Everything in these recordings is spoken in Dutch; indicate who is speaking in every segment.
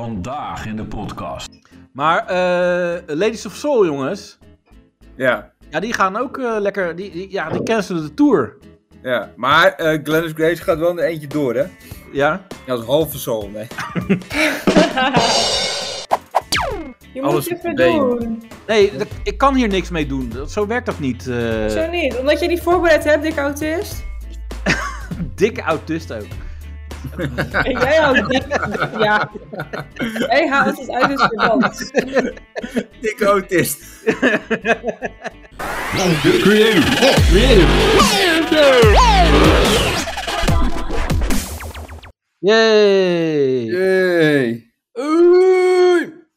Speaker 1: Vandaag in de podcast.
Speaker 2: Maar eh, Ladies of Soul, jongens.
Speaker 3: Ja,
Speaker 2: Ja, die gaan ook eh, lekker. Die, die- ja, die cancelen de tour.
Speaker 3: ja. Maar eh Glennis Grace gaat wel een eentje door, hè?
Speaker 2: Ja.
Speaker 3: Dat is halve soul, nee.
Speaker 4: Je
Speaker 3: Alles
Speaker 4: moet je
Speaker 3: op de been.
Speaker 4: verdoen.
Speaker 2: Nee, dat- ik kan hier niks mee doen. Dat- Zo werkt dat niet. eh.
Speaker 4: Zo niet. Omdat je die voorbereid hebt, dikke autist.
Speaker 2: dikke autist ook.
Speaker 4: En jij houdt dik. Ja. Jij haalt het uit het verband.
Speaker 3: Dikke autist.
Speaker 2: Yay!
Speaker 3: Yay.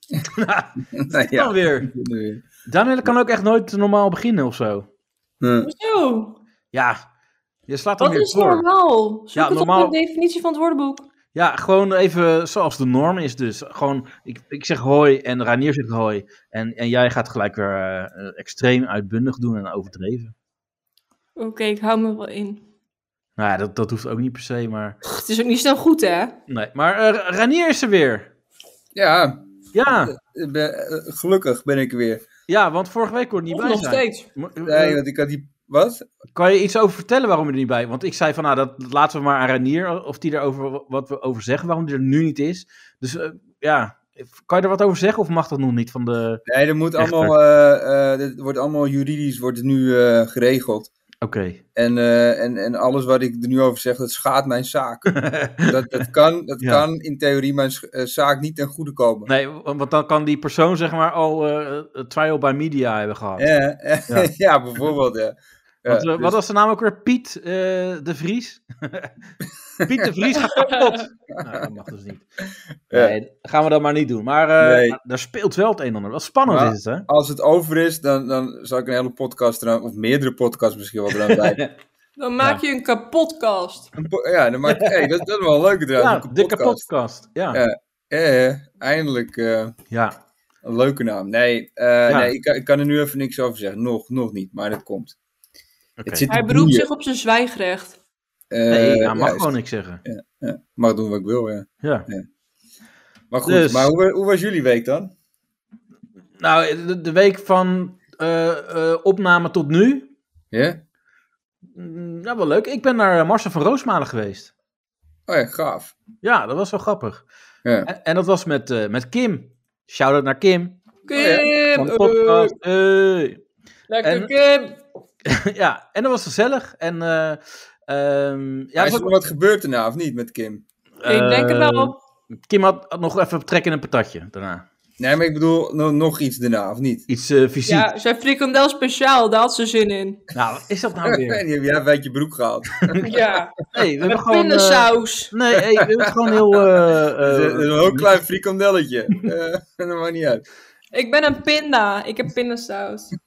Speaker 3: nou
Speaker 2: Dan
Speaker 3: ja.
Speaker 2: weer. Daniel kan ook echt nooit normaal beginnen of zo.
Speaker 3: Hm.
Speaker 4: Zo.
Speaker 2: Ja, je slaat hem
Speaker 4: Wat
Speaker 2: weer
Speaker 4: is
Speaker 2: voor.
Speaker 4: normaal? Zoek
Speaker 2: Ja,
Speaker 4: het
Speaker 2: normaal-
Speaker 4: op de definitie van het woordenboek.
Speaker 2: Ja, gewoon even zoals de norm is dus. Gewoon, ik, ik zeg hoi en Ranier zegt hoi. En, en jij gaat gelijk weer eh, extreem uitbundig doen en overdreven.
Speaker 4: Oké, ik hou me wel in.
Speaker 2: Nou ja, dat, dat hoeft ook niet per se, maar...
Speaker 4: Het is ook niet snel goed, hè?
Speaker 2: Nee, maar eh, Ranier is er weer.
Speaker 3: Ja,
Speaker 2: Ja,
Speaker 3: ik ben- eh, gelukkig ben ik er weer.
Speaker 2: ja, want vorige week kon je niet
Speaker 4: Of
Speaker 2: bij
Speaker 4: nog
Speaker 2: zijn.
Speaker 4: steeds.
Speaker 2: Maar, eh,
Speaker 3: Nee, want ik had die... Wat?
Speaker 2: Kan je iets over vertellen waarom je er niet bij Want ik zei van, nou, dat, dat laten we maar aan Ranier, of die erover wat we over zeggen, waarom die er nu niet is. Dus eh, ja, kan je er wat over zeggen of mag dat nog niet van de...
Speaker 3: Nee, dat moet
Speaker 2: Echt,
Speaker 3: allemaal... eh, eh, dit wordt allemaal juridisch wordt het nu eh, geregeld.
Speaker 2: Oké.
Speaker 3: En, eh, en, en alles wat ik er nu over zeg, dat schaadt mijn zaak. dat dat, kan, dat
Speaker 2: Ja.
Speaker 3: kan in theorie mijn sch- eh, zaak niet ten goede komen.
Speaker 2: Nee, wa- want dan kan die persoon zeg maar al eh, trial by media hebben gehad.
Speaker 3: Ja, eh,
Speaker 2: Nou, Ja.
Speaker 3: ja. bijvoorbeeld. Ja. Ja,
Speaker 2: Want, eh,
Speaker 3: dus-
Speaker 2: Wat was de naam ook weer? Piet eh, de Vries? Piet de Vries gaat kapot. nou, dat mag dus niet.
Speaker 3: Ja.
Speaker 2: Nee, dat gaan we dat maar niet doen. Maar eh,
Speaker 3: Nee.
Speaker 2: daar speelt wel het een en ander. Wat spannend
Speaker 3: Maar-
Speaker 2: is het, hè?
Speaker 3: Als het over is, dan, dan zal ik een hele podcast eraan, of meerdere podcasts misschien wel eraan bij.
Speaker 4: Dan maak je een kapotkast.
Speaker 3: Een po- ja, dan maak ik, hey, dat, dat is wel een leuke
Speaker 2: Ja,
Speaker 3: trouwens. een
Speaker 2: de
Speaker 3: podcast.
Speaker 2: kapotkast. Ja.
Speaker 3: Ja. Eh, eindelijk eh,
Speaker 2: ja.
Speaker 3: een leuke naam. Nee, eh,
Speaker 2: Ja.
Speaker 3: nee ik, kan- ik kan er nu even niks over zeggen. Nog, nog niet, maar dat komt.
Speaker 2: Oké.
Speaker 3: Het zit
Speaker 4: Hij
Speaker 3: te
Speaker 4: beroept
Speaker 3: boeien.
Speaker 4: zich op zijn zwijgrecht.
Speaker 3: Eh,
Speaker 2: Nee, ja,
Speaker 3: ja,
Speaker 2: mag
Speaker 3: is-
Speaker 2: gewoon niks zeggen.
Speaker 3: ja, mag doen wat ik wil, ja.
Speaker 2: Ja.
Speaker 3: Maar goed,
Speaker 2: Dus-
Speaker 3: maar hoe, hoe was jullie week dan?
Speaker 2: Nou, de, de week van eh, eh, opname tot nu.
Speaker 3: Ja?
Speaker 2: mm, Nou, wel leuk. Ik ben naar Marcel van Roosmalen geweest.
Speaker 3: Oh ja, gaaf.
Speaker 2: Ja, dat was wel grappig.
Speaker 3: Ja.
Speaker 2: En, en dat was met, eh, met Kim. Shout-out naar Kim.
Speaker 4: Kim!
Speaker 2: Oh
Speaker 4: eh. oh,
Speaker 2: Van de podcast. Hey.
Speaker 4: lekker
Speaker 2: En-
Speaker 4: Kim!
Speaker 2: ja, en dat was gezellig. En eh, ehm, ja,
Speaker 3: Ja,
Speaker 2: dat
Speaker 3: is
Speaker 2: was
Speaker 3: er
Speaker 2: ook-
Speaker 3: wat gebeurd daarna, of niet, met Kim?
Speaker 4: ik denk het wel
Speaker 2: eh,
Speaker 4: op.
Speaker 2: Kim had, had nog even trek in een patatje daarna.
Speaker 3: Nee, maar ik bedoel, no- nog iets daarna, of niet?
Speaker 2: Iets eh fysiek.
Speaker 4: Ja, zijn frikandel speciaal, daar had ze zin in.
Speaker 2: Nou, wat is dat nou weer?
Speaker 3: Die heb jij uit je broek gehaald.
Speaker 4: Ja,
Speaker 2: Nee, we hebben gewoon... eh,
Speaker 4: pindasaus.
Speaker 2: nee, hey, we hebben gewoon heel... eh,
Speaker 3: Dat
Speaker 2: eh,
Speaker 3: is een heel klein frikandelletje. Eh dat maakt niet uit.
Speaker 4: Ik ben een pinda, ik heb pindasaus.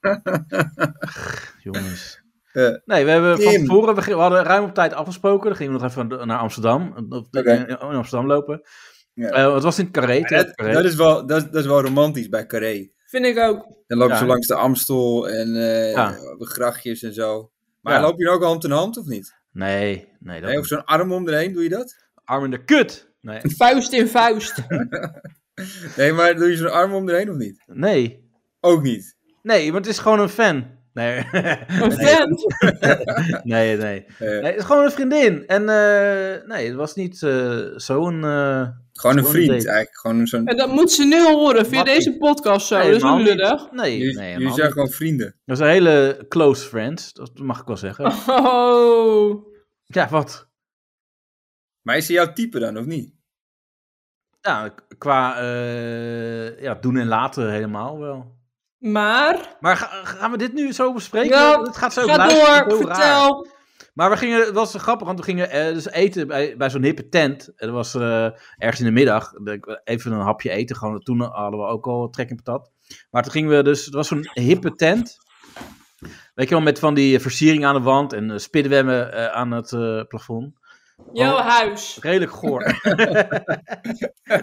Speaker 2: jongens.
Speaker 3: Eh.
Speaker 2: Nee, we hebben van
Speaker 3: Kim.
Speaker 2: tevoren, we, gingen- we hadden ruim op tijd afgesproken. Dan gingen we nog even naar Amsterdam, op-
Speaker 3: Oké.
Speaker 2: in Amsterdam lopen.
Speaker 3: Ja.
Speaker 2: Eh, het was in het Carré, Theater
Speaker 3: Dat,
Speaker 2: Carré.
Speaker 3: dat is wel, dat, is- dat is wel romantisch bij Carré.
Speaker 4: Vind ik ook.
Speaker 3: Dan lopen
Speaker 2: Ja.
Speaker 3: ze langs de Amstel en eh,
Speaker 2: Ja.
Speaker 3: de grachtjes en zo. Maar
Speaker 2: Ja.
Speaker 3: loop je dan ook hand in hand of niet?
Speaker 2: Nee, nee. Dat
Speaker 3: Nee, of zo'n arm om erheen, doe je dat?
Speaker 2: Arm in de kut! Nee.
Speaker 4: Vuist in vuist.
Speaker 3: Nee, maar doe je zo'n arm om erheen of niet?
Speaker 2: Nee.
Speaker 3: Ook niet.
Speaker 2: Nee, want het is gewoon een fan. Nee.
Speaker 4: Een vent.
Speaker 2: nee, nee.
Speaker 3: Eh,
Speaker 2: Nee, het is gewoon een vriendin. En eh, nee, het was niet eh, zo'n... eh,
Speaker 3: Gewoon een
Speaker 2: Gewoon een
Speaker 3: vriend
Speaker 2: date.
Speaker 3: eigenlijk. Gewoon zo'n,
Speaker 4: En dat moet ze nu horen via
Speaker 2: Mag ik?
Speaker 4: deze podcast zo.
Speaker 2: nee,
Speaker 4: dat is
Speaker 2: helemaal
Speaker 4: niet
Speaker 2: niet. Nee,
Speaker 4: lullig.
Speaker 3: jullie
Speaker 2: nee.
Speaker 3: jullie
Speaker 2: helemaal
Speaker 3: zijn
Speaker 2: niet.
Speaker 3: gewoon vrienden.
Speaker 2: Dat zijn hele close friends, dat mag ik wel zeggen.
Speaker 4: Oh.
Speaker 2: Ja, wat?
Speaker 3: Maar is ze jouw type dan of niet?
Speaker 2: Ja, k- qua eh, ja, doen en laten helemaal wel.
Speaker 4: Maar,
Speaker 2: Maar ga- gaan we dit nu zo bespreken?
Speaker 4: Ja,
Speaker 2: het gaat zo
Speaker 4: ga
Speaker 2: luisteren, het is
Speaker 4: door,
Speaker 2: heel raar. Oh.
Speaker 4: vertel.
Speaker 2: Maar we gingen, het was zo grappig, want we gingen eh, dus eten bij, bij zo'n hippe tent. En dat was eh, ergens in de middag. Ik denk, Even een hapje eten, gewoon. Toen hadden we ook al trek in patat. Maar toen gingen we dus, het was zo'n hippe tent. Weet je wel, met van die versiering aan de wand en eh, spidwebben eh, aan het eh, plafond.
Speaker 4: Jouw huis.
Speaker 2: Redelijk goor.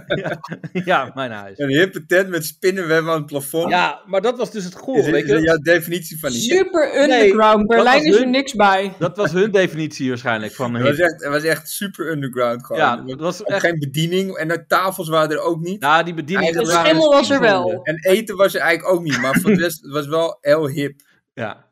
Speaker 2: ja, ja, mijn huis.
Speaker 3: Een hippe tent met spinnenwebben aan het plafond.
Speaker 2: Ja, maar dat was dus het goor,
Speaker 3: is,
Speaker 2: weet
Speaker 3: is
Speaker 2: je.
Speaker 3: jouw definitie van hip.
Speaker 4: Super
Speaker 2: Nee,
Speaker 4: underground.
Speaker 2: dat
Speaker 4: Berlijn
Speaker 2: was
Speaker 4: is er
Speaker 2: hun-
Speaker 4: niks bij.
Speaker 2: Dat was hun definitie waarschijnlijk van
Speaker 3: Het was,
Speaker 2: hip.
Speaker 3: echt, het was echt super underground gewoon.
Speaker 2: Ja,
Speaker 3: Er
Speaker 2: dat
Speaker 3: was
Speaker 2: was
Speaker 3: ook
Speaker 2: echt...
Speaker 3: geen bediening en de tafels waren er ook niet.
Speaker 2: Nou, die bediening...
Speaker 4: De
Speaker 3: Eigenlijk-
Speaker 4: schimmel was er wel.
Speaker 3: En eten was er eigenlijk ook niet, maar voor de rest het was wel heel hip.
Speaker 2: Ja.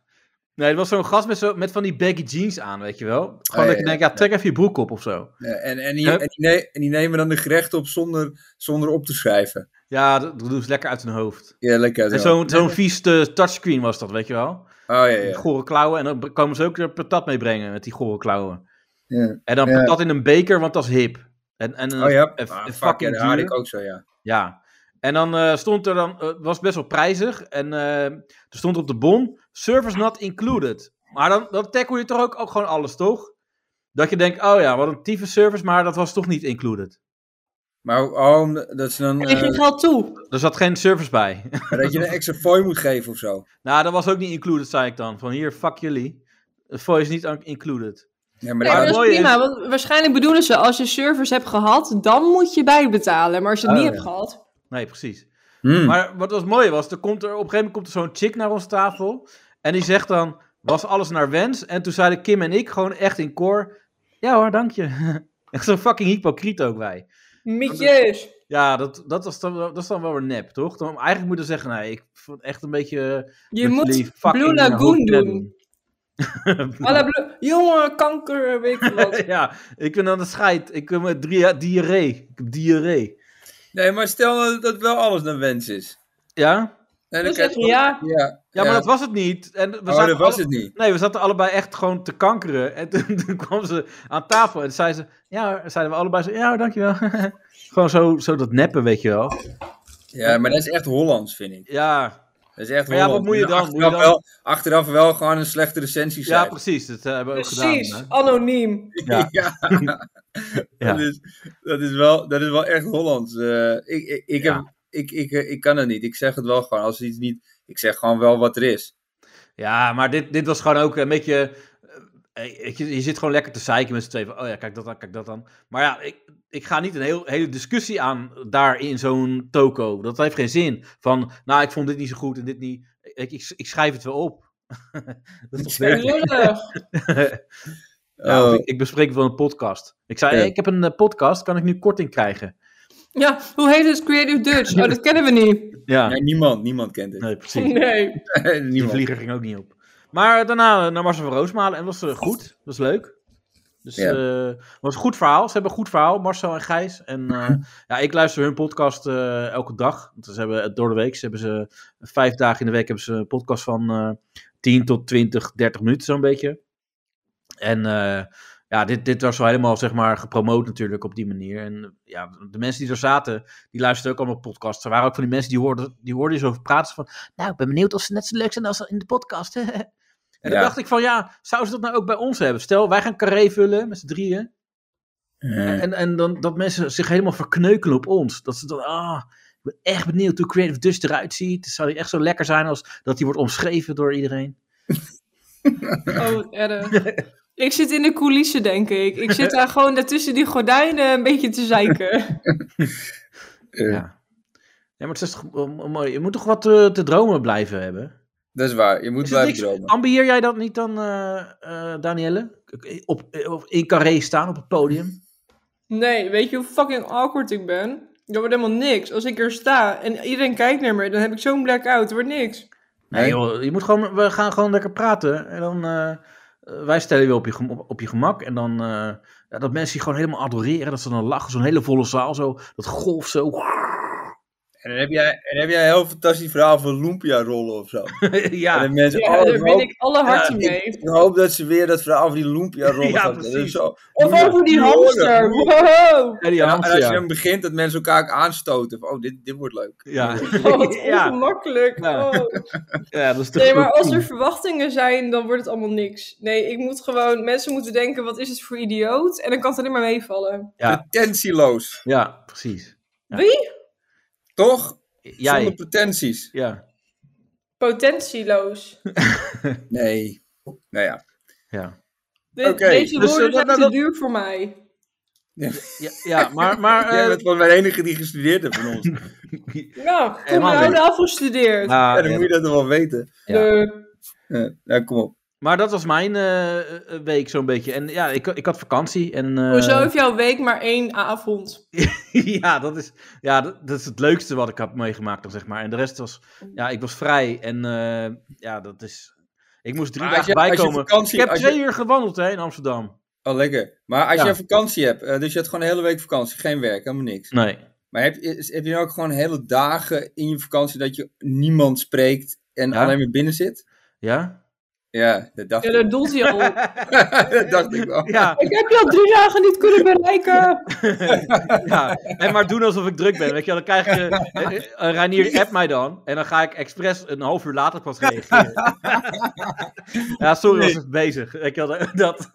Speaker 2: Nee, er was zo'n gast met, zo, met van die baggy jeans aan, weet je wel. Gewoon dat
Speaker 3: Oh, ja,
Speaker 2: je
Speaker 3: ja,
Speaker 2: denkt, ja, trek even je broek op of zo.
Speaker 3: Ja, Eh, En, en, die,
Speaker 2: Hup.
Speaker 3: en, die ne- en die nemen dan de gerechten op zonder, zonder op te schrijven.
Speaker 2: Ja, dat dat doen ze lekker uit hun hoofd.
Speaker 3: Ja, lekker.
Speaker 2: En
Speaker 3: zo.
Speaker 2: zo'n zo'n vies eh, touchscreen was dat, weet je wel.
Speaker 3: Oh ja, ja.
Speaker 2: Met Gore klauwen. En dan komen ze ook weer patat meebrengen met die gore klauwen.
Speaker 3: ja.
Speaker 2: En dan
Speaker 3: Ja.
Speaker 2: patat in een beker, want dat is hip. En, en een-
Speaker 3: Oh ja,
Speaker 2: een-
Speaker 3: ah,
Speaker 2: een
Speaker 3: fuck, ja,
Speaker 2: fucking
Speaker 3: dat had
Speaker 2: duur.
Speaker 3: ik ook zo, ja.
Speaker 2: Ja. En dan eh, stond er dan, het was best wel prijzig. En eh, er stond op de bon, service not included. Maar dan, dan tackle je toch ook, ook gewoon alles, toch? Dat je denkt, oh ja, wat een tieve service, maar dat was toch niet included.
Speaker 3: Maar oh, om- dat, ze dan,
Speaker 4: Kreeg
Speaker 3: eh,
Speaker 4: je geld toe?
Speaker 2: Er zat geen service bij.
Speaker 3: dat je een extra fooi moet geven of zo.
Speaker 2: nou, dat was ook niet included, zei ik dan. Van hier, fuck jullie. Het voice is niet included.
Speaker 3: Ja, maar
Speaker 4: Nee,
Speaker 2: het
Speaker 3: dat-
Speaker 4: maar dat
Speaker 2: mooie
Speaker 4: is
Speaker 2: is-
Speaker 4: prima. Want waarschijnlijk bedoelen ze, als je servers hebt gehad, dan moet je bijbetalen. Maar als je het
Speaker 2: Oh,
Speaker 4: niet
Speaker 2: ja.
Speaker 4: hebt gehad...
Speaker 2: Nee, precies.
Speaker 3: Hmm.
Speaker 2: Maar wat was mooi was, er komt er, op een gegeven moment komt er zo'n chick naar ons tafel. En die zegt dan, was alles naar wens? En toen zeiden Kim en ik gewoon echt in koor, ja hoor, dank je. Echt zo'n fucking hypocriet ook wij.
Speaker 4: Mietjes.
Speaker 2: Ja, dat, dat, was dan, wel- dat is dan wel weer nep, toch? Dan, eigenlijk moeten we zeggen, nee, ik vond echt een beetje... eh,
Speaker 4: Je
Speaker 2: dat jullie
Speaker 4: moet
Speaker 2: fucking
Speaker 4: Blue Lagoon
Speaker 2: hoofdpret
Speaker 4: doen. Alla Blue... Jongen, kanker, weet ik wat.
Speaker 2: ja, ik ben aan de scheid. Ik heb eh, drie- diarree. Ik heb diarree.
Speaker 3: nee, maar stel dat, dat wel alles naar wens is.
Speaker 2: Ja?
Speaker 3: En
Speaker 4: Dan zeg je ja.
Speaker 3: Ja,
Speaker 2: Ja, maar
Speaker 3: Ja.
Speaker 2: dat was het niet. En we
Speaker 3: oh,
Speaker 2: zaten
Speaker 3: dat was
Speaker 2: alle-
Speaker 3: het niet.
Speaker 2: Nee, we zaten allebei echt gewoon te kankeren. En toen, toen kwam ze aan tafel en zei ze... Ja, zeiden we allebei zo... Ja, dankjewel. gewoon zo, zo dat neppen, weet je wel.
Speaker 3: Ja, maar dat is echt Hollands, vind ik.
Speaker 2: Ja,
Speaker 3: Dat is echt
Speaker 2: Maar ja, wat
Speaker 3: Hollands.
Speaker 2: moet je
Speaker 3: En
Speaker 2: dan? Moet je
Speaker 3: Achteraf,
Speaker 2: dan-
Speaker 3: Wel, achteraf wel gewoon een slechte recensie
Speaker 2: ja
Speaker 3: schrijven.
Speaker 2: precies. Dat eh, hebben we ook gedaan.
Speaker 4: Precies,
Speaker 2: hè.
Speaker 4: anoniem.
Speaker 2: Ja. Ja.
Speaker 3: Dat, is, dat, is wel, dat is wel echt Hollands. Eh, ik, ik, ik,
Speaker 2: Ja.
Speaker 3: heb, ik, ik, eh, ik kan het niet. Ik zeg het wel gewoon. Als iets niet... Ik zeg gewoon wel wat er is.
Speaker 2: Ja, maar dit, dit was gewoon ook een beetje... eh, weet Je, je zit gewoon lekker te zeiken met z'n tweeën. van, Oh ja, kijk dat dan, kijk dat dan. Maar ja, ik, ik ga niet een heel, hele discussie aan daar in zo'n toko. Dat heeft geen zin. Van, nou, ik vond dit niet zo goed en dit niet. Ik, ik, ik schrijf het wel op. dat is toch beter?
Speaker 4: Lullig.
Speaker 2: Ja,
Speaker 3: Oh,
Speaker 2: of ik, ik bespreek wel een podcast. Ik zei,
Speaker 3: Ja.
Speaker 2: hey, ik heb een eh, podcast, kan ik nu korting krijgen?
Speaker 4: Ja, hoe heet het? Creative Dutch. Oh, dat kennen we niet.
Speaker 2: Ja,
Speaker 3: nee, niemand, niemand kent het.
Speaker 2: nee, precies.
Speaker 4: Nee.
Speaker 2: Die
Speaker 3: niemand.
Speaker 2: vlieger ging ook niet op. Maar daarna eh, naar Marcel van Roosmalen en was eh, goed. was leuk. Dus
Speaker 3: Ja.
Speaker 2: eh, was een goed verhaal. Ze hebben een goed verhaal, Marcel en Gijs. En eh, ja, ik luister hun podcast eh, elke dag. Want Ze hebben, eh, door de week ze hebben ze vijf dagen in de week hebben ze een podcast van eh 10 tot 20, 30 minuten zo'n beetje. En eh, ja, dit, dit was wel helemaal zeg maar gepromoot natuurlijk op die manier. En eh, ja, de mensen die er zaten, die luisterden ook allemaal podcasts. Er waren ook van die mensen die hoorden, die hoorden je zo praten van, nou, ik ben benieuwd of ze net zo leuk zijn als in de podcast. en dan
Speaker 3: Ja.
Speaker 2: dacht ik van, ja, zou ze dat nou ook bij ons hebben? Stel, wij gaan carré vullen met z'n drieën.
Speaker 3: Eh,
Speaker 2: En, en dan, dat mensen zich helemaal verkneukelen op ons. Dat ze dan, ah, ik ben echt benieuwd hoe Creative Dust eruit ziet. Zou die echt zo lekker zijn als dat die wordt omschreven door iedereen?
Speaker 4: Oh, wat erg. Ik zit in de coulissen, denk ik. Ik zit daar gewoon daartussen die gordijnen een beetje te zeiken.
Speaker 3: eh,
Speaker 2: Ja. Ja, maar het is toch wel mooi. Je moet toch wat eh, te dromen blijven hebben?
Speaker 3: Dat is waar. Je moet
Speaker 2: Is het
Speaker 3: blijven
Speaker 2: niks-
Speaker 3: dromen.
Speaker 2: Ambieer jij dat niet dan, eh, eh, Danielle? Op, op, in carré staan op het podium?
Speaker 4: Nee, weet je hoe fucking awkward ik ben? Dat wordt helemaal niks. Als ik er sta en iedereen kijkt naar me, dan heb ik zo'n blackout. Het wordt niks.
Speaker 2: Nee,
Speaker 3: Nee?
Speaker 2: joh, je moet gewoon, we gaan gewoon lekker praten. En dan, eh, eh, wij stellen je weer op je, gem- op, op je gemak. En dan, eh, ja, dat mensen je gewoon helemaal adoreren. Dat ze dan lachen, zo'n hele volle zaal zo. Dat golf zo.
Speaker 3: En dan heb jij, en dan heb jij een heel fantastisch verhaal van Lumpia rollen of zo. En
Speaker 2: ja,
Speaker 3: dan mensen,
Speaker 4: Ja,
Speaker 3: oh,
Speaker 4: daar
Speaker 3: ik hoop,
Speaker 4: win ik alle harten mee.
Speaker 3: ik hoop dat ze weer dat verhaal van die Lumpia rollen
Speaker 2: Ja,
Speaker 3: gaan vertellen.
Speaker 2: precies.
Speaker 3: Zo,
Speaker 4: Of over die
Speaker 3: horen,
Speaker 4: hamster.
Speaker 3: horen.
Speaker 4: Wow.
Speaker 2: ja, die
Speaker 3: En,
Speaker 2: Hans,
Speaker 3: als je
Speaker 2: ja.
Speaker 3: hem begint, dat mensen elkaar ook aanstoten. Van, oh, dit, dit wordt leuk.
Speaker 2: Ja. Nou.
Speaker 4: Oh, wat
Speaker 2: ja.
Speaker 4: ongemakkelijk.
Speaker 2: Ja.
Speaker 4: Oh.
Speaker 2: ja, dat is te
Speaker 4: Nee, maar
Speaker 2: goed.
Speaker 4: als er verwachtingen zijn, dan wordt het allemaal niks. Nee, ik moet gewoon... Mensen moeten denken, wat is het voor idioot? En dan kan het alleen maar meevallen.
Speaker 2: Ja.
Speaker 3: Pretentieloos.
Speaker 2: Ja, precies. Ja.
Speaker 4: Wie?
Speaker 3: Toch? Zonder
Speaker 2: Jij.
Speaker 3: pretenties.
Speaker 2: Ja,
Speaker 4: Potentieloos.
Speaker 3: Nee. Nou ja.
Speaker 2: ja.
Speaker 4: Dit-
Speaker 3: Oké,
Speaker 4: Deze
Speaker 2: dus,
Speaker 4: woorden
Speaker 2: eh, dat-
Speaker 4: zijn
Speaker 2: dat-
Speaker 4: te
Speaker 2: dat-
Speaker 4: duur voor mij.
Speaker 2: Ja, ja maar, maar
Speaker 3: Jij
Speaker 2: eh,
Speaker 3: bent wel de enige die gestudeerd heeft van ons. Ja,
Speaker 4: Nou, kom
Speaker 2: Helemaal
Speaker 4: nou
Speaker 2: niet.
Speaker 4: oude afgestudeerd.
Speaker 2: nou,
Speaker 3: dan
Speaker 2: ja,
Speaker 3: moet je dat toch wel weten.
Speaker 2: ja.
Speaker 4: De-
Speaker 3: Ja, nou, kom op.
Speaker 2: maar dat was mijn eh, eh, week zo'n beetje. En ja, ik, ik had vakantie. En, eh,
Speaker 4: Hoezo heeft jouw week maar één avond?
Speaker 2: ja, dat is, ja dat, dat is het leukste wat ik heb meegemaakt, dan, zeg maar. En de rest was, ja, ik was vrij. En eh, ja, dat is, ik moest drie
Speaker 3: Maar als
Speaker 2: dagen
Speaker 3: je- als je
Speaker 2: bijkomen.
Speaker 3: vakantie-
Speaker 2: Ik heb
Speaker 3: als je-
Speaker 2: twee uur gewandeld hè, in Amsterdam.
Speaker 3: Oh, lekker. Maar als
Speaker 2: Ja.
Speaker 3: je vakantie hebt, eh, dus je hebt gewoon een hele week vakantie, geen werk, helemaal niks.
Speaker 2: Nee.
Speaker 3: Maar heb, is- heb je nou ook gewoon hele dagen in je vakantie dat je niemand spreekt en
Speaker 2: Ja.
Speaker 3: alleen maar binnen zit?
Speaker 2: Ja?
Speaker 3: Ja, dat dacht
Speaker 4: Ja,
Speaker 3: ik.
Speaker 4: daar doelt hij al op.
Speaker 3: dat dacht ik wel.
Speaker 2: Ja.
Speaker 4: Ik heb je al drie dagen niet kunnen bereiken.
Speaker 2: ja, en maar doen alsof ik druk ben. Weet je wel, dan krijg je. eh, eh, eh, Reinier, app mij dan. En dan ga ik expres een half uur later pas reageren. ja, sorry, was het bezig. Weet je wel, dat.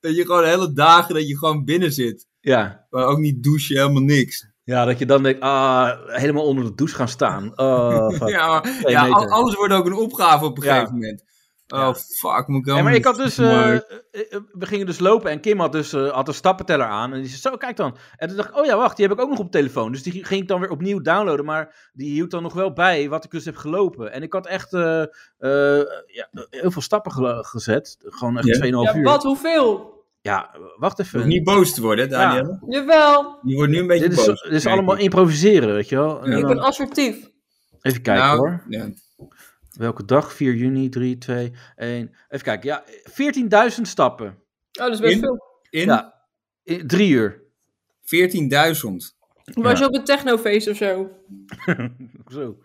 Speaker 3: Dat je gewoon hele dagen dat je gewoon binnen zit.
Speaker 2: Ja.
Speaker 3: Maar ook niet douchen, helemaal niks.
Speaker 2: ja, dat je dan denkt, ah, helemaal onder de douche gaan staan. Oh, fuck.
Speaker 3: Ja, maar,
Speaker 2: Twee
Speaker 3: ja
Speaker 2: meter.
Speaker 3: al- alles wordt ook een opgave op een
Speaker 2: Ja.
Speaker 3: gegeven moment. Oh,
Speaker 2: Ja.
Speaker 3: fuck, moet ik
Speaker 2: Ja,
Speaker 3: helemaal
Speaker 2: maar ik
Speaker 3: niet-
Speaker 2: had dus, eh,
Speaker 3: Maar-
Speaker 2: eh, eh, we gingen dus lopen en Kim had dus eh, had een stappenteller aan. En die zei, zo, kijk dan. En toen dacht ik, oh ja, wacht, die heb ik ook nog op telefoon. Dus die ging ik dan weer opnieuw downloaden. Maar die hield dan nog wel bij wat ik dus heb gelopen. En ik had echt eh, eh, ja, heel veel stappen gelo- gezet. Gewoon echt
Speaker 3: Ja.
Speaker 2: 2,5
Speaker 4: Ja,
Speaker 2: uur.
Speaker 4: wat, hoeveel?
Speaker 2: Ja, wacht
Speaker 3: Hoef
Speaker 2: even.
Speaker 3: niet boos te worden, hè, Daniel.
Speaker 4: Jawel,
Speaker 3: Je wordt nu een beetje
Speaker 2: Dit is,
Speaker 3: boos.
Speaker 2: dit is allemaal improviseren, weet je wel. En
Speaker 4: ik
Speaker 2: dan-
Speaker 4: ben assertief. Oh,
Speaker 2: even kijken
Speaker 3: Nou,
Speaker 2: hoor.
Speaker 3: ja.
Speaker 2: Welke dag? 4 juni, 3, 2, 1. Even kijken, ja, 14.000 stappen.
Speaker 4: Oh, dat is best
Speaker 3: In?
Speaker 4: veel.
Speaker 3: In
Speaker 2: Ja, in drie uur.
Speaker 3: 14.000.
Speaker 4: Was je op een technofeest of zo?
Speaker 2: Zo.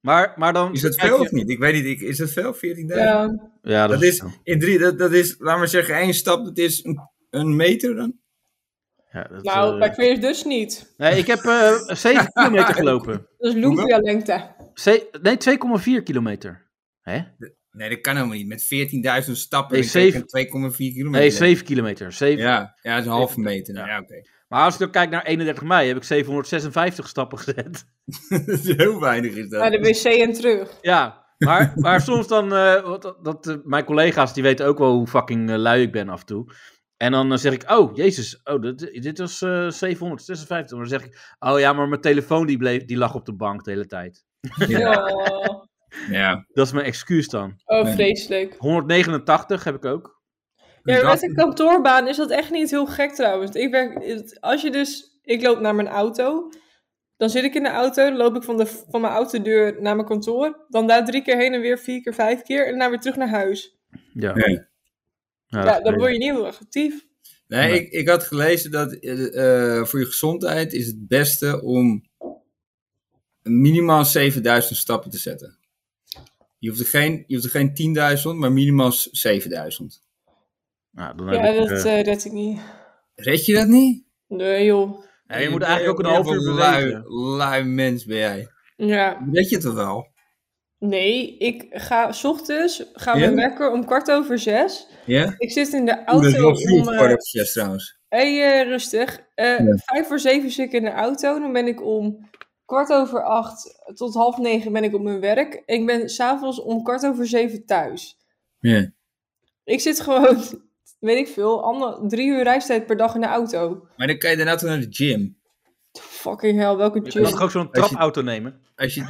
Speaker 2: Maar, maar dan.
Speaker 3: Is dat
Speaker 2: kijk
Speaker 3: veel
Speaker 2: je-
Speaker 3: of niet? Ik weet niet. Ik, is dat veel? 14.000?
Speaker 4: Ja. nou,
Speaker 2: Ja, dat,
Speaker 3: Dat is, in drie, dat, dat is, laat maar zeggen, één stap, dat is een, een meter dan?
Speaker 2: Ja, dat,
Speaker 4: Nou,
Speaker 2: eh,
Speaker 4: bij Queers dus niet.
Speaker 2: nee, ik heb eh 7 kilometer gelopen.
Speaker 4: Dat is Lumpia lengte.
Speaker 2: Ze- nee, 2,4 kilometer. Hè?
Speaker 3: Nee, dat kan helemaal niet. Met 14.000 stappen
Speaker 2: Nee,
Speaker 3: dan krijg je
Speaker 2: zeven-
Speaker 3: 2,4 kilometer.
Speaker 2: Nee, 7 kilometer. 7.
Speaker 3: Ja, ja, dat is een halve meter. Nou, ja, oké.
Speaker 2: Maar als ik dan kijk naar 31 mei, heb ik 756 stappen gezet.
Speaker 3: dat is heel weinig is dat.
Speaker 4: Naar de wc en terug.
Speaker 2: Ja, maar, maar soms dan. eh, wat, dat, dat, eh, mijn collega's die weten ook wel hoe fucking eh, lui ik ben af en toe. En dan eh, zeg ik, oh jezus, oh, dit, dit was eh 756. Maar dan zeg ik, oh ja, maar mijn telefoon die, bleef, die lag op de bank de hele tijd.
Speaker 3: Ja.
Speaker 4: Oh,
Speaker 3: ja.
Speaker 2: Dat is mijn excuus dan.
Speaker 4: oh, vreselijk.
Speaker 2: 189 heb ik ook.
Speaker 3: Dus
Speaker 4: Ja, maar met een kantoorbaan is dat echt niet heel gek trouwens. Ik werk, als je dus, ik loop naar mijn auto, dan zit ik in de auto, dan loop ik van, de, van mijn autodeur naar mijn kantoor, dan daar drie keer heen en weer, vier keer, vijf keer en daarna weer terug naar huis.
Speaker 2: Ja.
Speaker 3: Nee.
Speaker 2: Nou,
Speaker 4: Ja,
Speaker 2: dat-
Speaker 4: dan word je niet heel erg actief.
Speaker 3: Nee,
Speaker 2: Nee.
Speaker 3: ik, ik had gelezen dat eh, eh, voor je gezondheid is het beste om minimaal 7000 stappen te zetten. Je hoeft er geen, je hoeft er geen 10.000, maar minimaal 7000.
Speaker 2: nou, dan heb
Speaker 4: Ja,
Speaker 2: ik,
Speaker 4: dat
Speaker 2: eh,
Speaker 4: eh, red ik niet.
Speaker 3: Red je dat niet?
Speaker 4: Nee joh.
Speaker 2: ja, je moet
Speaker 3: bent
Speaker 2: eigenlijk ook een half uur
Speaker 3: een lui,
Speaker 2: bewegen.
Speaker 3: lui mens ben jij.
Speaker 4: Ja,
Speaker 3: Red je het wel?
Speaker 4: nee, ik ga, s ochtends gaan
Speaker 3: Ja?
Speaker 4: we wekker om kwart over zes.
Speaker 3: Ja?
Speaker 4: Ik zit in de
Speaker 3: Oeh, dat is
Speaker 4: auto
Speaker 3: wel vroeg,
Speaker 4: om... eh,
Speaker 3: kwart over zes trouwens.
Speaker 4: Hey, eh, rustig. Eh, Vijf voor zeven zit ik in de auto. Dan ben ik om kwart over acht tot half negen ben ik op mijn werk. En ik ben s'avonds om kwart over zeven thuis.
Speaker 3: Ja.
Speaker 4: Ik zit gewoon, weet ik veel, ander, drie uur reistijd per dag in de auto.
Speaker 3: Maar dan kan je daarna toch naar de gym.
Speaker 4: Fucking hell, welke
Speaker 2: Je kan
Speaker 4: chill.
Speaker 2: toch ook zo'n
Speaker 3: Als je-
Speaker 2: trapauto nemen?
Speaker 3: Als je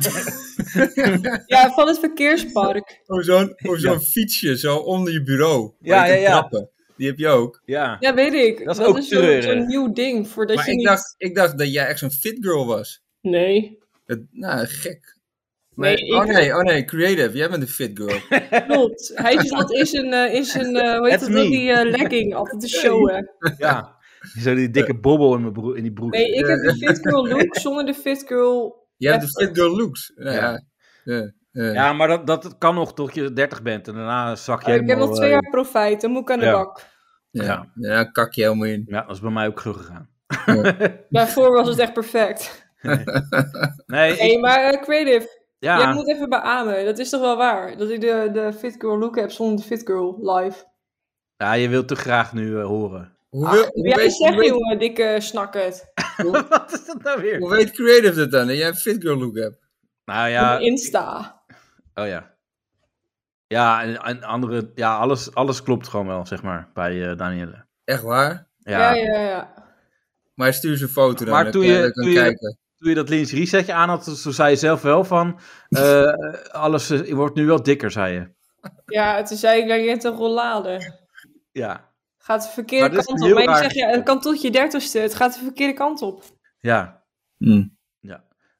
Speaker 4: Ja, van het verkeerspark.
Speaker 3: of zo'n of zo'n fietsje zo onder je bureau.
Speaker 2: Ja,
Speaker 3: waar je kan
Speaker 2: ja, ja.
Speaker 3: trappen. Die heb je ook.
Speaker 2: Ja.
Speaker 4: Ja, weet ik.
Speaker 2: Dat is ook
Speaker 4: zo'n-
Speaker 2: treurig.
Speaker 4: zo'n nieuw ding. Voordat
Speaker 3: maar
Speaker 4: je
Speaker 3: ik,
Speaker 4: niet...
Speaker 3: dacht, ik dacht dat jij echt zo'n fit girl was.
Speaker 4: Nee.
Speaker 3: Dat, nou, gek.
Speaker 4: Nee,
Speaker 3: Maar- oh,
Speaker 4: ik-
Speaker 3: nee, oh nee, creative. Jij bent een fit girl.
Speaker 4: Klopt. Hij is wat is een, eh, is een eh, hoe heet
Speaker 2: That's
Speaker 4: dat, ook,
Speaker 2: me.
Speaker 4: die eh, legging altijd te showen.
Speaker 2: ja. Zo die dikke bobbel in, mijn broer, in die broek.
Speaker 4: Nee, ik heb de fit girl look zonder de fit girl.
Speaker 3: Jij hebt de fit girl looks. Nou,
Speaker 2: Ja.
Speaker 3: ja. Ja, ja.
Speaker 2: Ja, maar dat, dat kan nog tot je 30 bent. En daarna zak je
Speaker 4: Ah, ik heb
Speaker 2: helemaal...
Speaker 4: nog twee
Speaker 2: eh,
Speaker 4: jaar profijt, dan moet ik aan de
Speaker 2: Ja.
Speaker 4: bak.
Speaker 3: ja.
Speaker 2: Ja.
Speaker 3: Ja, kak je helemaal in.
Speaker 2: Ja, dat is bij mij ook zo gegaan.
Speaker 4: Daarvoor was het echt perfect.
Speaker 2: Nee, ik-
Speaker 4: Nee, maar eh, Creative,
Speaker 2: ja.
Speaker 4: jij moet even beamen. Dat is toch wel waar? Dat ik de, de fit girl look heb zonder de fit girl live.
Speaker 2: ja, je wilt te graag nu eh, horen.
Speaker 3: Hoe,
Speaker 4: Ah,
Speaker 3: wil-
Speaker 4: wil
Speaker 3: hoe,
Speaker 4: jij
Speaker 3: weet, hoe,
Speaker 4: zeggen,
Speaker 3: weet,
Speaker 4: jongen, dikke snakkert.
Speaker 2: Wat is dat nou weer?
Speaker 3: hoe weet creative dat dan? Dat jij een fit girl look hebt?
Speaker 2: Nou
Speaker 4: Ja.
Speaker 2: ja,
Speaker 4: Insta.
Speaker 2: oh ja. Ja, en, en andere, ja alles, alles klopt gewoon wel, zeg maar, bij eh Danielle.
Speaker 3: Echt waar?
Speaker 2: Ja,
Speaker 4: Ja, ja, ja.
Speaker 3: Maar stuur ze een foto dan.
Speaker 2: Maar
Speaker 3: dan
Speaker 2: toen
Speaker 3: kan-
Speaker 2: je-
Speaker 3: dan kan
Speaker 2: toen je-
Speaker 3: kijken.
Speaker 2: Toen je dat lingerie setje aan had, zo zei je zelf wel van, eh, alles eh, wordt nu wel dikker, zei je.
Speaker 4: Ja, toen zei ik, ja, je hebt een rollade.
Speaker 2: Ja,
Speaker 4: Gaat de
Speaker 2: Maar
Speaker 4: verkeerde
Speaker 2: dit is
Speaker 4: kant
Speaker 2: heel
Speaker 4: op. Maar je
Speaker 2: raar.
Speaker 4: zegt, ja, het kan tot je dertigste. Het gaat de verkeerde kant op.
Speaker 2: ja.
Speaker 3: Hm.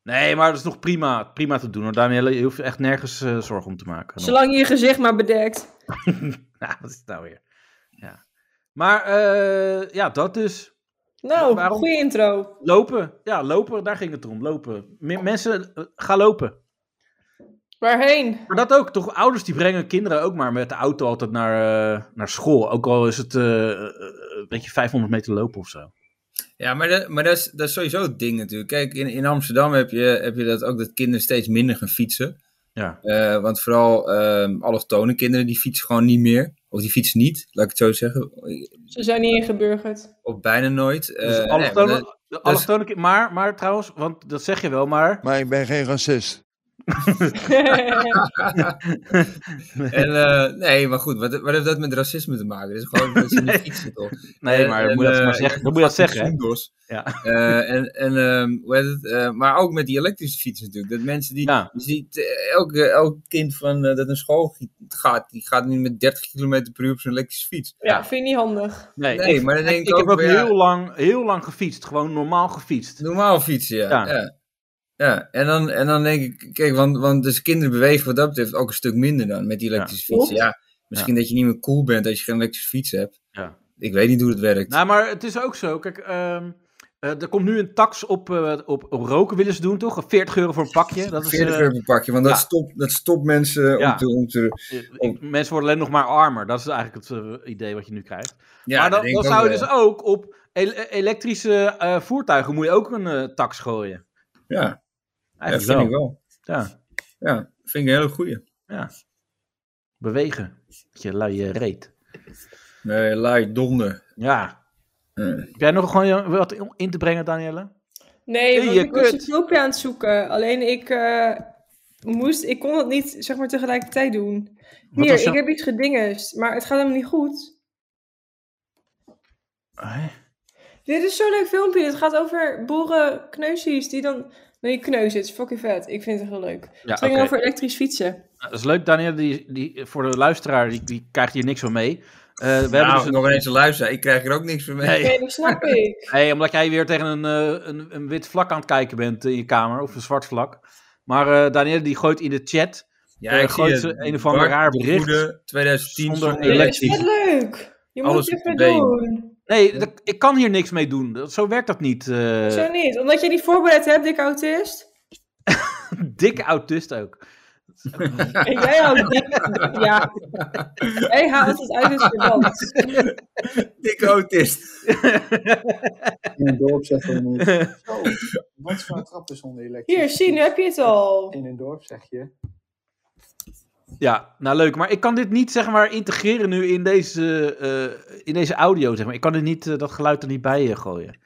Speaker 2: Nee, maar dat is nog prima, prima te doen. Hoor. Danielle, je hoeft echt nergens eh, zorgen om te maken.
Speaker 4: Zolang je je gezicht maar bedekt.
Speaker 2: Nou, wat is het nou weer? Ja. Maar eh, ja, dat dus.
Speaker 4: Nou,
Speaker 2: Waarom-
Speaker 4: goede intro.
Speaker 2: Lopen. Ja, lopen. Daar ging het om. Lopen. M- mensen, eh, ga lopen.
Speaker 4: Waarheen?
Speaker 2: Maar dat ook. Toch, ouders die brengen kinderen ook maar met de auto altijd naar, eh, naar school. Ook al is het eh, eh, een beetje 500 meter lopen of
Speaker 3: Eh,
Speaker 2: zo.
Speaker 3: Ja, maar, dat, maar dat, is, dat is sowieso het ding natuurlijk. Kijk, in, in Amsterdam heb je, heb je dat ook dat kinderen steeds minder gaan fietsen.
Speaker 2: Ja.
Speaker 3: Eh, want vooral ehm allochtone kinderen die fietsen gewoon niet meer. Of die fietsen niet, laat ik het zo zeggen.
Speaker 4: Ze zijn niet ingeburgerd.
Speaker 3: Of bijna nooit. Eh,
Speaker 2: Dus
Speaker 3: nee,
Speaker 2: allochtone-
Speaker 3: maar dat- dus-
Speaker 2: de allochtone kind- maar, maar trouwens, want dat zeg je wel, maar...
Speaker 5: Maar ik ben geen racist.
Speaker 3: en, eh, nee, maar goed, wat, wat heeft dat met racisme te maken? Dat is gewoon dat ze niet fietsen toch?
Speaker 2: Nee, maar
Speaker 3: En,
Speaker 2: moet je dat
Speaker 3: eh,
Speaker 2: maar zeggen. Dan moet je dat zeggen, hè.
Speaker 3: Zoendos.
Speaker 2: Ja.
Speaker 3: Eh, en, en, ehm, hoe heet het? Eh, maar ook met die elektrische fietsen natuurlijk. Dat mensen die.
Speaker 2: Ja.
Speaker 3: Je ziet, eh, elk, eh, elk kind van, eh, dat naar school gi- gaat, die gaat nu met 30 km per uur op zijn elektrische fiets.
Speaker 4: ja, vind je niet handig.
Speaker 2: Nee,
Speaker 3: Nee,
Speaker 2: ik,
Speaker 3: maar dan
Speaker 2: ik-
Speaker 3: denk ik
Speaker 2: ik heb
Speaker 3: ook
Speaker 2: ook
Speaker 3: weer, ja.
Speaker 2: heel, lang, heel lang gefietst. Gewoon normaal gefietst.
Speaker 3: Normaal fietsen, ja.
Speaker 2: Ja.
Speaker 3: ja. ja. en dan, en dan denk ik, kijk, want, want dus kinderen bewegen wat dat betreft ook een stuk minder dan met die elektrische
Speaker 4: Ja.
Speaker 3: fietsen. Ja, misschien dat je niet meer cool bent als je geen elektrische fiets hebt.
Speaker 2: Ja.
Speaker 3: Ik weet niet hoe het werkt.
Speaker 2: Nou, maar het is ook zo. Kijk, ehm, eh, er komt nu een tax op, eh, op, op roken willen ze doen, toch? 40 euro voor een pakje. Dat is,
Speaker 3: 40
Speaker 2: eh,
Speaker 3: euro per pakje, want dat,
Speaker 2: ja.
Speaker 3: stopt, dat stopt mensen
Speaker 2: Ja.
Speaker 3: om, te, om te...
Speaker 2: ik- eh, mensen worden alleen nog maar armer. Dat is eigenlijk het eh, idee wat je nu krijgt.
Speaker 3: Ja,
Speaker 2: maar
Speaker 3: dat
Speaker 2: dan,
Speaker 3: denk eh,
Speaker 2: dan
Speaker 3: ik
Speaker 2: zou je
Speaker 3: wel.
Speaker 2: dus ook op el- elektrische eh, voertuigen moet je ook een eh, tax gooien.
Speaker 3: Ja, dat
Speaker 2: Eigenlijk
Speaker 3: vind ik
Speaker 2: wel.
Speaker 3: wel.
Speaker 2: Ja,
Speaker 3: Ja, vind ik een hele goeie.
Speaker 2: ja. Bewegen. Dat je eh, luie reet.
Speaker 3: Nee, laai donder.
Speaker 2: Ja.
Speaker 3: Eh.
Speaker 2: Heb jij nog gewoon wat in te brengen, Danielle?
Speaker 4: Nee,
Speaker 2: Hey,
Speaker 4: want
Speaker 2: je
Speaker 4: ik was
Speaker 2: kut.
Speaker 4: het hulpje aan het zoeken. Alleen ik eh, moest, ik kon dat niet zeg maar tegelijkertijd doen.
Speaker 2: Wat
Speaker 4: Hier,
Speaker 2: was
Speaker 4: ik
Speaker 2: jou-
Speaker 4: heb iets gedingest, maar het gaat helemaal niet goed.
Speaker 2: Eh?
Speaker 4: Dit is zo'n leuk filmpje. Het gaat over boerenkneusies die dan... Nee, kneus, het is fucking vet. Ik vind het heel leuk.
Speaker 2: Ja,
Speaker 4: het ging
Speaker 2: oké.
Speaker 4: over elektrisch fietsen.
Speaker 2: Nou, Dat is leuk, Daniel. Die, die, voor de luisteraar, die, die krijgt hier niks van mee. Eh, we hebben
Speaker 3: Nou,
Speaker 2: dus een-
Speaker 3: nog eens een luisteren. Ik krijg er ook niks van mee.
Speaker 2: Nee.
Speaker 4: Nee, dat snap ik.
Speaker 2: Hey, omdat jij weer tegen een, eh, een, een wit vlak aan het kijken bent eh, in je kamer, of een zwart vlak. Maar eh Daniel die gooit in de chat.
Speaker 3: Ja,
Speaker 2: Eh,
Speaker 3: ik
Speaker 2: gooit
Speaker 3: zie
Speaker 2: ze
Speaker 3: het.
Speaker 2: een of ander
Speaker 3: Bart
Speaker 2: raar
Speaker 3: de
Speaker 2: bericht.
Speaker 3: Goede, 2010
Speaker 2: Zonder
Speaker 3: zonder,
Speaker 4: Dat is
Speaker 2: elektrisch.
Speaker 4: vet
Speaker 3: elektrisch.
Speaker 4: leuk. Je moet
Speaker 3: Alles
Speaker 4: het
Speaker 3: op de
Speaker 4: even
Speaker 3: been.
Speaker 4: doen.
Speaker 2: Nee, dat- ik kan hier niks mee doen. Dat- Zo werkt dat niet. eh.
Speaker 4: Zo niet. Omdat je die voorbereid hebt, dikke autist.
Speaker 2: dikke autist ook.
Speaker 4: En jij houdt Ja. Jij haalt het uit het verband.
Speaker 3: Dikke autist.
Speaker 6: in een dorp zeg je nu. Zo, wat voor een trap is onder elektrisch?
Speaker 4: Hier, zie, nu heb je het al.
Speaker 6: In een dorp zeg je.
Speaker 2: Ja, nou leuk. Maar ik kan dit niet zeg maar integreren nu in deze, eh, in deze audio. Zeg maar. Ik kan dit niet, eh, dat geluid er niet bij eh, gooien.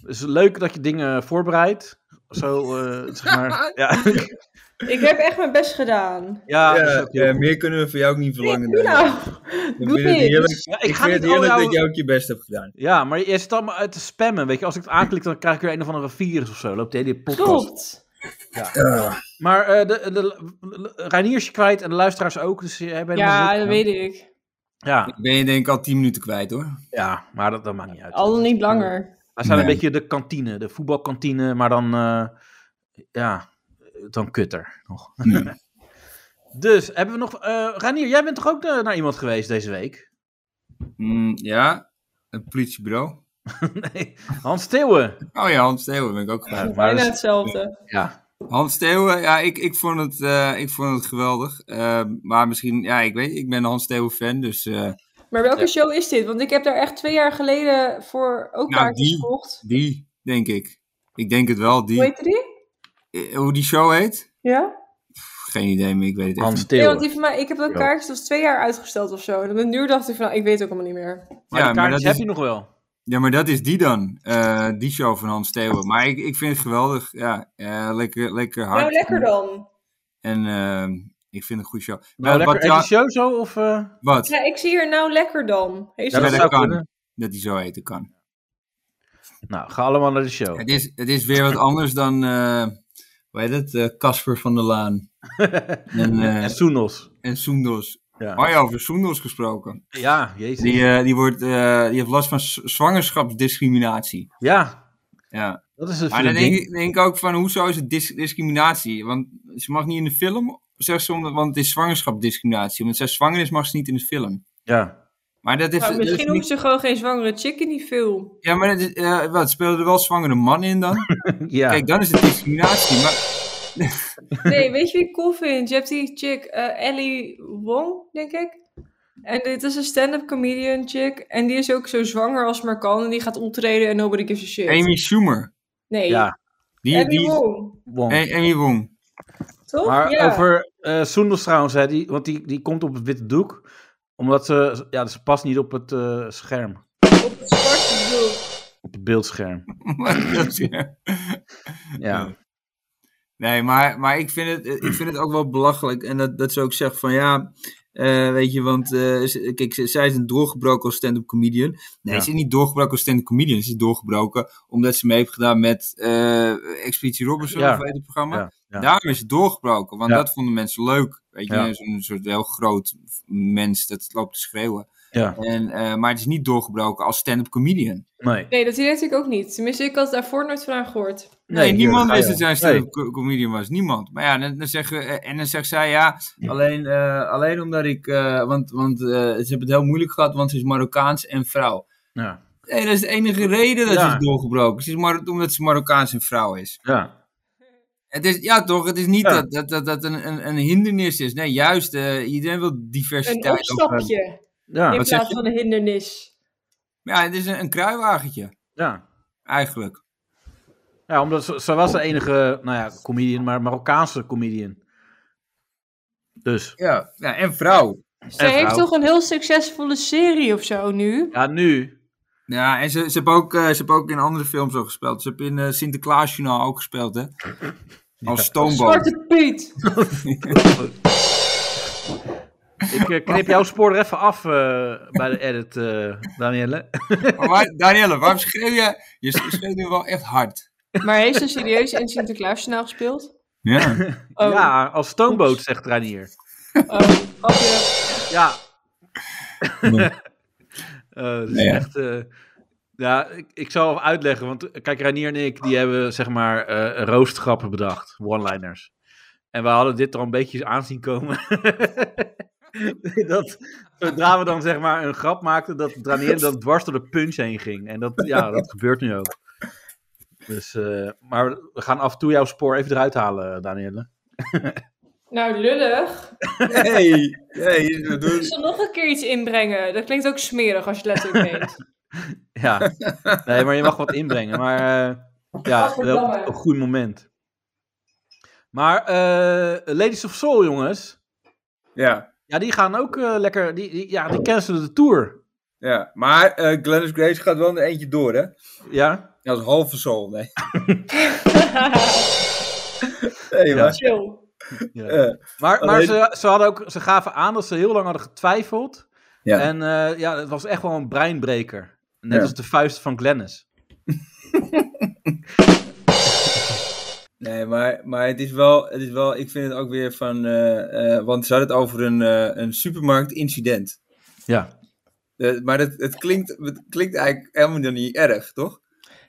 Speaker 2: Het is leuk dat je dingen eh, voorbereidt. Zo, eh, zeg maar. Ja,
Speaker 4: Ik heb echt mijn best gedaan.
Speaker 2: ja, dat is
Speaker 3: ja, eh,
Speaker 2: ook heel
Speaker 3: ja,
Speaker 2: goed.
Speaker 3: meer kunnen we van jou ook niet verlangen.
Speaker 4: Doe
Speaker 3: Daniel.
Speaker 4: nou.
Speaker 3: Ik vind
Speaker 4: doe
Speaker 3: het
Speaker 4: niks.
Speaker 3: heerlijk,
Speaker 2: Ja, ik,
Speaker 3: ik
Speaker 2: Dus ga
Speaker 3: vind
Speaker 2: niet
Speaker 3: het
Speaker 2: al
Speaker 3: heerlijk
Speaker 2: jouw...
Speaker 3: dat jij ook je best hebt gedaan.
Speaker 2: Ja, maar je zit allemaal uit te spammen. Weet je, als ik het aanklik, dan krijg ik weer een of andere virus of zo. Loopt de hele podcast.
Speaker 4: Klopt.
Speaker 2: Maar eh de, de, de- Reinier is je kwijt en de luisteraars ook. Dus je hebt helemaal
Speaker 4: Ja,
Speaker 2: niks
Speaker 4: dat
Speaker 2: aan.
Speaker 4: weet ik.
Speaker 2: Ja,
Speaker 3: Ben je denk ik al 10 minuten kwijt hoor.
Speaker 2: ja, maar dat, dat maakt niet uit.
Speaker 4: Al niet langer.
Speaker 2: Wij zijn een
Speaker 3: Nee.
Speaker 2: beetje de kantine, de voetbalkantine, maar dan, eh, ja, dan kutter nog. dus, hebben we nog, eh Ranier, jij bent toch ook eh, naar iemand geweest deze week?
Speaker 3: Mm, ja, een politiebureau.
Speaker 2: nee, Hans Steeuwen.
Speaker 3: Oh ja, Hans Steeuwen ben ik ook gedaan.
Speaker 2: maar
Speaker 4: Bijna
Speaker 2: dat is-
Speaker 4: hetzelfde.
Speaker 2: ja,
Speaker 3: Hans Steeuwen, ja, ik, ik, vond het, eh, ik vond het geweldig. Eh, maar misschien, ja, ik weet, ik ben een Hans Steeuwen fan, dus eh,
Speaker 4: Maar welke show is dit? Want ik heb daar echt twee jaar geleden voor ook
Speaker 3: Nou,
Speaker 4: kaartjes
Speaker 3: die.
Speaker 4: gekocht.
Speaker 3: die, denk ik. Ik denk het wel, die.
Speaker 4: Hoe heette die?
Speaker 3: Eh, hoe die show heet?
Speaker 4: Ja?
Speaker 3: Pff, Geen idee meer, ik weet het echt
Speaker 2: Hans
Speaker 3: niet.
Speaker 4: Nee, want
Speaker 2: Steeuwen.
Speaker 4: die van mij, ik heb dat
Speaker 2: Ja.
Speaker 4: kaartje dat was twee jaar uitgesteld of zo. En op nu dacht ik van, nou, ik weet het ook allemaal niet meer.
Speaker 2: Maar ja,
Speaker 3: Ja, maar, dat
Speaker 2: heb
Speaker 3: is,
Speaker 2: je nog wel.
Speaker 3: ja, maar dat is die dan, eh, die show van Hans Steeuwen. Maar ik, ik vind het geweldig, ja, eh, lekker, lekker hard.
Speaker 4: Nou, lekker dan.
Speaker 3: En ehm, Ik vind het een goede show.
Speaker 2: Nou,
Speaker 3: Eh,
Speaker 2: lekker
Speaker 3: wat, ja,
Speaker 2: Edicioso of... eh
Speaker 3: wat?
Speaker 4: Ja, ik zie hier nou lekker dan. Nou, Heeft
Speaker 2: Ja,
Speaker 4: ze-
Speaker 2: dat
Speaker 3: dat, dat
Speaker 2: zou
Speaker 3: kan.
Speaker 2: kunnen.
Speaker 3: Dat hij zo eten kan.
Speaker 2: Nou, ga allemaal naar de show.
Speaker 3: Het is, het is weer wat anders dan, eh hoe heet het, Eh, Casper van der Laan. en, eh,
Speaker 2: En Soenos.
Speaker 3: en Soendos.
Speaker 2: Ja.
Speaker 3: Oh ja, over Soendos gesproken.
Speaker 2: Ja, jezus.
Speaker 3: Die, eh, die, wordt, eh, die heeft last van z- zwangerschapsdiscriminatie.
Speaker 2: Ja,
Speaker 3: Ja.
Speaker 2: dat is het
Speaker 3: Maar dan denk,
Speaker 2: ding.
Speaker 3: ik- denk ik ook van, hoezo is het dis- discriminatie? Want ze mag niet in de film, zegt ze, omdat- want het is zwangerschapsdiscriminatie. Omdat zij zwanger is, mag ze niet in de film.
Speaker 2: Ja.
Speaker 3: Maar dat heeft...
Speaker 4: Nou,
Speaker 3: dat
Speaker 4: misschien
Speaker 3: heeft
Speaker 4: hoeft ze gewoon geen zwangere chick in die film.
Speaker 3: Ja, maar dat is, eh, wat, spelen er wel zwangere mannen in dan?
Speaker 2: ja.
Speaker 3: Kijk, dan is het discriminatie. Maar
Speaker 4: Nee, weet je wie ik cool vind? Je hebt die chick eh, Ellie Wong, denk ik. En dit is een stand-up comedian chick. En die is ook zo zwanger als maar kan. En die gaat optreden en nobody gives a shit.
Speaker 3: Amy Schumer.
Speaker 4: nee,
Speaker 2: ja.
Speaker 3: Die,
Speaker 4: Ellie
Speaker 3: die,
Speaker 4: Wong.
Speaker 2: Wong.
Speaker 3: A- Amy Wong.
Speaker 4: Toch?
Speaker 2: Maar
Speaker 4: ja.
Speaker 2: over eh Soendels trouwens, hè, die, want die, die komt op het witte doek. Omdat ze, ja, ze past niet op het eh, scherm.
Speaker 4: Op het zwarte doel.
Speaker 2: Op het beeldscherm.
Speaker 3: Dat is-
Speaker 2: Ja.
Speaker 3: Ja. nee, maar, maar ik, vind het, ik vind het ook wel belachelijk. En dat, dat ze ook zegt van ja, eh, weet je, want eh, ze- kijk, ze- zij is een doorgebroken als stand-up comedian. Nee,
Speaker 2: Ja.
Speaker 3: ze is niet doorgebroken als stand-up comedian. Ze is doorgebroken omdat ze mee heeft gedaan met eh Expeditie Robinson,
Speaker 2: Ja.
Speaker 3: of weet het programma.
Speaker 2: Ja, ja.
Speaker 3: Daarom is het doorgebroken, want
Speaker 2: Ja.
Speaker 3: dat vonden mensen leuk. Weet je,
Speaker 2: Ja.
Speaker 3: zo'n soort heel groot mens dat loopt te schreeuwen.
Speaker 2: Ja.
Speaker 3: En, eh, maar het is niet doorgebroken als stand-up comedian.
Speaker 2: Nee.
Speaker 4: Nee, dat deed ik ook niet. Tenminste, ik had daarvoor nooit van haar gehoord.
Speaker 3: Nee,
Speaker 2: hier,
Speaker 3: niemand
Speaker 2: ga je
Speaker 3: wist dat
Speaker 2: al.
Speaker 3: zij een stand-up co- comedian was. Niemand. Maar ja, dan, dan zeggen we- en dan zegt zij ja, alleen, eh, alleen omdat ik. eh, want want eh, ze hebben het heel moeilijk gehad, want ze is Marokkaans en vrouw.
Speaker 2: Nee. Ja.
Speaker 3: Nee, dat is de enige reden dat
Speaker 2: Ja.
Speaker 3: ze is doorgebroken. Ze is Mar- omdat ze Marokkaans en vrouw is.
Speaker 2: Ja.
Speaker 3: Het is, ja, toch? Het is niet
Speaker 2: Ja.
Speaker 3: dat dat, dat, dat een, een, een hindernis is. Nee, juist. eh, iedereen wil diversiteit.
Speaker 4: Een
Speaker 3: Of, eh,
Speaker 4: opstapje
Speaker 2: Ja.
Speaker 4: in
Speaker 3: wat zeg
Speaker 4: plaats
Speaker 3: je?
Speaker 4: van een hindernis.
Speaker 3: ja, het is een, een kruiwagentje,
Speaker 2: ja.
Speaker 3: eigenlijk.
Speaker 2: Ja, omdat ze, ze was de enige, nou ja, comedian, maar Marokkaanse comedian. Dus.
Speaker 3: Ja, ja en vrouw.
Speaker 4: Ze heeft
Speaker 2: vrouw.
Speaker 4: toch een heel succesvolle serie of zo nu?
Speaker 2: Ja, nu.
Speaker 3: Ja, en ze, ze, heeft ook, eh, ze heeft ook in andere films al gespeeld. Ze heeft in eh Sinterklaasjournaal ook gespeeld, hè? Als Stoomboot.
Speaker 4: Zwarte Piet!
Speaker 2: Ik eh, knip jouw spoor er even af eh, bij de edit, eh Danielle.
Speaker 3: Maar waar- Danielle, waarom schreeuw je? Je schreeuwt nu wel echt hard.
Speaker 4: Maar heeft ze serieus in Sinterklaasjournaal gespeeld?
Speaker 3: Ja.
Speaker 4: Oh,
Speaker 2: Ja, als stoomboot, zegt Reinier.
Speaker 4: oh, grapje.
Speaker 2: Ja. Eh dat is
Speaker 3: Nou ja.
Speaker 2: echt... eh, ja, ik, ik zal even uitleggen, want eh, kijk, Reinier en ik, die hebben zeg maar eh roostgrappen bedacht, one-liners. En we hadden dit er al een beetje aan zien komen. dat, zodra we dan zeg maar een grap maakten, dat Ranier dan dwars door de punch heen ging. En dat, ja, dat gebeurt nu ook. Dus, eh, maar we gaan af en toe jouw spoor even eruit halen, Danielle.
Speaker 4: Nou, lullig.
Speaker 3: Hey, hey, dat
Speaker 4: Ik zal nog een keer iets inbrengen. Dat klinkt ook smerig als je het letterlijk meent.
Speaker 2: Ja, nee, maar je mag wat inbrengen. Maar eh, ja, wel op een goed moment. Maar eh Ladies of Soul, jongens.
Speaker 3: Ja,
Speaker 2: Ja, die gaan ook eh, lekker. Die, die, ja, die cancelen de tour.
Speaker 3: ja. Maar eh Glennis Grace gaat wel een eentje door, hè?
Speaker 2: Ja,
Speaker 3: Dat is halve soul, nee. Nee,
Speaker 2: Ja.
Speaker 3: maar-
Speaker 4: Chill.
Speaker 2: ja.
Speaker 3: eh,
Speaker 2: maar, maar
Speaker 3: Alleen-
Speaker 2: ze, ze, hadden ook, ze gaven aan dat ze heel lang hadden getwijfeld.
Speaker 3: Ja.
Speaker 2: En eh, ja, het was echt wel een breinbreker. Net
Speaker 3: Ja.
Speaker 2: als de vuist van Glennis.
Speaker 3: Nee, maar, maar het, is wel, het is wel, ik vind het ook weer van, eh, eh, want ze hadden het over een, eh, een supermarktincident.
Speaker 2: Ja.
Speaker 3: Eh, maar het, het, klinkt, het klinkt eigenlijk helemaal niet erg, toch?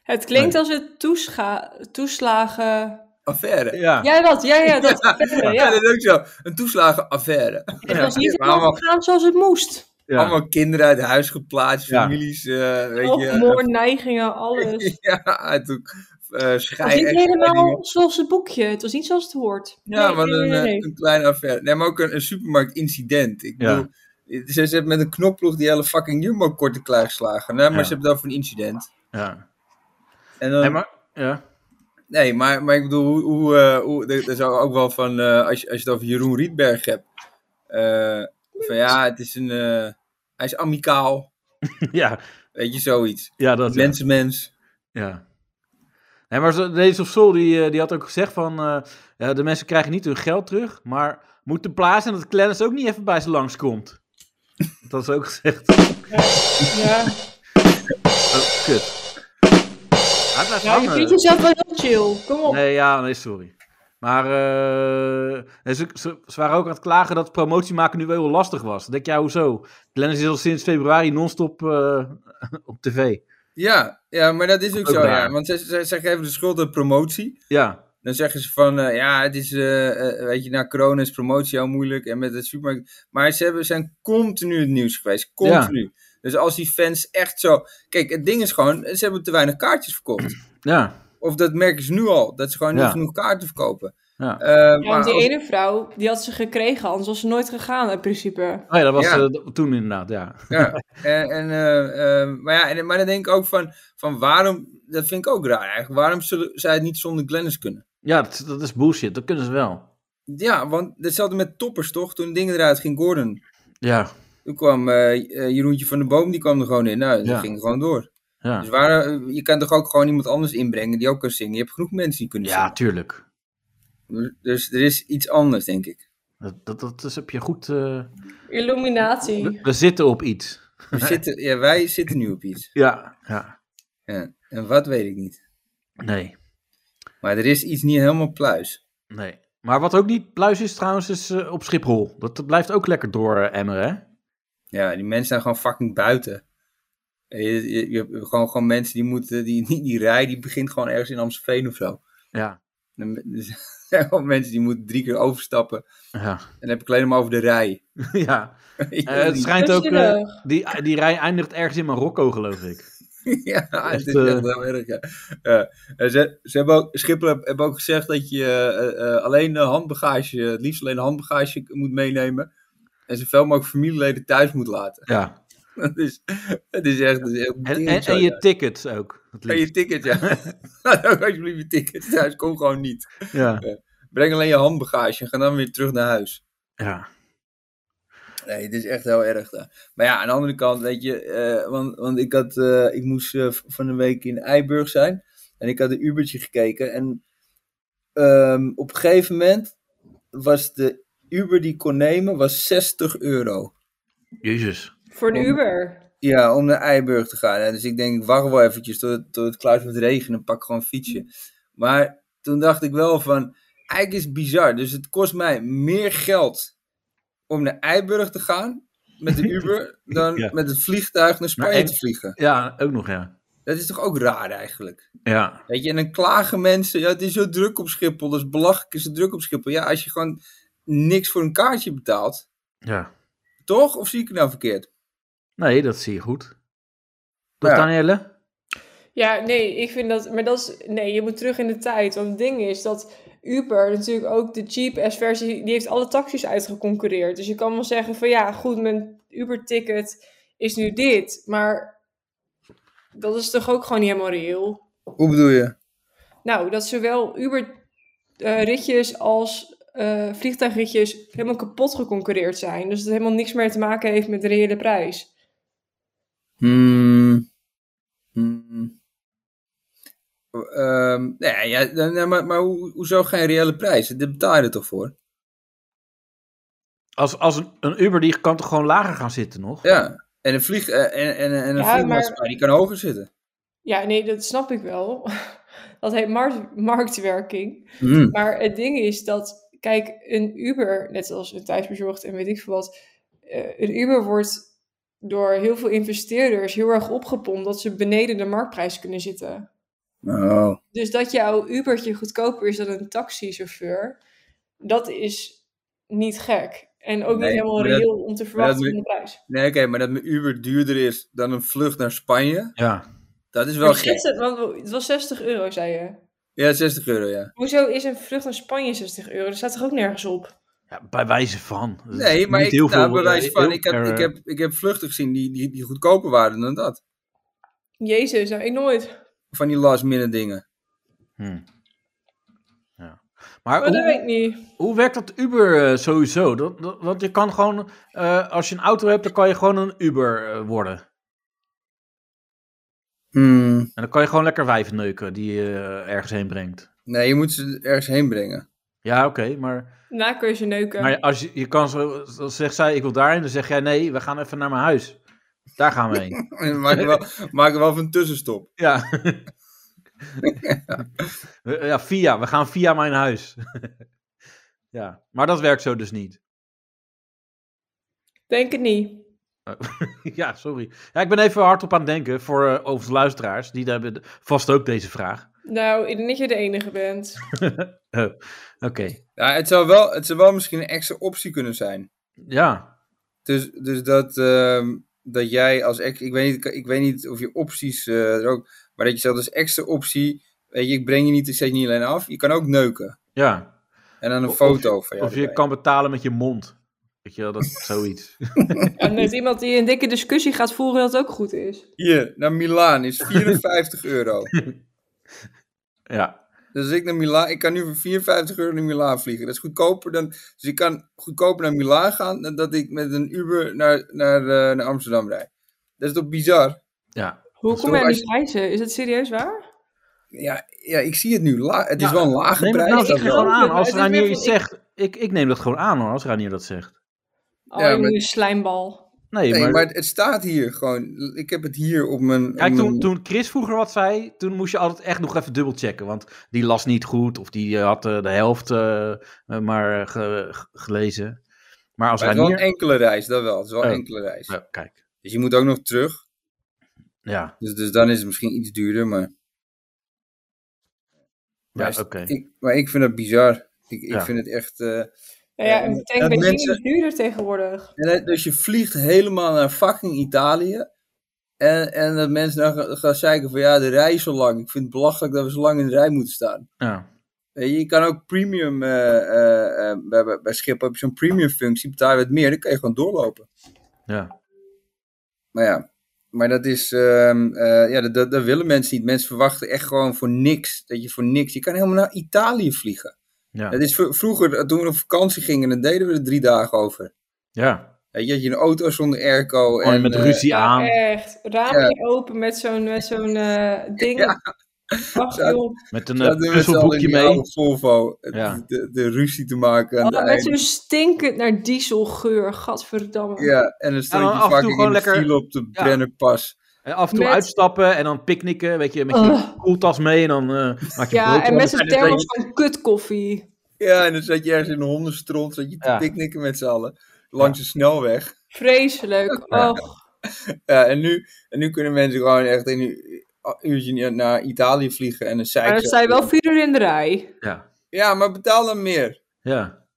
Speaker 4: Het klinkt als het toescha- toeslagen...
Speaker 3: Affaire.
Speaker 2: Ja.
Speaker 4: Ja, dat. Ja, ja, dat.
Speaker 3: Ja,
Speaker 4: ja.
Speaker 3: dat is ook zo. Een toeslagenaffaire.
Speaker 4: Het was
Speaker 3: Ja,
Speaker 4: niet
Speaker 3: maar
Speaker 4: helemaal
Speaker 3: allemaal-
Speaker 4: gegaan zoals het moest.
Speaker 2: ja.
Speaker 3: Allemaal kinderen uit huis geplaatst,
Speaker 2: Ja.
Speaker 3: families, eh, weet
Speaker 4: Nog
Speaker 3: je.
Speaker 4: moord, neigingen, alles.
Speaker 3: Ja, toen eh
Speaker 4: Het was
Speaker 3: schei-
Speaker 4: niet
Speaker 3: en-
Speaker 4: helemaal zoals het boekje. Het was niet zoals het hoort.
Speaker 3: Ja,
Speaker 4: Nee,
Speaker 3: maar
Speaker 4: nee,
Speaker 3: een,
Speaker 4: nee,
Speaker 3: eh,
Speaker 4: nee.
Speaker 3: een kleine affaire. Nee, maar ook een, een supermarktincident. Ik
Speaker 2: Ja.
Speaker 3: bedoel, eh, ze, ze hebben met een knopploeg die hele fucking Jumbo korte klaar geslagen. Nee, maar
Speaker 2: Ja.
Speaker 3: ze hebben het over een incident.
Speaker 2: ja.
Speaker 3: En dan,
Speaker 2: Nee, maar, ja.
Speaker 3: Nee, maar, maar ik bedoel, hoe, hoe, eh, hoe, er, er zou ook wel van, eh, als, je, als je het over Jeroen Rietberg hebt, eh, van ja, het is een, eh, hij is amicaal,
Speaker 2: ja,
Speaker 3: weet je, zoiets.
Speaker 2: ja, dat. ja.
Speaker 3: Mensenmens.
Speaker 2: Ja. Nee, maar zo- Days of Soul die, eh, die had ook gezegd van... eh, ja, de mensen krijgen niet hun geld terug, maar moet de plaats en dat Clennis ook niet even bij ze langskomt. Dat is ook gezegd.
Speaker 4: Ja,
Speaker 2: Oh, kut. Hij blijft
Speaker 4: ja je
Speaker 2: hangen.
Speaker 4: vindt jezelf wel heel chill. Kom op.
Speaker 2: Nee, ja, nee, sorry. Maar eh, en ze, ze, ze waren ook aan het klagen dat promotie maken nu wel heel lastig was. Dan denk jij, hoezo? Glennis is al sinds februari non-stop eh, op tv.
Speaker 3: Ja, ja, maar dat is ook,
Speaker 2: Ook
Speaker 3: zo,
Speaker 2: raar.
Speaker 3: ja. Want ze, ze, ze geven de schuld aan promotie.
Speaker 2: Ja,
Speaker 3: Dan zeggen ze van, eh, ja, het is, eh, eh, weet je, na corona is promotie al moeilijk en met het supermarkt. Maar ze hebben, zijn continu het nieuws geweest, continu. Dus als die fans echt zo... Kijk, het ding is gewoon, ze hebben te weinig kaartjes verkocht.
Speaker 2: ja,
Speaker 3: Of dat merken ze nu al, dat ze gewoon
Speaker 2: Ja.
Speaker 3: niet genoeg kaarten verkopen.
Speaker 2: ja.
Speaker 3: Eh,
Speaker 4: Ja,
Speaker 3: maar
Speaker 4: want die
Speaker 3: als-
Speaker 4: ene vrouw, die had ze gekregen, anders was ze nooit gegaan in principe.
Speaker 2: Oh ja, dat was
Speaker 3: Ja.
Speaker 2: eh, toen inderdaad, ja.
Speaker 3: Ja, en, en, eh, eh, maar, ja en, maar dan denk ik ook van, van waarom, dat vind ik ook raar eigenlijk, waarom zullen zij het niet zonder Glennis kunnen?
Speaker 2: Ja, dat, dat is bullshit. Dat kunnen ze wel.
Speaker 3: Ja, want hetzelfde met toppers toch, toen dingen eruit ging Gordon.
Speaker 2: Ja,
Speaker 3: Toen kwam eh, eh, Jeroentje van de Boom, die kwam er gewoon in, nou, dat
Speaker 2: Ja.
Speaker 3: ging gewoon door.
Speaker 2: ja.
Speaker 3: Dus waar, eh, je kan toch ook gewoon iemand anders inbrengen die ook kan zingen, je hebt genoeg mensen die kunnen
Speaker 2: Ja,
Speaker 3: zingen.
Speaker 2: tuurlijk.
Speaker 3: Dus- Dus er is iets anders, denk ik.
Speaker 2: Dat, dat, dat is, heb je goed... eh, we,
Speaker 4: Illuminatie.
Speaker 2: we zitten op iets.
Speaker 3: We zitten, ja, wij zitten nu op iets.
Speaker 2: Ja, ja.
Speaker 3: Ja. En wat weet ik niet.
Speaker 2: Nee,
Speaker 3: Maar er is iets niet helemaal pluis.
Speaker 2: nee. Maar wat ook niet pluis is trouwens, is eh, op Schiphol. Dat, dat blijft ook lekker door eh, emmeren, hè?
Speaker 3: Ja, die mensen zijn gewoon fucking buiten. En Je, je, je hebt gewoon, gewoon mensen die moeten, die, die, die rij, die begint gewoon ergens in Amstelveen of zo.
Speaker 2: Ja,
Speaker 3: En dan- Er zijn gewoon mensen die moeten drie keer overstappen. En
Speaker 2: ja.
Speaker 3: dan heb ik alleen maar over de rij.
Speaker 2: ja. Eh, het
Speaker 3: Die-
Speaker 2: schijnt ook... eh,
Speaker 4: Zielig.
Speaker 2: die, die rij eindigt ergens in Marokko, geloof ik.
Speaker 3: ja, het is
Speaker 2: eh,
Speaker 3: echt heel erg. ja. Ja. En ze, ze hebben ook, Schiphol heb- hebben ook gezegd dat je eh, eh, alleen eh, handbagage, het liefst alleen handbagage moet meenemen. En zoveel mogelijk familieleden thuis moet laten.
Speaker 2: Ja.
Speaker 3: Het is, het is echt... Het is echt
Speaker 2: En, en,
Speaker 3: tering zo,
Speaker 2: en
Speaker 3: ja.
Speaker 2: je tickets ook. het
Speaker 3: En
Speaker 2: liefst.
Speaker 3: je ticket, ja. Laat ook alsjeblieft je ticket thuis. Kom gewoon niet.
Speaker 2: Ja,
Speaker 3: Breng alleen je handbagage en ga dan weer terug naar huis.
Speaker 2: ja.
Speaker 3: Nee, het is echt heel erg daar. Maar ja, aan de andere kant, weet je... eh, want, want ik had... eh, ik moest eh, v- van een week in Eiburg zijn. En ik had een Ubertje gekeken. En ehm, op een gegeven moment was de Uber die ik kon nemen, was 60 euro.
Speaker 2: Jezus.
Speaker 4: Voor een Uber.
Speaker 3: Ja, om naar Eiburg te gaan. En dus ik denk, ik wacht wel eventjes tot, het- tot het klaar met regen en pak gewoon een fietsje. Maar toen dacht ik wel van, eigenlijk is het bizar. Dus het kost mij meer geld om naar Eiburg te gaan met de Uber dan
Speaker 2: Ja.
Speaker 3: met het vliegtuig naar Spanje
Speaker 2: en-
Speaker 3: te vliegen.
Speaker 2: Ja, ook nog, ja.
Speaker 3: Dat is toch ook raar eigenlijk?
Speaker 2: Ja,
Speaker 3: Weet je, en dan klagen mensen, ja, het is zo druk op Schiphol, dat is belachelijk, is het druk op Schiphol. Ja, als je gewoon niks voor een kaartje betaalt,
Speaker 2: ja.
Speaker 3: toch? Of zie ik het nou verkeerd?
Speaker 2: Nee, dat zie je goed. Toch,
Speaker 3: Ja.
Speaker 2: Danielle?
Speaker 4: Ja, nee, ik vind dat. Maar dat is. Nee, je moet terug in de tijd. Want het ding is dat Uber natuurlijk ook de cheap ass versie. Die heeft alle taxis uitgeconcurreerd. Dus je kan wel zeggen van ja, goed, mijn Uber-ticket is nu dit. Maar dat is toch ook gewoon niet helemaal reëel.
Speaker 3: Hoe bedoel je?
Speaker 4: Nou, dat zowel Uber-ritjes als eh, vliegtuigritjes helemaal kapot geconcurreerd zijn. Dus dat het helemaal niks meer te maken heeft met de reële prijs.
Speaker 3: Hmm. Hmm. Ehm, nee, ja, nee, nee, maar, maar hoe, hoezo geen reële prijs? Daar betaal je er toch voor?
Speaker 2: Als, als een, een Uber die kan toch gewoon lager gaan zitten nog?
Speaker 3: Ja. En een, vlieg, eh, en, en, en een
Speaker 4: Ja,
Speaker 3: vliegmaatschappij, die kan hoger zitten.
Speaker 4: Ja, nee, dat snap ik wel. Dat heet markt- marktwerking.
Speaker 3: Hmm.
Speaker 4: Maar het ding is dat, kijk, een Uber, net als een thuisbezorgd en weet ik veel wat, eh, een Uber wordt door heel veel investeerders heel erg opgepompt dat ze beneden de marktprijs kunnen zitten.
Speaker 3: Oh.
Speaker 4: Dus dat jouw Ubertje goedkoper is dan een taxichauffeur, dat is niet gek. En ook
Speaker 3: Nee,
Speaker 4: niet helemaal
Speaker 3: maar dat-
Speaker 4: reëel om te verwachten
Speaker 3: moet-
Speaker 4: van de prijs.
Speaker 3: Nee, oké, maar dat mijn Uber duurder is dan een vlucht naar Spanje,
Speaker 2: Ja.
Speaker 3: dat is wel
Speaker 4: Maar
Speaker 3: gek.
Speaker 4: schets het, want het was 60 euro, zei je.
Speaker 3: Ja, 60 euro, ja.
Speaker 4: Hoezo is een vlucht naar Spanje 60 euro? Dat staat toch ook nergens op?
Speaker 2: Ja, bij wijze van. Dat is
Speaker 3: Nee, maar
Speaker 2: niet
Speaker 3: ik,
Speaker 2: heel
Speaker 3: nou,
Speaker 2: veel,
Speaker 3: bewijs
Speaker 2: eh,
Speaker 3: van,
Speaker 2: heel
Speaker 3: ik heb,
Speaker 2: ver,
Speaker 3: ik heb, ik heb vluchten gezien die, die, die goedkoper waren dan dat.
Speaker 4: Jezus, nou ik nooit.
Speaker 3: Van die last minute dingen.
Speaker 2: hmm. Ja. Maar
Speaker 4: Maar Oh, dat
Speaker 2: hoe,
Speaker 4: weet ik niet.
Speaker 2: hoe werkt dat Uber eh, sowieso? Dat, dat- want je kan gewoon, eh, als je een auto hebt, dan kan je gewoon een Uber eh, worden.
Speaker 3: Hmm.
Speaker 2: En dan kan je gewoon lekker wijven neuken die je eh, ergens heen brengt.
Speaker 3: Nee, je moet ze ergens heen brengen.
Speaker 2: Ja, oké, maar,
Speaker 4: Daarna kun je ze neuken.
Speaker 2: maar als je, je kan zo, dan zegt zij, ik wil daarheen, dan zeg jij, nee, we gaan even naar mijn huis. Daar gaan we heen.
Speaker 3: maak, er wel, maak er wel even een tussenstop.
Speaker 2: ja. ja, via, we gaan via mijn huis. ja, maar dat werkt zo dus niet.
Speaker 4: Denk het niet.
Speaker 2: Ja, sorry. Ja, ik ben even hardop aan het denken voor eh overigens luisteraars. Die hebben de- vast ook deze vraag.
Speaker 4: Nou, ik denk dat je de enige bent.
Speaker 2: Eh, Oké.
Speaker 3: Ja, het, zou wel, het zou wel misschien een extra optie kunnen zijn.
Speaker 2: Ja.
Speaker 3: Dus, dus dat, ehm, dat jij als ex, ik weet niet, ik weet niet of je opties eh, er ook, maar dat je zelf als extra optie, weet je, ik breng je niet, ik zet je niet alleen af, je kan ook neuken.
Speaker 2: ja.
Speaker 3: En dan een
Speaker 2: Of-
Speaker 3: foto van jou.
Speaker 2: Of je
Speaker 3: erbij.
Speaker 2: kan betalen met je mond. Weet je wel, dat zoiets.
Speaker 4: En met iemand die een dikke discussie gaat voeren dat het ook goed is.
Speaker 3: Hier, naar Milaan is 54 euro.
Speaker 2: Ja.
Speaker 3: Dus als ik naar Milaan, ik kan nu voor 54 euro naar Milaan vliegen. Dat is goedkoper dan, dus ik kan goedkoper naar Milaan gaan dan dat ik met een Uber naar, naar, eh, naar Amsterdam rijd. Dat is toch bizar?
Speaker 2: Ja.
Speaker 4: Hoe
Speaker 3: Zo,
Speaker 4: kom je aan
Speaker 3: als
Speaker 4: die prijzen? Is het serieus waar?
Speaker 3: Ja, ja ik zie het nu. La, het is
Speaker 2: Ja,
Speaker 3: wel een lage
Speaker 2: Neem het
Speaker 3: prijs.
Speaker 2: nou
Speaker 3: dat
Speaker 2: toch
Speaker 3: wel.
Speaker 2: gewoon
Speaker 4: wel.
Speaker 2: aan als
Speaker 4: Het is weer
Speaker 2: Ranier
Speaker 4: van-
Speaker 2: iets zegt. Ik, ik neem dat gewoon aan hoor, als Ranier dat zegt.
Speaker 4: Oh,
Speaker 3: Ja,
Speaker 4: je
Speaker 3: maar-
Speaker 4: slijmbal.
Speaker 2: Nee,
Speaker 3: Nee,
Speaker 2: maar,
Speaker 3: maar het staat hier gewoon. Ik heb het hier op mijn.
Speaker 2: kijk,
Speaker 3: op
Speaker 2: toen,
Speaker 3: mijn-
Speaker 2: toen Chris vroeger wat zei, toen moest je altijd echt nog even dubbelchecken. Want die las niet goed of die eh, had eh, de helft eh, eh, maar eh, ge- ge- gelezen. Maar als
Speaker 3: Maar het is wel
Speaker 2: Ranier...
Speaker 3: een enkele reis, dat wel. Het is wel een
Speaker 2: Oh.
Speaker 3: enkele reis.
Speaker 2: Ja, kijk,
Speaker 3: Dus je moet ook nog terug.
Speaker 2: ja.
Speaker 3: Dus, dus dan is het misschien iets duurder, maar.
Speaker 2: Ja,
Speaker 3: Maar
Speaker 2: oké.
Speaker 3: is- Ik, maar ik vind dat bizar. Ik, ik
Speaker 2: Ja.
Speaker 3: vind het echt. eh,
Speaker 4: Nou ja,
Speaker 3: Ja,
Speaker 4: een tank
Speaker 3: dat
Speaker 4: benzine
Speaker 3: mensen-
Speaker 4: is duurder tegenwoordig.
Speaker 3: en dat- dus je vliegt helemaal naar fucking Italië. En, en dat mensen dan gaan, gaan zeiken van ja, de rij is zo lang. Ik vind het belachelijk dat we zo lang in de rij moeten staan.
Speaker 2: Ja.
Speaker 3: Weet je, je kan ook premium. eh, eh, eh, bij, bij- bij Schiphol heb je zo'n premium functie. Betaal je wat meer, dan kan je gewoon doorlopen.
Speaker 2: Ja,
Speaker 3: Maar ja, maar dat is, ehm, eh, ja, dat, dat, dat willen mensen niet. Mensen verwachten echt gewoon voor niks, dat je voor niks, je kan helemaal naar Italië vliegen.
Speaker 2: ja,
Speaker 3: Dat is vro- vroeger, eh, toen we op vakantie gingen, dan deden we er drie dagen over.
Speaker 2: ja.
Speaker 3: Weet je, had je een auto zonder airco.
Speaker 2: Gewoon
Speaker 3: en,
Speaker 2: met
Speaker 3: eh,
Speaker 2: ruzie aan.
Speaker 4: Echt. Raampje open met zo'n met zo'n eh, ding.
Speaker 3: Ja.
Speaker 4: Ach
Speaker 3: Ja.
Speaker 4: joh.
Speaker 2: met een
Speaker 3: zaten
Speaker 2: eh,
Speaker 3: we met z'n
Speaker 2: puzzelboekje
Speaker 3: allen in die
Speaker 2: mee.
Speaker 3: oude Volvo, Het-
Speaker 2: Ja.
Speaker 3: de, de ruzie te maken. aan
Speaker 4: Oh,
Speaker 3: het
Speaker 4: met
Speaker 3: einde.
Speaker 4: zo'n stinkend naar dieselgeur. Gadverdamme.
Speaker 3: ja, en dan
Speaker 2: Ja,
Speaker 3: stond
Speaker 2: dan af
Speaker 3: je
Speaker 2: en toe
Speaker 3: vaak in
Speaker 2: gewoon
Speaker 3: de
Speaker 2: lekker-
Speaker 3: file op de
Speaker 2: Ja.
Speaker 3: Brennerpas.
Speaker 2: En af en toe
Speaker 4: Met-
Speaker 2: uitstappen en dan picknicken. Weet je, met je
Speaker 4: Ugh.
Speaker 2: koeltas mee en dan eh, maak je
Speaker 4: Ja,
Speaker 2: broodjes.
Speaker 4: en met zo'n
Speaker 3: Oh. en dat
Speaker 4: thermos van kutkoffie.
Speaker 3: Ja, en dan zat je ergens in een hondenstront, zat je te
Speaker 2: Ja.
Speaker 3: picknicken met z'n allen. Langs de snelweg.
Speaker 4: Vreselijk.
Speaker 2: Ja.
Speaker 4: Och.
Speaker 3: Ja, en nu, en nu kunnen mensen gewoon echt in een uurtje naar Italië vliegen en een
Speaker 4: Maar
Speaker 3: zeik.
Speaker 4: dan sta je wel vier uur in de rij.
Speaker 2: Ja,
Speaker 3: Ja, maar betaal dan meer.
Speaker 2: ja,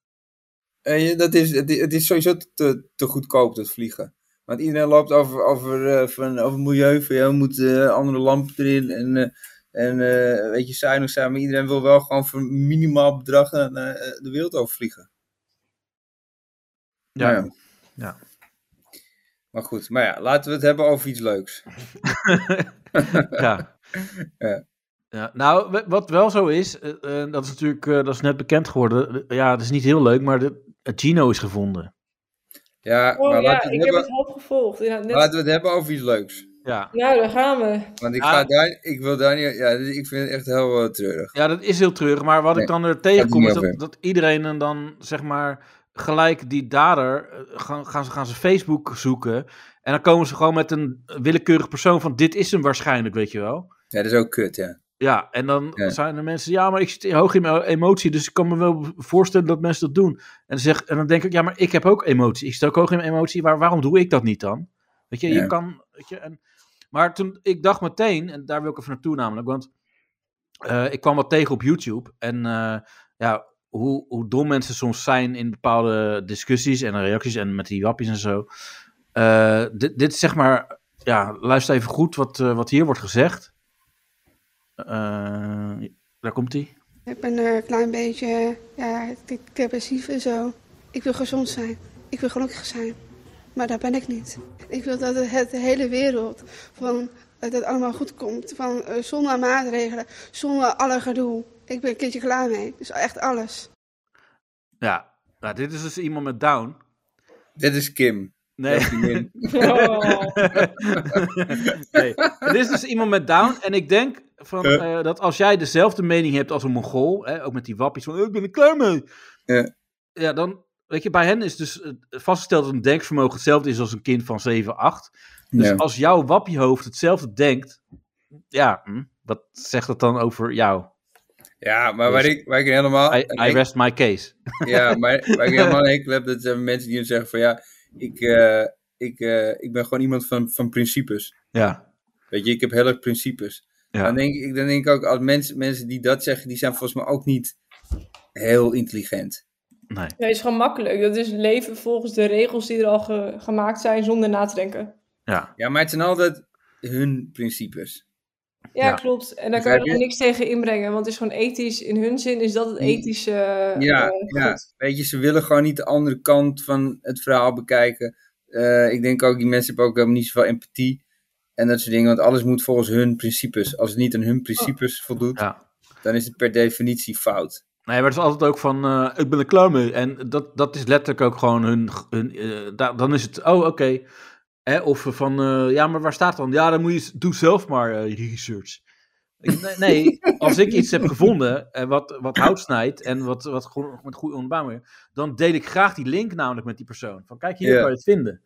Speaker 3: En je- dat is, het, i- het is sowieso te, te goedkoop, dat vliegen. Want iedereen loopt over, over, eh, van, over milieu, van ja, we moeten eh, andere lampen erin en, eh, en eh, weet je, zuinig zijn. Maar iedereen wil wel gewoon voor een minimaal bedrag naar, naar, eh, de wereld over vliegen.
Speaker 2: ja.
Speaker 3: Nou
Speaker 2: Ja.
Speaker 3: Maar goed, maar ja, laten we het hebben over iets leuks.
Speaker 2: ja.
Speaker 3: Ja.
Speaker 2: Ja, nou, w- wat wel zo is, eh, eh, dat is natuurlijk, eh, dat is net bekend geworden. Ja, het is niet heel leuk, maar de, het Gino is gevonden.
Speaker 3: Ja, maar
Speaker 4: Oh ja,
Speaker 3: laten, we
Speaker 4: ik
Speaker 3: het
Speaker 4: heb
Speaker 3: hebben,
Speaker 4: het half gevolgd. Ja, net-
Speaker 3: laten we het hebben over iets leuks.
Speaker 2: Ja,
Speaker 4: Nou, daar gaan we.
Speaker 3: Want ik,
Speaker 2: Ja.
Speaker 3: ga daar, ik wil daar niet. Ja, dit- ik vind het echt heel eh, treurig.
Speaker 2: ja dat is heel treurig, maar wat ik
Speaker 3: Nee,
Speaker 2: dan er tegenkom
Speaker 3: niet
Speaker 2: is dat,
Speaker 3: over.
Speaker 2: dat iedereen en dan, zeg maar, gelijk die dader, eh, gaan, gaan, ze, gaan ze Facebook zoeken en dan komen ze gewoon met een willekeurig persoon van dit is hem waarschijnlijk, weet je wel.
Speaker 3: Ja, dat is ook kut, ja.
Speaker 2: Ja, en dan
Speaker 3: Ja.
Speaker 2: zijn er mensen, ja, maar ik zit hoog in mijn emotie, dus ik kan me wel voorstellen dat mensen dat doen. En, zeg, en dan denk ik, ja, maar ik heb ook emotie. Ik zit ook hoog in mijn emotie, waar, waarom doe ik dat niet dan? Weet je, je
Speaker 3: Ja.
Speaker 2: kan, weet je, en, maar toen, ik dacht meteen, en daar wil ik even naartoe namelijk, want eh, ik kwam wat tegen op YouTube en eh, ja, hoe, hoe dom mensen soms zijn in bepaalde discussies en reacties en met die wappies en zo. Eh, dit, dit is zeg maar, ja, luister even goed wat, eh, wat hier wordt gezegd. Eh, daar komt hij.
Speaker 5: Ik ben er een klein beetje ja, de- depressief en zo. Ik wil gezond zijn. Ik wil gelukkig zijn. Maar daar ben ik niet. Ik wil dat het, het de hele wereld van eh, dat allemaal goed komt. Van, eh, zonder maatregelen, zonder alle gedoe. Ik ben een keertje klaar mee. Dus echt alles.
Speaker 2: Ja, nou, dit is dus iemand met Down.
Speaker 3: Dit is Kim.
Speaker 2: Nee,
Speaker 3: Die min-
Speaker 4: Oh.
Speaker 2: nee. Dit is dus iemand met Down. En ik denk van,
Speaker 3: Ja.
Speaker 2: eh, dat als jij dezelfde mening hebt als een Mongool, hè, ook met die wappies van, "Eh, ik ben er klaar mee.
Speaker 3: Ja.
Speaker 2: Ja, dan, weet je, bij hen is dus eh, vastgesteld dat een denkvermogen hetzelfde is als een kind van 7, 8. Dus
Speaker 3: Ja.
Speaker 2: als jouw wappiehoofd hetzelfde denkt, ja, hm, wat zegt dat dan over jou?
Speaker 3: Ja, maar waar ik, waar ik helemaal...
Speaker 2: I, I rest my case.
Speaker 3: Ja, maar waar ik helemaal een hekel heb, dat zijn mensen die dan zeggen van ja, ik, eh, ik, eh, ik ben gewoon iemand van, van principes.
Speaker 2: Ja,
Speaker 3: Weet je, ik heb heel erg principes.
Speaker 2: ja.
Speaker 3: Dan, denk ik, dan denk ik ook, als mensen, mensen die dat zeggen, die zijn volgens mij ook niet heel intelligent.
Speaker 2: nee.
Speaker 4: Nee, is gewoon makkelijk. Dat is leven volgens de regels die er al ge- gemaakt zijn zonder na te denken.
Speaker 2: Ja,
Speaker 3: Ja, maar het zijn altijd hun principes.
Speaker 4: Ja,
Speaker 2: Ja.
Speaker 4: klopt. En daar kan
Speaker 3: Begrijp
Speaker 4: je
Speaker 3: je?
Speaker 4: er niks tegen inbrengen, want het is gewoon ethisch. In hun zin is dat het ethische. eh,
Speaker 3: Ja,
Speaker 4: eh,
Speaker 3: ja.
Speaker 4: goed.
Speaker 3: Weet je, ze willen gewoon niet de andere kant van het verhaal bekijken. Eh, ik denk ook, die mensen hebben ook helemaal niet zoveel empathie. En dat soort dingen, want alles moet volgens hun principes. Als het niet aan hun principes
Speaker 4: Oh.
Speaker 3: voldoet,
Speaker 2: ja.
Speaker 3: dan is het per definitie fout.
Speaker 2: Nee, maar het is altijd ook van, eh, ik ben er klaar mee. En dat, dat is letterlijk ook gewoon hun, hun eh, da- dan is het, oh, oké. Hè, Of van, eh, ja, maar waar staat dan? Ja, dan moet je, z- doe zelf maar eh, je research. Ik- Nee, nee, als ik iets heb gevonden en wat, wat hout snijdt en wat, wat gewoon met goede onderbouwing, dan deel ik graag die link namelijk met die persoon. Van kijk, hier
Speaker 3: Ja.
Speaker 2: kan je het vinden.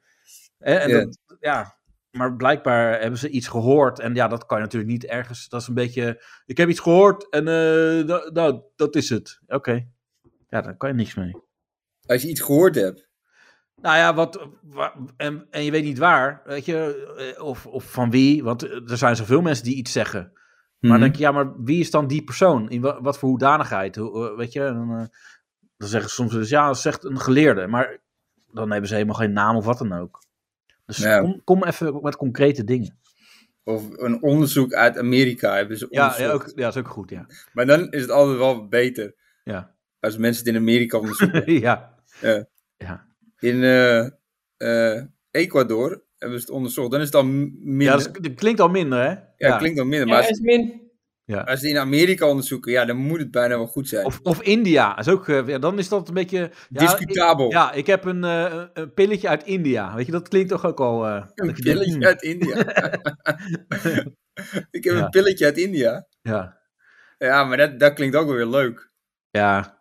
Speaker 2: Hè, en
Speaker 3: Ja.
Speaker 2: dat- ja, maar blijkbaar hebben ze iets gehoord en ja, dat kan je natuurlijk niet ergens. Dat is een beetje ik heb iets gehoord en eh, da- nou, dat is het. Oké. Ja, daar kan je niks mee.
Speaker 3: Als je iets gehoord hebt.
Speaker 2: Nou ja, wat, wa- en, en je weet niet waar, weet je, eh, of, of van wie, want eh, er zijn zoveel mensen die iets zeggen. Maar dan denk je, ja, maar wie is dan die persoon? In wa- wat voor hoedanigheid? Hoe- eh, weet je, en, eh, dan zeggen ze soms dus, ja, dat zegt een geleerde, maar dan hebben ze helemaal geen naam of wat dan ook. Dus
Speaker 3: Ja.
Speaker 2: kom, kom even met concrete dingen.
Speaker 3: Of een onderzoek uit Amerika hebben ze
Speaker 2: Ja,
Speaker 3: onderzocht.
Speaker 2: ja, ook, ja, dat is ook goed, ja.
Speaker 3: Maar dan is het altijd wel beter
Speaker 2: Ja,
Speaker 3: als mensen het in Amerika onderzoeken.
Speaker 2: ja.
Speaker 3: Ja.
Speaker 2: ja.
Speaker 3: in eh, eh, Ecuador hebben ze het onderzocht. Dan is het al m- minder.
Speaker 2: ja dat, is- dat klinkt al minder, hè?
Speaker 3: Ja, klinkt dan minder.
Speaker 4: Ja,
Speaker 3: maar als,
Speaker 4: is min.
Speaker 3: als ze het in Amerika onderzoeken, ja, dan moet het bijna wel goed zijn.
Speaker 2: Of, of India. Dat Is ook, eh, ja, dan is dat een beetje. Ja,
Speaker 3: Discutabel.
Speaker 2: ik- ja, ik heb een, eh, een pilletje uit India. Weet je, dat klinkt toch ook al. eh,
Speaker 3: een
Speaker 2: dat je denkt,
Speaker 3: pilletje
Speaker 2: hmm,
Speaker 3: uit India. Ik heb
Speaker 2: Ja.
Speaker 3: een pilletje uit India.
Speaker 2: Ja,
Speaker 3: Ja, maar dat, dat klinkt ook wel weer leuk.
Speaker 2: ja.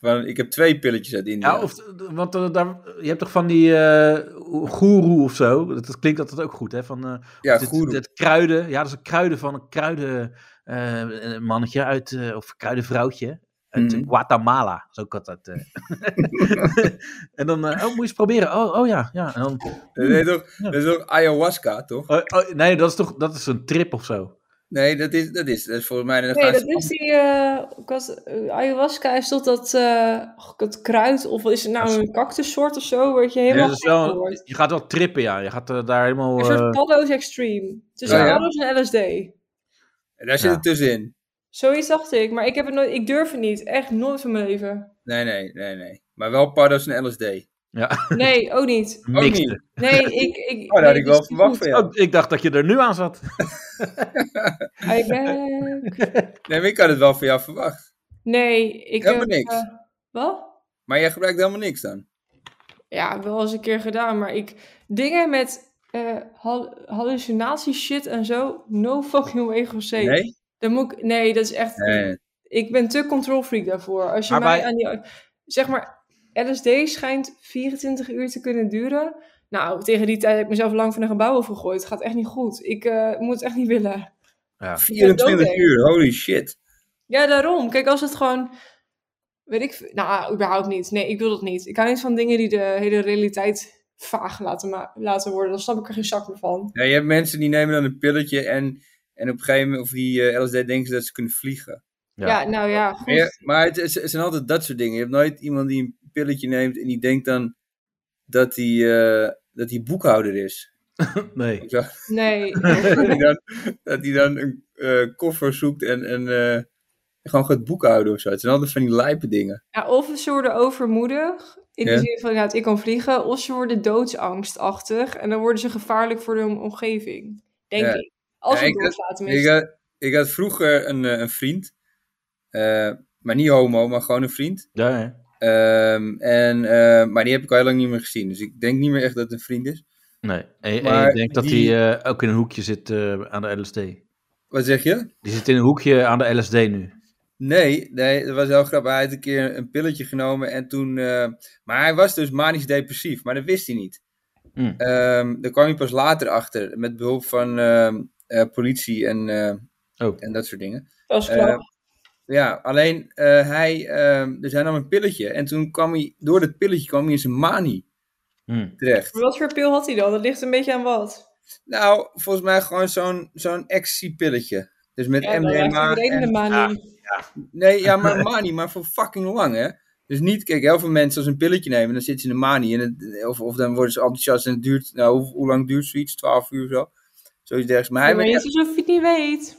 Speaker 3: Van, ik heb twee pilletjes uit India.
Speaker 2: ja of, want eh, daar, je hebt toch van die eh goeroe of zo. Dat, dat klinkt altijd ook goed, hè? Van, eh,
Speaker 3: ja,
Speaker 2: dit-
Speaker 3: goed.
Speaker 2: dit kruiden. Ja, dat is een kruiden van een kruiden. eh, een mannetje uit. eh, of kruidenvrouwtje. Uit
Speaker 3: Mhm.
Speaker 2: Guatemala. Zo kan dat. eh. en dan. eh, oh, moet je eens proberen. Oh, oh ja, ja. En dan,
Speaker 3: dat, heet toch,
Speaker 2: Ja.
Speaker 3: dat is toch ayahuasca, toch?
Speaker 2: oh, oh, nee, dat is toch. Dat is een trip of zo.
Speaker 3: Nee, dat is, dat is, dat is volgens mij... dan
Speaker 4: Nee,
Speaker 3: gaan
Speaker 4: dat
Speaker 3: ze-
Speaker 4: is die. eh, ik was- eh, ayahuasca is tot dat. eh, och, dat kruid, of is het nou een cactussoort of zo? Word je helemaal.
Speaker 2: Ja, dat is wel-
Speaker 4: gek van wordt.
Speaker 2: je gaat wel trippen, ja. Je gaat eh, daar helemaal...
Speaker 4: Een soort
Speaker 2: eh,
Speaker 4: paddo's extreme. Tussen
Speaker 3: Ja, ja.
Speaker 4: paddo's en LSD.
Speaker 3: Daar zit
Speaker 2: Ja.
Speaker 3: het tussenin.
Speaker 4: Zoiets dacht ik, maar ik, heb het nooit, ik durf het niet. Echt nooit van mijn leven.
Speaker 3: Nee, nee, nee, nee. Maar wel paddo's en LSD.
Speaker 2: ja,
Speaker 4: Nee, ook niet.
Speaker 3: Ook
Speaker 2: mixen.
Speaker 3: niet.
Speaker 4: Nee, ik... ik
Speaker 3: Oh, daar
Speaker 4: nee,
Speaker 3: had ik
Speaker 4: dat
Speaker 3: wel
Speaker 4: is niet
Speaker 3: verwacht
Speaker 4: goed.
Speaker 3: van jou.
Speaker 2: Oh, ik dacht dat je er nu aan zat.
Speaker 4: I back.
Speaker 3: Nee, maar ik had het wel van jou verwacht.
Speaker 4: Nee, ik heb...
Speaker 3: Helemaal niks.
Speaker 4: eh, wat?
Speaker 3: Maar jij gebruikt helemaal niks dan.
Speaker 4: Ja, wel eens een keer gedaan, maar ik... Dingen met eh hal- hallucinatie shit en zo, no fucking way, José.
Speaker 3: Nee?
Speaker 4: Dan moet ik, nee, dat is echt...
Speaker 3: Nee.
Speaker 4: Ik ben te control freak daarvoor. Als je
Speaker 2: Maar
Speaker 4: mij
Speaker 2: bij-
Speaker 4: aan die... Zeg maar, LSD schijnt 24 uur te kunnen duren. Nou, tegen die tijd heb ik mezelf lang van een gebouw afgegooid. Het gaat echt niet goed. Ik eh, moet het echt niet willen.
Speaker 2: Ja.
Speaker 3: 24
Speaker 4: dood,
Speaker 3: uur, holy shit.
Speaker 4: Ja, daarom. Kijk, als het gewoon... Weet ik... v- Nou, überhaupt niet. Nee, ik wil dat niet. Ik hou niet van dingen die de hele realiteit vaag laten, ma- laten worden. Dan snap ik er geen zak meer van.
Speaker 3: Ja, je hebt mensen die nemen dan een pilletje en, en op een gegeven moment, of die eh, LSD denken ze dat ze kunnen vliegen.
Speaker 2: Ja.
Speaker 4: Ja, nou ja. goed.
Speaker 3: Maar, ja, maar het, is- het zijn altijd dat soort dingen. Je hebt nooit iemand die een pilletje neemt en die denkt dan dat hij eh, dat hij boekhouder is.
Speaker 2: Nee.
Speaker 4: Nee.
Speaker 3: dat hij dan, dat hij dan een eh, koffer zoekt en, en eh, gewoon gaat boekhouden of zo. Het zijn altijd van die lijpe dingen.
Speaker 4: Ja, of ze worden overmoedig. In de
Speaker 3: Ja.
Speaker 4: zin van, inderdaad, ik kan vliegen. Of ze worden doodsangstachtig. En dan worden ze gevaarlijk voor hun omgeving. Denk
Speaker 3: Ja.
Speaker 4: ik. Als
Speaker 3: Ja,
Speaker 4: ik
Speaker 3: ik-
Speaker 4: doodslaat
Speaker 3: Ik
Speaker 4: tenminste.
Speaker 3: had, ik had vroeger een, eh, een vriend, eh, maar niet homo, maar gewoon een vriend.
Speaker 2: Ja, ja.
Speaker 3: Ehm, en, eh, maar die heb ik al heel lang niet meer gezien. Dus ik denk niet meer echt dat het een vriend is.
Speaker 2: Nee. En, en
Speaker 3: Maar
Speaker 2: je denkt dat hij
Speaker 3: die-
Speaker 2: eh, ook in een hoekje zit eh, aan de LSD.
Speaker 3: Wat zeg je?
Speaker 2: Die zit in een hoekje aan de LSD nu.
Speaker 3: Nee, nee, dat was heel grappig. Hij had een keer een pilletje genomen en toen... eh, maar hij was dus manisch depressief, maar dat wist hij niet.
Speaker 2: Mm.
Speaker 3: Ehm, daar kwam hij pas later achter, met behulp van ehm, eh, politie en, eh,
Speaker 2: Oh.
Speaker 3: en dat soort dingen.
Speaker 4: Dat is klaar.
Speaker 3: Eh, ja, alleen eh, hij, ehm, dus hij nam een pilletje en toen kwam hij, door dat pilletje kwam hij in zijn manie
Speaker 2: Hmm.
Speaker 3: terecht.
Speaker 4: Maar wat voor pil had hij dan? Dat ligt een beetje aan wat.
Speaker 3: Nou, volgens mij gewoon zo'n zo'n ecstasy-pilletje. Dus met
Speaker 4: Ja, dan raakt
Speaker 3: MDMA.
Speaker 4: iedereen in de
Speaker 3: en-
Speaker 4: manie.
Speaker 3: nee, ja, maar mani, maar voor fucking lang, hè. Dus niet, kijk, heel veel mensen als ze een pilletje nemen, dan zitten ze in de manie. En het- of, of dan worden ze enthousiast en het duurt, nou, hoe, hoe lang duurt zoiets? 12 uur of zo? Zoiets dergelijks. Maar hij
Speaker 4: Ja, maar
Speaker 3: werd
Speaker 4: het is alsof je het niet weet.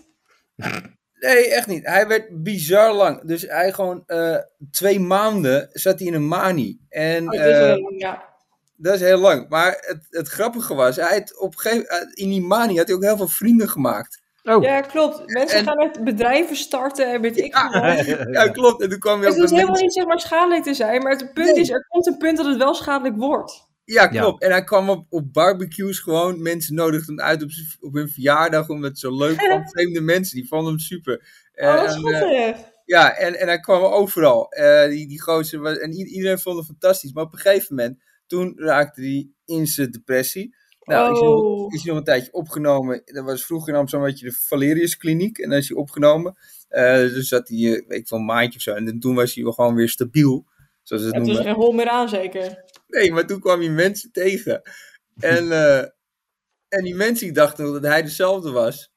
Speaker 3: Nee, echt niet. Hij werd bizar lang. Dus hij gewoon eh, twee maanden zat hij in een mani. En
Speaker 4: Oh, het is
Speaker 3: eh,
Speaker 4: wel- ja.
Speaker 3: dat is heel lang. Maar het, het grappige was, hij had op een gegeven eh, in die mani had hij ook heel veel vrienden gemaakt.
Speaker 2: Oh.
Speaker 4: ja, klopt. Mensen
Speaker 3: en-
Speaker 4: gaan echt bedrijven starten en weet ik
Speaker 3: Ja.
Speaker 4: veel wat.
Speaker 3: Ja, klopt. En toen kwam hij
Speaker 4: Dus Het
Speaker 3: ook bij
Speaker 4: hoeft helemaal
Speaker 3: mensen-
Speaker 4: niet zeg maar schadelijk te zijn, maar het punt
Speaker 3: Nee.
Speaker 4: is, er komt een punt dat het wel schadelijk wordt.
Speaker 3: Ja,
Speaker 2: Ja.
Speaker 3: klopt. En hij kwam op, op barbecues gewoon. Mensen nodigden hem uit op, z'n- op hun verjaardag, omdat het zo leuk vond. Vreemde mensen, die vonden hem super.
Speaker 4: Oh,
Speaker 3: Eh, en,
Speaker 4: wat
Speaker 3: eh,
Speaker 4: schattig.
Speaker 3: Ja, en, en hij kwam overal. Eh, die, die gozer was, en i- iedereen vond hem fantastisch. Maar op een gegeven moment, toen raakte hij in zijn depressie. Nou, is, hij nog,
Speaker 4: Oh.
Speaker 3: is hij nog een tijdje opgenomen. Dat was vroeger in Amsterdam, had je de Valerius Kliniek. En dan is hij opgenomen. Eh, dus zat hij, eh, weet ik veel, een maandje of zo. En toen was hij wel gewoon weer stabiel, zoals ze het
Speaker 4: Het is
Speaker 3: noemen.
Speaker 4: geen hol meer aan, zeker.
Speaker 3: Nee, maar toen kwam hij mensen tegen. En, eh, en die mensen die dachten dat hij dezelfde was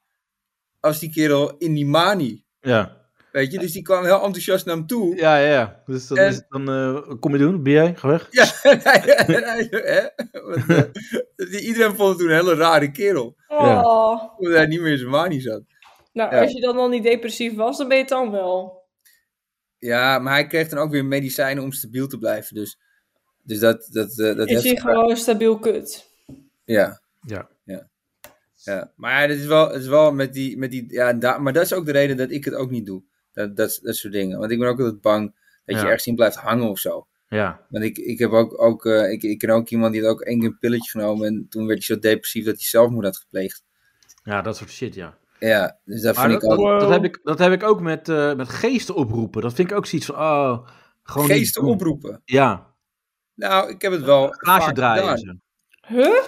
Speaker 3: als die kerel in die mani.
Speaker 2: Ja.
Speaker 3: Weet je, dus die kwam heel enthousiast naar hem toe.
Speaker 2: Ja, ja, ja. Dus dan,
Speaker 3: En-
Speaker 2: is het dan eh, kom je doen, ben jij, ga weg.
Speaker 3: Ja, en hij- en hij- hè? Want, eh, die- iedereen vond hem toen een hele rare kerel.
Speaker 2: Ja.
Speaker 4: Oh.
Speaker 3: Omdat hij niet meer in zijn mani zat.
Speaker 4: Nou,
Speaker 3: Ja.
Speaker 4: als je dan al niet depressief was, dan ben je het dan wel.
Speaker 3: Ja, maar hij kreeg dan ook weer medicijnen om stabiel te blijven. Dus, dus dat, dat, eh, dat
Speaker 4: Is
Speaker 3: heeft-
Speaker 4: hij gewoon stabiel kut.
Speaker 3: Ja.
Speaker 2: Ja.
Speaker 3: ja. ja. Maar ja, dat is wel, het is wel met die. Met die ja, da- maar dat is ook de reden dat ik het ook niet doe. Dat, dat, dat soort dingen. Want ik ben ook altijd bang dat je
Speaker 2: Ja.
Speaker 3: ergens in blijft hangen of zo.
Speaker 2: Ja.
Speaker 3: Want ik, ik heb ook, ook eh, ik, ik ken ook iemand die had ook één keer een pilletje genomen. En toen werd hij zo depressief dat hij zelfmoord had gepleegd.
Speaker 2: Ja, dat soort shit, ja.
Speaker 3: Ja, dus dat
Speaker 2: Maar
Speaker 3: vind
Speaker 2: dat,
Speaker 3: ik ook.
Speaker 2: dat, dat heb ik, dat heb ik ook met, eh, met geesten oproepen. Dat vind ik ook zoiets van, oh, gewoon niet
Speaker 3: Geesten
Speaker 2: doen.
Speaker 3: oproepen.
Speaker 2: Ja,
Speaker 3: Nou, ik heb het wel.
Speaker 2: glaasje
Speaker 3: vaak
Speaker 2: draaien. en
Speaker 3: gedaan.
Speaker 2: zo.
Speaker 4: Huh?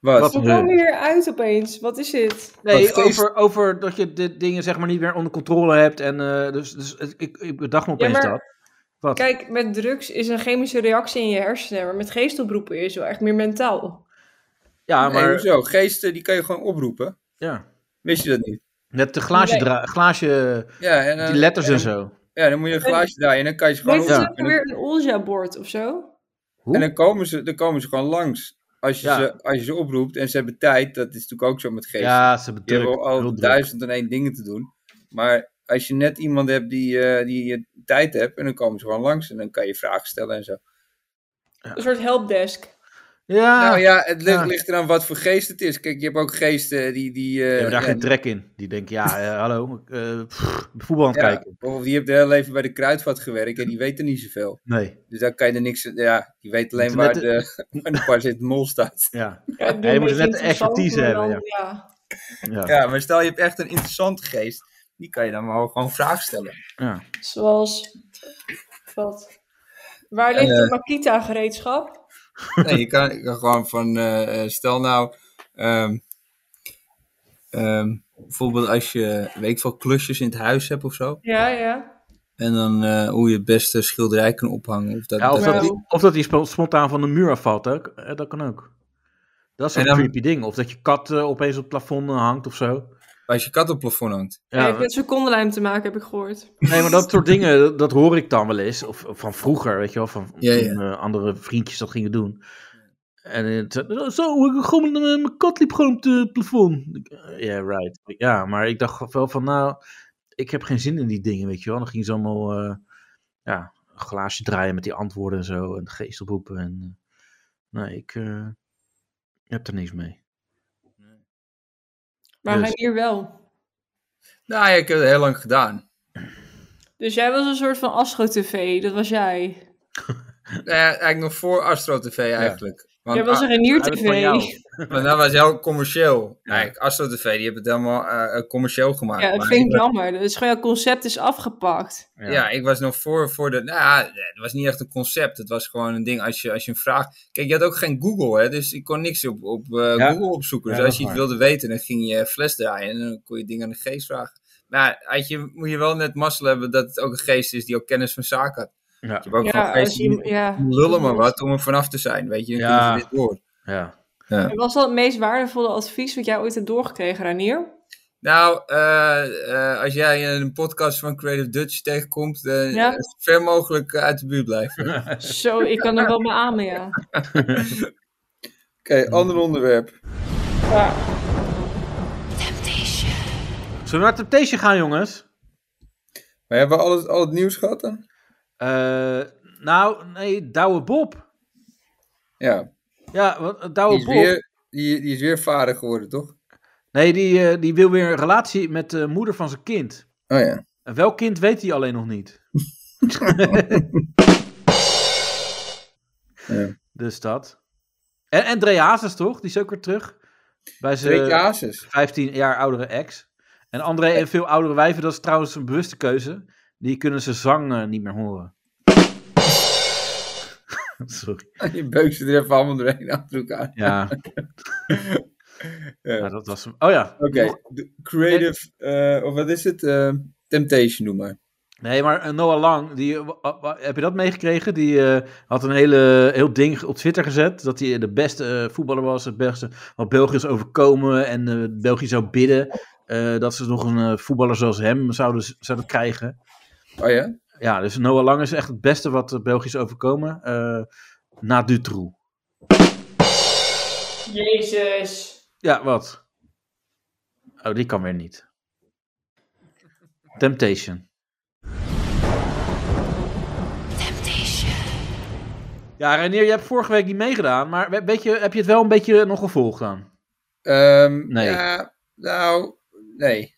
Speaker 3: Wat?
Speaker 2: Wat?
Speaker 4: Hoe kwam je hier uit opeens? Wat is dit?
Speaker 2: Nee,
Speaker 3: Wat geest-
Speaker 2: over, over dat je dit dingen zeg maar niet meer onder controle hebt. En eh, dus, dus het- ik, ik bedacht me
Speaker 4: Ja,
Speaker 2: opeens
Speaker 4: maar
Speaker 2: dat. Wat?
Speaker 4: kijk, met drugs is een chemische reactie in je hersenen, maar met geestoproepen is het wel echt meer mentaal.
Speaker 2: ja,
Speaker 3: Nee,
Speaker 2: maar
Speaker 3: hoezo? Geesten, die kan je gewoon oproepen.
Speaker 2: ja.
Speaker 3: Wist je dat niet?
Speaker 2: net de glaasje,
Speaker 4: Nee.
Speaker 2: dra- glaasje
Speaker 3: Ja, en,
Speaker 2: die
Speaker 3: dan-
Speaker 2: letters
Speaker 3: en,
Speaker 2: en zo.
Speaker 3: Ja, dan moet je een glaasje draaien en dan kan je ze gewoon
Speaker 4: Weet je,
Speaker 2: Ja.
Speaker 4: het
Speaker 3: oproepen.
Speaker 4: ook weer een Olja-bord of zo?
Speaker 3: En dan komen ze, dan komen ze gewoon langs. Als je,
Speaker 2: Ja.
Speaker 3: ze, als je ze oproept en ze hebben tijd, dat is natuurlijk ook zo met geesten.
Speaker 2: Ja, ze hebben
Speaker 3: je
Speaker 2: druk.
Speaker 3: hebt al
Speaker 2: heel druk.
Speaker 3: duizend en één dingen te doen. Maar als je net iemand hebt die, eh, die je tijd hebt, en dan komen ze gewoon langs en dan kan je vragen stellen en zo.
Speaker 2: Ah.
Speaker 4: Een soort helpdesk.
Speaker 2: Ja,
Speaker 3: nou ja, het ligt,
Speaker 2: ja.
Speaker 3: ligt eraan wat voor geest het is. Kijk, je hebt ook geesten die... die eh,
Speaker 2: die hebben daar
Speaker 3: ja,
Speaker 2: geen trek in. Die denken, ja, eh, hallo, eh, pff, voetbal aan het
Speaker 3: Ja,
Speaker 2: kijken.
Speaker 3: Of die heeft de hele leven bij de kruidvat gewerkt en die weet er niet zoveel.
Speaker 2: Nee,
Speaker 3: Dus daar kan je er niks... Ja, die weet alleen
Speaker 2: Net
Speaker 3: waar
Speaker 2: de-
Speaker 3: de, waar de paracetamol staat.
Speaker 2: ja.
Speaker 4: Ja, doe
Speaker 2: je
Speaker 4: een
Speaker 2: moet
Speaker 4: beetje
Speaker 2: net de
Speaker 4: interessant,
Speaker 2: expertise
Speaker 4: maar dan-
Speaker 2: hebben,
Speaker 4: ja.
Speaker 2: ja.
Speaker 3: Ja, maar stel je hebt echt een interessante geest. Die kan je dan wel gewoon vragen stellen.
Speaker 2: ja.
Speaker 4: Zoals, wat? Waar ligt het Makita-gereedschap?
Speaker 3: Nee, je kan, je kan gewoon van... eh, eh, stel nou... ehm, ehm, bijvoorbeeld als je, weet ik veel, klusjes in het huis hebt of zo.
Speaker 4: Ja, ja.
Speaker 3: En dan eh, hoe je het beste schilderij kan ophangen. Of dat,
Speaker 2: Ja, of,
Speaker 4: dat-
Speaker 2: dat die, of dat die spo- spontaan van de muur afvalt, hè? K- eh, dat kan ook. Dat is zo'n
Speaker 3: En dan-
Speaker 2: creepy ding. Of dat je kat eh, opeens op het plafond eh, hangt of zo.
Speaker 3: Als je kat op het plafond hangt.
Speaker 4: ja.
Speaker 2: Ja,
Speaker 4: heeft met secondenlijm te maken, heb ik gehoord.
Speaker 2: nee, maar dat soort dingen, dat, dat hoor ik dan wel eens. Of, of van vroeger, weet je wel, van
Speaker 3: Ja, ja.
Speaker 2: toen, eh, andere vriendjes dat gingen doen. En eh, het, zo, ik- gewoon, eh, mijn kat liep gewoon op het plafond. Ik, eh, Ja, right. Ja, maar ik dacht wel van, nou, ik heb geen zin in die dingen, weet je wel. Dan gingen ze allemaal, eh, ja, een glaasje draaien met die antwoorden en zo. En geest oproepen. En, eh, nee, ik eh, heb er niks mee.
Speaker 4: Maar
Speaker 2: Dus.
Speaker 4: hij hier wel.
Speaker 3: Nou ja, ik heb het heel lang gedaan.
Speaker 4: Dus jij was een soort van Astro-TV, dat was jij.
Speaker 3: Nou ja, eigenlijk nog voor Astro TV eigenlijk. Want,
Speaker 4: Jij wil zeggen
Speaker 2: Uit van
Speaker 4: nier-tv.
Speaker 2: jou.
Speaker 3: ah, want dat was heel commercieel.
Speaker 2: Ja.
Speaker 3: Kijk, Astro TV, die hebben het helemaal eh, eh, commercieel gemaakt.
Speaker 4: Ja, dat
Speaker 3: Maar
Speaker 4: vind
Speaker 3: ik
Speaker 4: ik jammer. Dat is gewoon jouw concept is afgepakt.
Speaker 3: Ja. ik was nog voor, voor de. Nou, ja, het was niet echt een concept. Het was gewoon een ding. Als je, als je een vraag. Kijk, je had ook geen Google, hè? Dus ik kon niks op, op eh,
Speaker 2: Ja.
Speaker 3: Google opzoeken.
Speaker 2: Ja,
Speaker 3: Dus
Speaker 2: dat
Speaker 3: als
Speaker 2: is
Speaker 3: je iets
Speaker 2: waar.
Speaker 3: wilde weten, dan ging je fles draaien. En dan kon je dingen aan de geest vragen. Maar ja, had je, moet je wel net mazzel hebben dat het ook een geest is die ook kennis van zaken had.
Speaker 2: Ja.
Speaker 3: Je hebt ook
Speaker 4: Ja,
Speaker 3: gewoon
Speaker 4: als
Speaker 3: geesten
Speaker 4: je,
Speaker 3: die
Speaker 4: ja.
Speaker 3: lullen maar wat om er vanaf te zijn. Weet je, dan
Speaker 2: Ja.
Speaker 3: kunnen ze dit door.
Speaker 2: Ja.
Speaker 4: En was dat het meest waardevolle advies wat jij ooit hebt doorgekregen, Ranier?
Speaker 3: Nou, eh, eh, als jij een podcast van Creative Dutch tegenkomt, eh,
Speaker 4: Ja.
Speaker 3: zo ver mogelijk eh, uit de buurt blijven. Oké,
Speaker 4: Zo, ik kan er wel mee aan, ja.
Speaker 3: ander onderwerp.
Speaker 2: Zullen we naar Temptation gaan, jongens?
Speaker 3: Maar hebben we al het, al het nieuws gehad dan?
Speaker 2: Eh, nou, nee, Douwe Bob.
Speaker 3: Ja,
Speaker 2: Ja, wat- eh,
Speaker 3: die
Speaker 2: Douwe
Speaker 3: is,
Speaker 2: Bob.
Speaker 3: weer, die, die is weer vader geworden, toch?
Speaker 2: Nee, die, eh, die wil weer een relatie met de moeder van zijn kind.
Speaker 3: Oh ja.
Speaker 2: En welk kind weet hij alleen nog niet.
Speaker 3: Ja.
Speaker 2: Dus dat. En, en Dre Hazes, toch? Die is ook weer terug. Bij zijn
Speaker 3: Twee casus.
Speaker 2: 15 jaar oudere ex. En André en veel oudere wijven, dat is trouwens een bewuste keuze. Die kunnen zijn zang eh, niet meer horen. Sorry.
Speaker 3: Je beukt ze er even allemaal doorheen achter elkaar.
Speaker 2: Ja,
Speaker 3: Ja.
Speaker 2: nou, dat was hem. Oh ja.
Speaker 3: Oké, de creative, eh, of wat is het? Eh, temptation noem maar.
Speaker 2: Nee, maar eh, Noah Lang, die, eh, wa- wa- wa- heb je dat meegekregen? Die eh, had een hele, heel ding op Twitter gezet. Dat hij de beste eh, voetballer was. Het beste wat België is overkomen. En eh, België zou bidden eh, dat ze nog een eh, voetballer zoals hem zouden, zouden krijgen.
Speaker 3: Oh ja?
Speaker 2: Ja, dus Noah Lang is echt het beste wat de België is overkomen. eh, na Dutroux.
Speaker 4: Jezus.
Speaker 2: Ja, wat? Oh, die kan weer niet. Temptation. Ja, Reinier, je hebt vorige week niet meegedaan, maar we- weet je, heb je het wel een beetje nog gevolgd dan?
Speaker 3: Ehm,
Speaker 2: Nee.
Speaker 3: ja, nou, nee.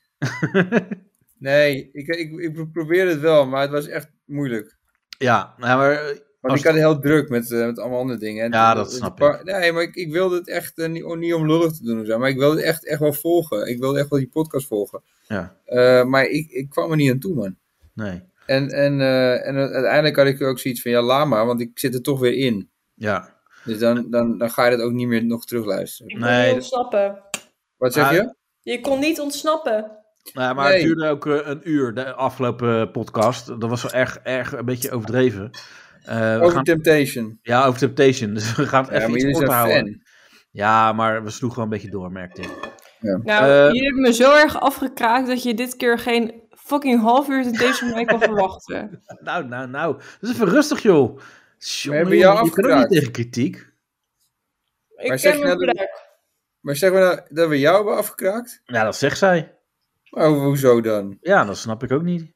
Speaker 3: nee, ik, ik, ik probeerde het wel, maar het was echt moeilijk.
Speaker 2: ja, nou, maar eh,
Speaker 3: Want
Speaker 2: Als-
Speaker 3: ik had het heel druk met, eh, met allemaal andere dingen. En
Speaker 2: Ja,
Speaker 3: toen-
Speaker 2: dat snap
Speaker 3: pa- Nee, maar ik, ik wilde het echt eh, niet, om- niet om lullig te doen of zo. Maar ik wilde het echt, echt wel volgen. Ik wilde echt wel die podcast volgen.
Speaker 2: ja,
Speaker 3: Eh, maar ik, ik kwam er niet aan toe, man.
Speaker 2: nee.
Speaker 3: En, en, eh, en uiteindelijk had ik ook zoiets van, ja, laat maar, want ik zit er toch weer in.
Speaker 2: Ja.
Speaker 3: Dus dan, dan, dan ga je dat ook niet meer nog terugluisteren.
Speaker 4: Ik kon
Speaker 2: Nee,
Speaker 4: niet
Speaker 2: dat-
Speaker 4: ontsnappen.
Speaker 3: Wat zeg
Speaker 2: Ah,
Speaker 3: je?
Speaker 4: Je kon niet ontsnappen.
Speaker 2: Nou, maar het
Speaker 3: Nee.
Speaker 2: duurde ook eh, een uur, de afgelopen eh, podcast. Dat was wel erg, erg een beetje overdreven. Eh, we
Speaker 3: Over
Speaker 2: gaan
Speaker 3: Temptation.
Speaker 2: Ja, over Temptation. Dus we gaan het
Speaker 3: Ja,
Speaker 2: even
Speaker 3: maar
Speaker 2: iets
Speaker 3: jullie
Speaker 2: kort
Speaker 3: zijn
Speaker 2: houden.
Speaker 3: fan.
Speaker 2: Ja, maar we sloegen wel een beetje door, merkte ik.
Speaker 4: Nou,
Speaker 2: Eh.
Speaker 4: je hebt me zo erg afgekraakt dat je dit keer geen fucking half uur in deze van mij kan verwachten.
Speaker 2: Nou, nou, nou. Dat is even rustig, joh. Tjonge,
Speaker 3: hebben jou
Speaker 2: jongen, je kunt ook
Speaker 3: afgekraakt.
Speaker 2: niet tegen kritiek.
Speaker 4: Ik
Speaker 3: Maar zeg
Speaker 4: ken
Speaker 3: je
Speaker 4: mijn
Speaker 3: nou dat-
Speaker 4: plek.
Speaker 3: Maar zeggen we nou dat we jou hebben afgekraakt?
Speaker 2: Ja, dat zegt zij.
Speaker 3: Maar ho- hoezo dan?
Speaker 2: Ja, dat snap ik ook niet.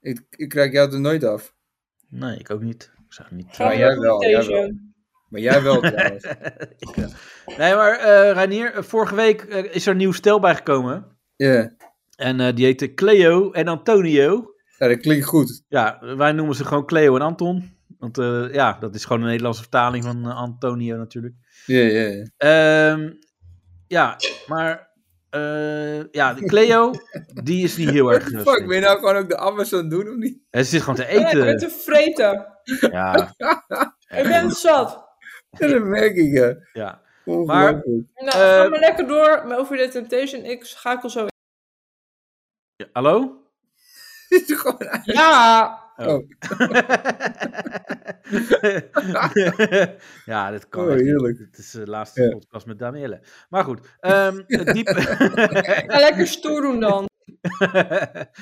Speaker 3: Ik, ik kraak jou er nooit af.
Speaker 2: Nee, ik ook niet. Ik zou het niet.
Speaker 4: Gaan we
Speaker 3: jij
Speaker 4: naar
Speaker 3: wel, jij
Speaker 4: Temptation.
Speaker 3: wel. Maar jij wel trouwens.
Speaker 2: Nee, maar eh Reinier, eh, vorige week eh, is er een nieuw stel bijgekomen.
Speaker 3: Ja,
Speaker 2: En eh, die heten Cleo en Antonio.
Speaker 3: Nou, dat klinkt goed.
Speaker 2: Ja, wij noemen ze gewoon Cleo en Anton. Want eh, ja, dat is gewoon een Nederlandse vertaling van eh, Antonio natuurlijk.
Speaker 3: Ja, ja, ja.
Speaker 2: Ehm, ja, maar. eh, ja, de Cleo, die is niet heel erg.
Speaker 3: What the
Speaker 2: rustig.
Speaker 3: fuck, ben je nou gewoon ook de Amazon doen of niet?
Speaker 2: En ze zit gewoon te
Speaker 4: Ja, ik ben
Speaker 2: eten.
Speaker 4: te vreten.
Speaker 2: Ja,
Speaker 4: Ik ben zat.
Speaker 3: Ja, dat merk ik, ja.
Speaker 2: ja.
Speaker 3: Ongelooflijk.
Speaker 4: Nou,
Speaker 2: Eh.
Speaker 4: ga maar lekker door maar over de Temptation. Ik schakel zo in.
Speaker 2: Hallo?
Speaker 3: Dit is gewoon uit.
Speaker 4: Ja,
Speaker 3: Oh,
Speaker 2: ja, dit kan.
Speaker 3: oh,
Speaker 2: echt niet.
Speaker 3: heerlijk.
Speaker 2: Het is eh, de laatste
Speaker 3: Ja.
Speaker 2: podcast met Danielle. Maar goed, ehm, het diep.
Speaker 4: ga lekker stoer doen dan.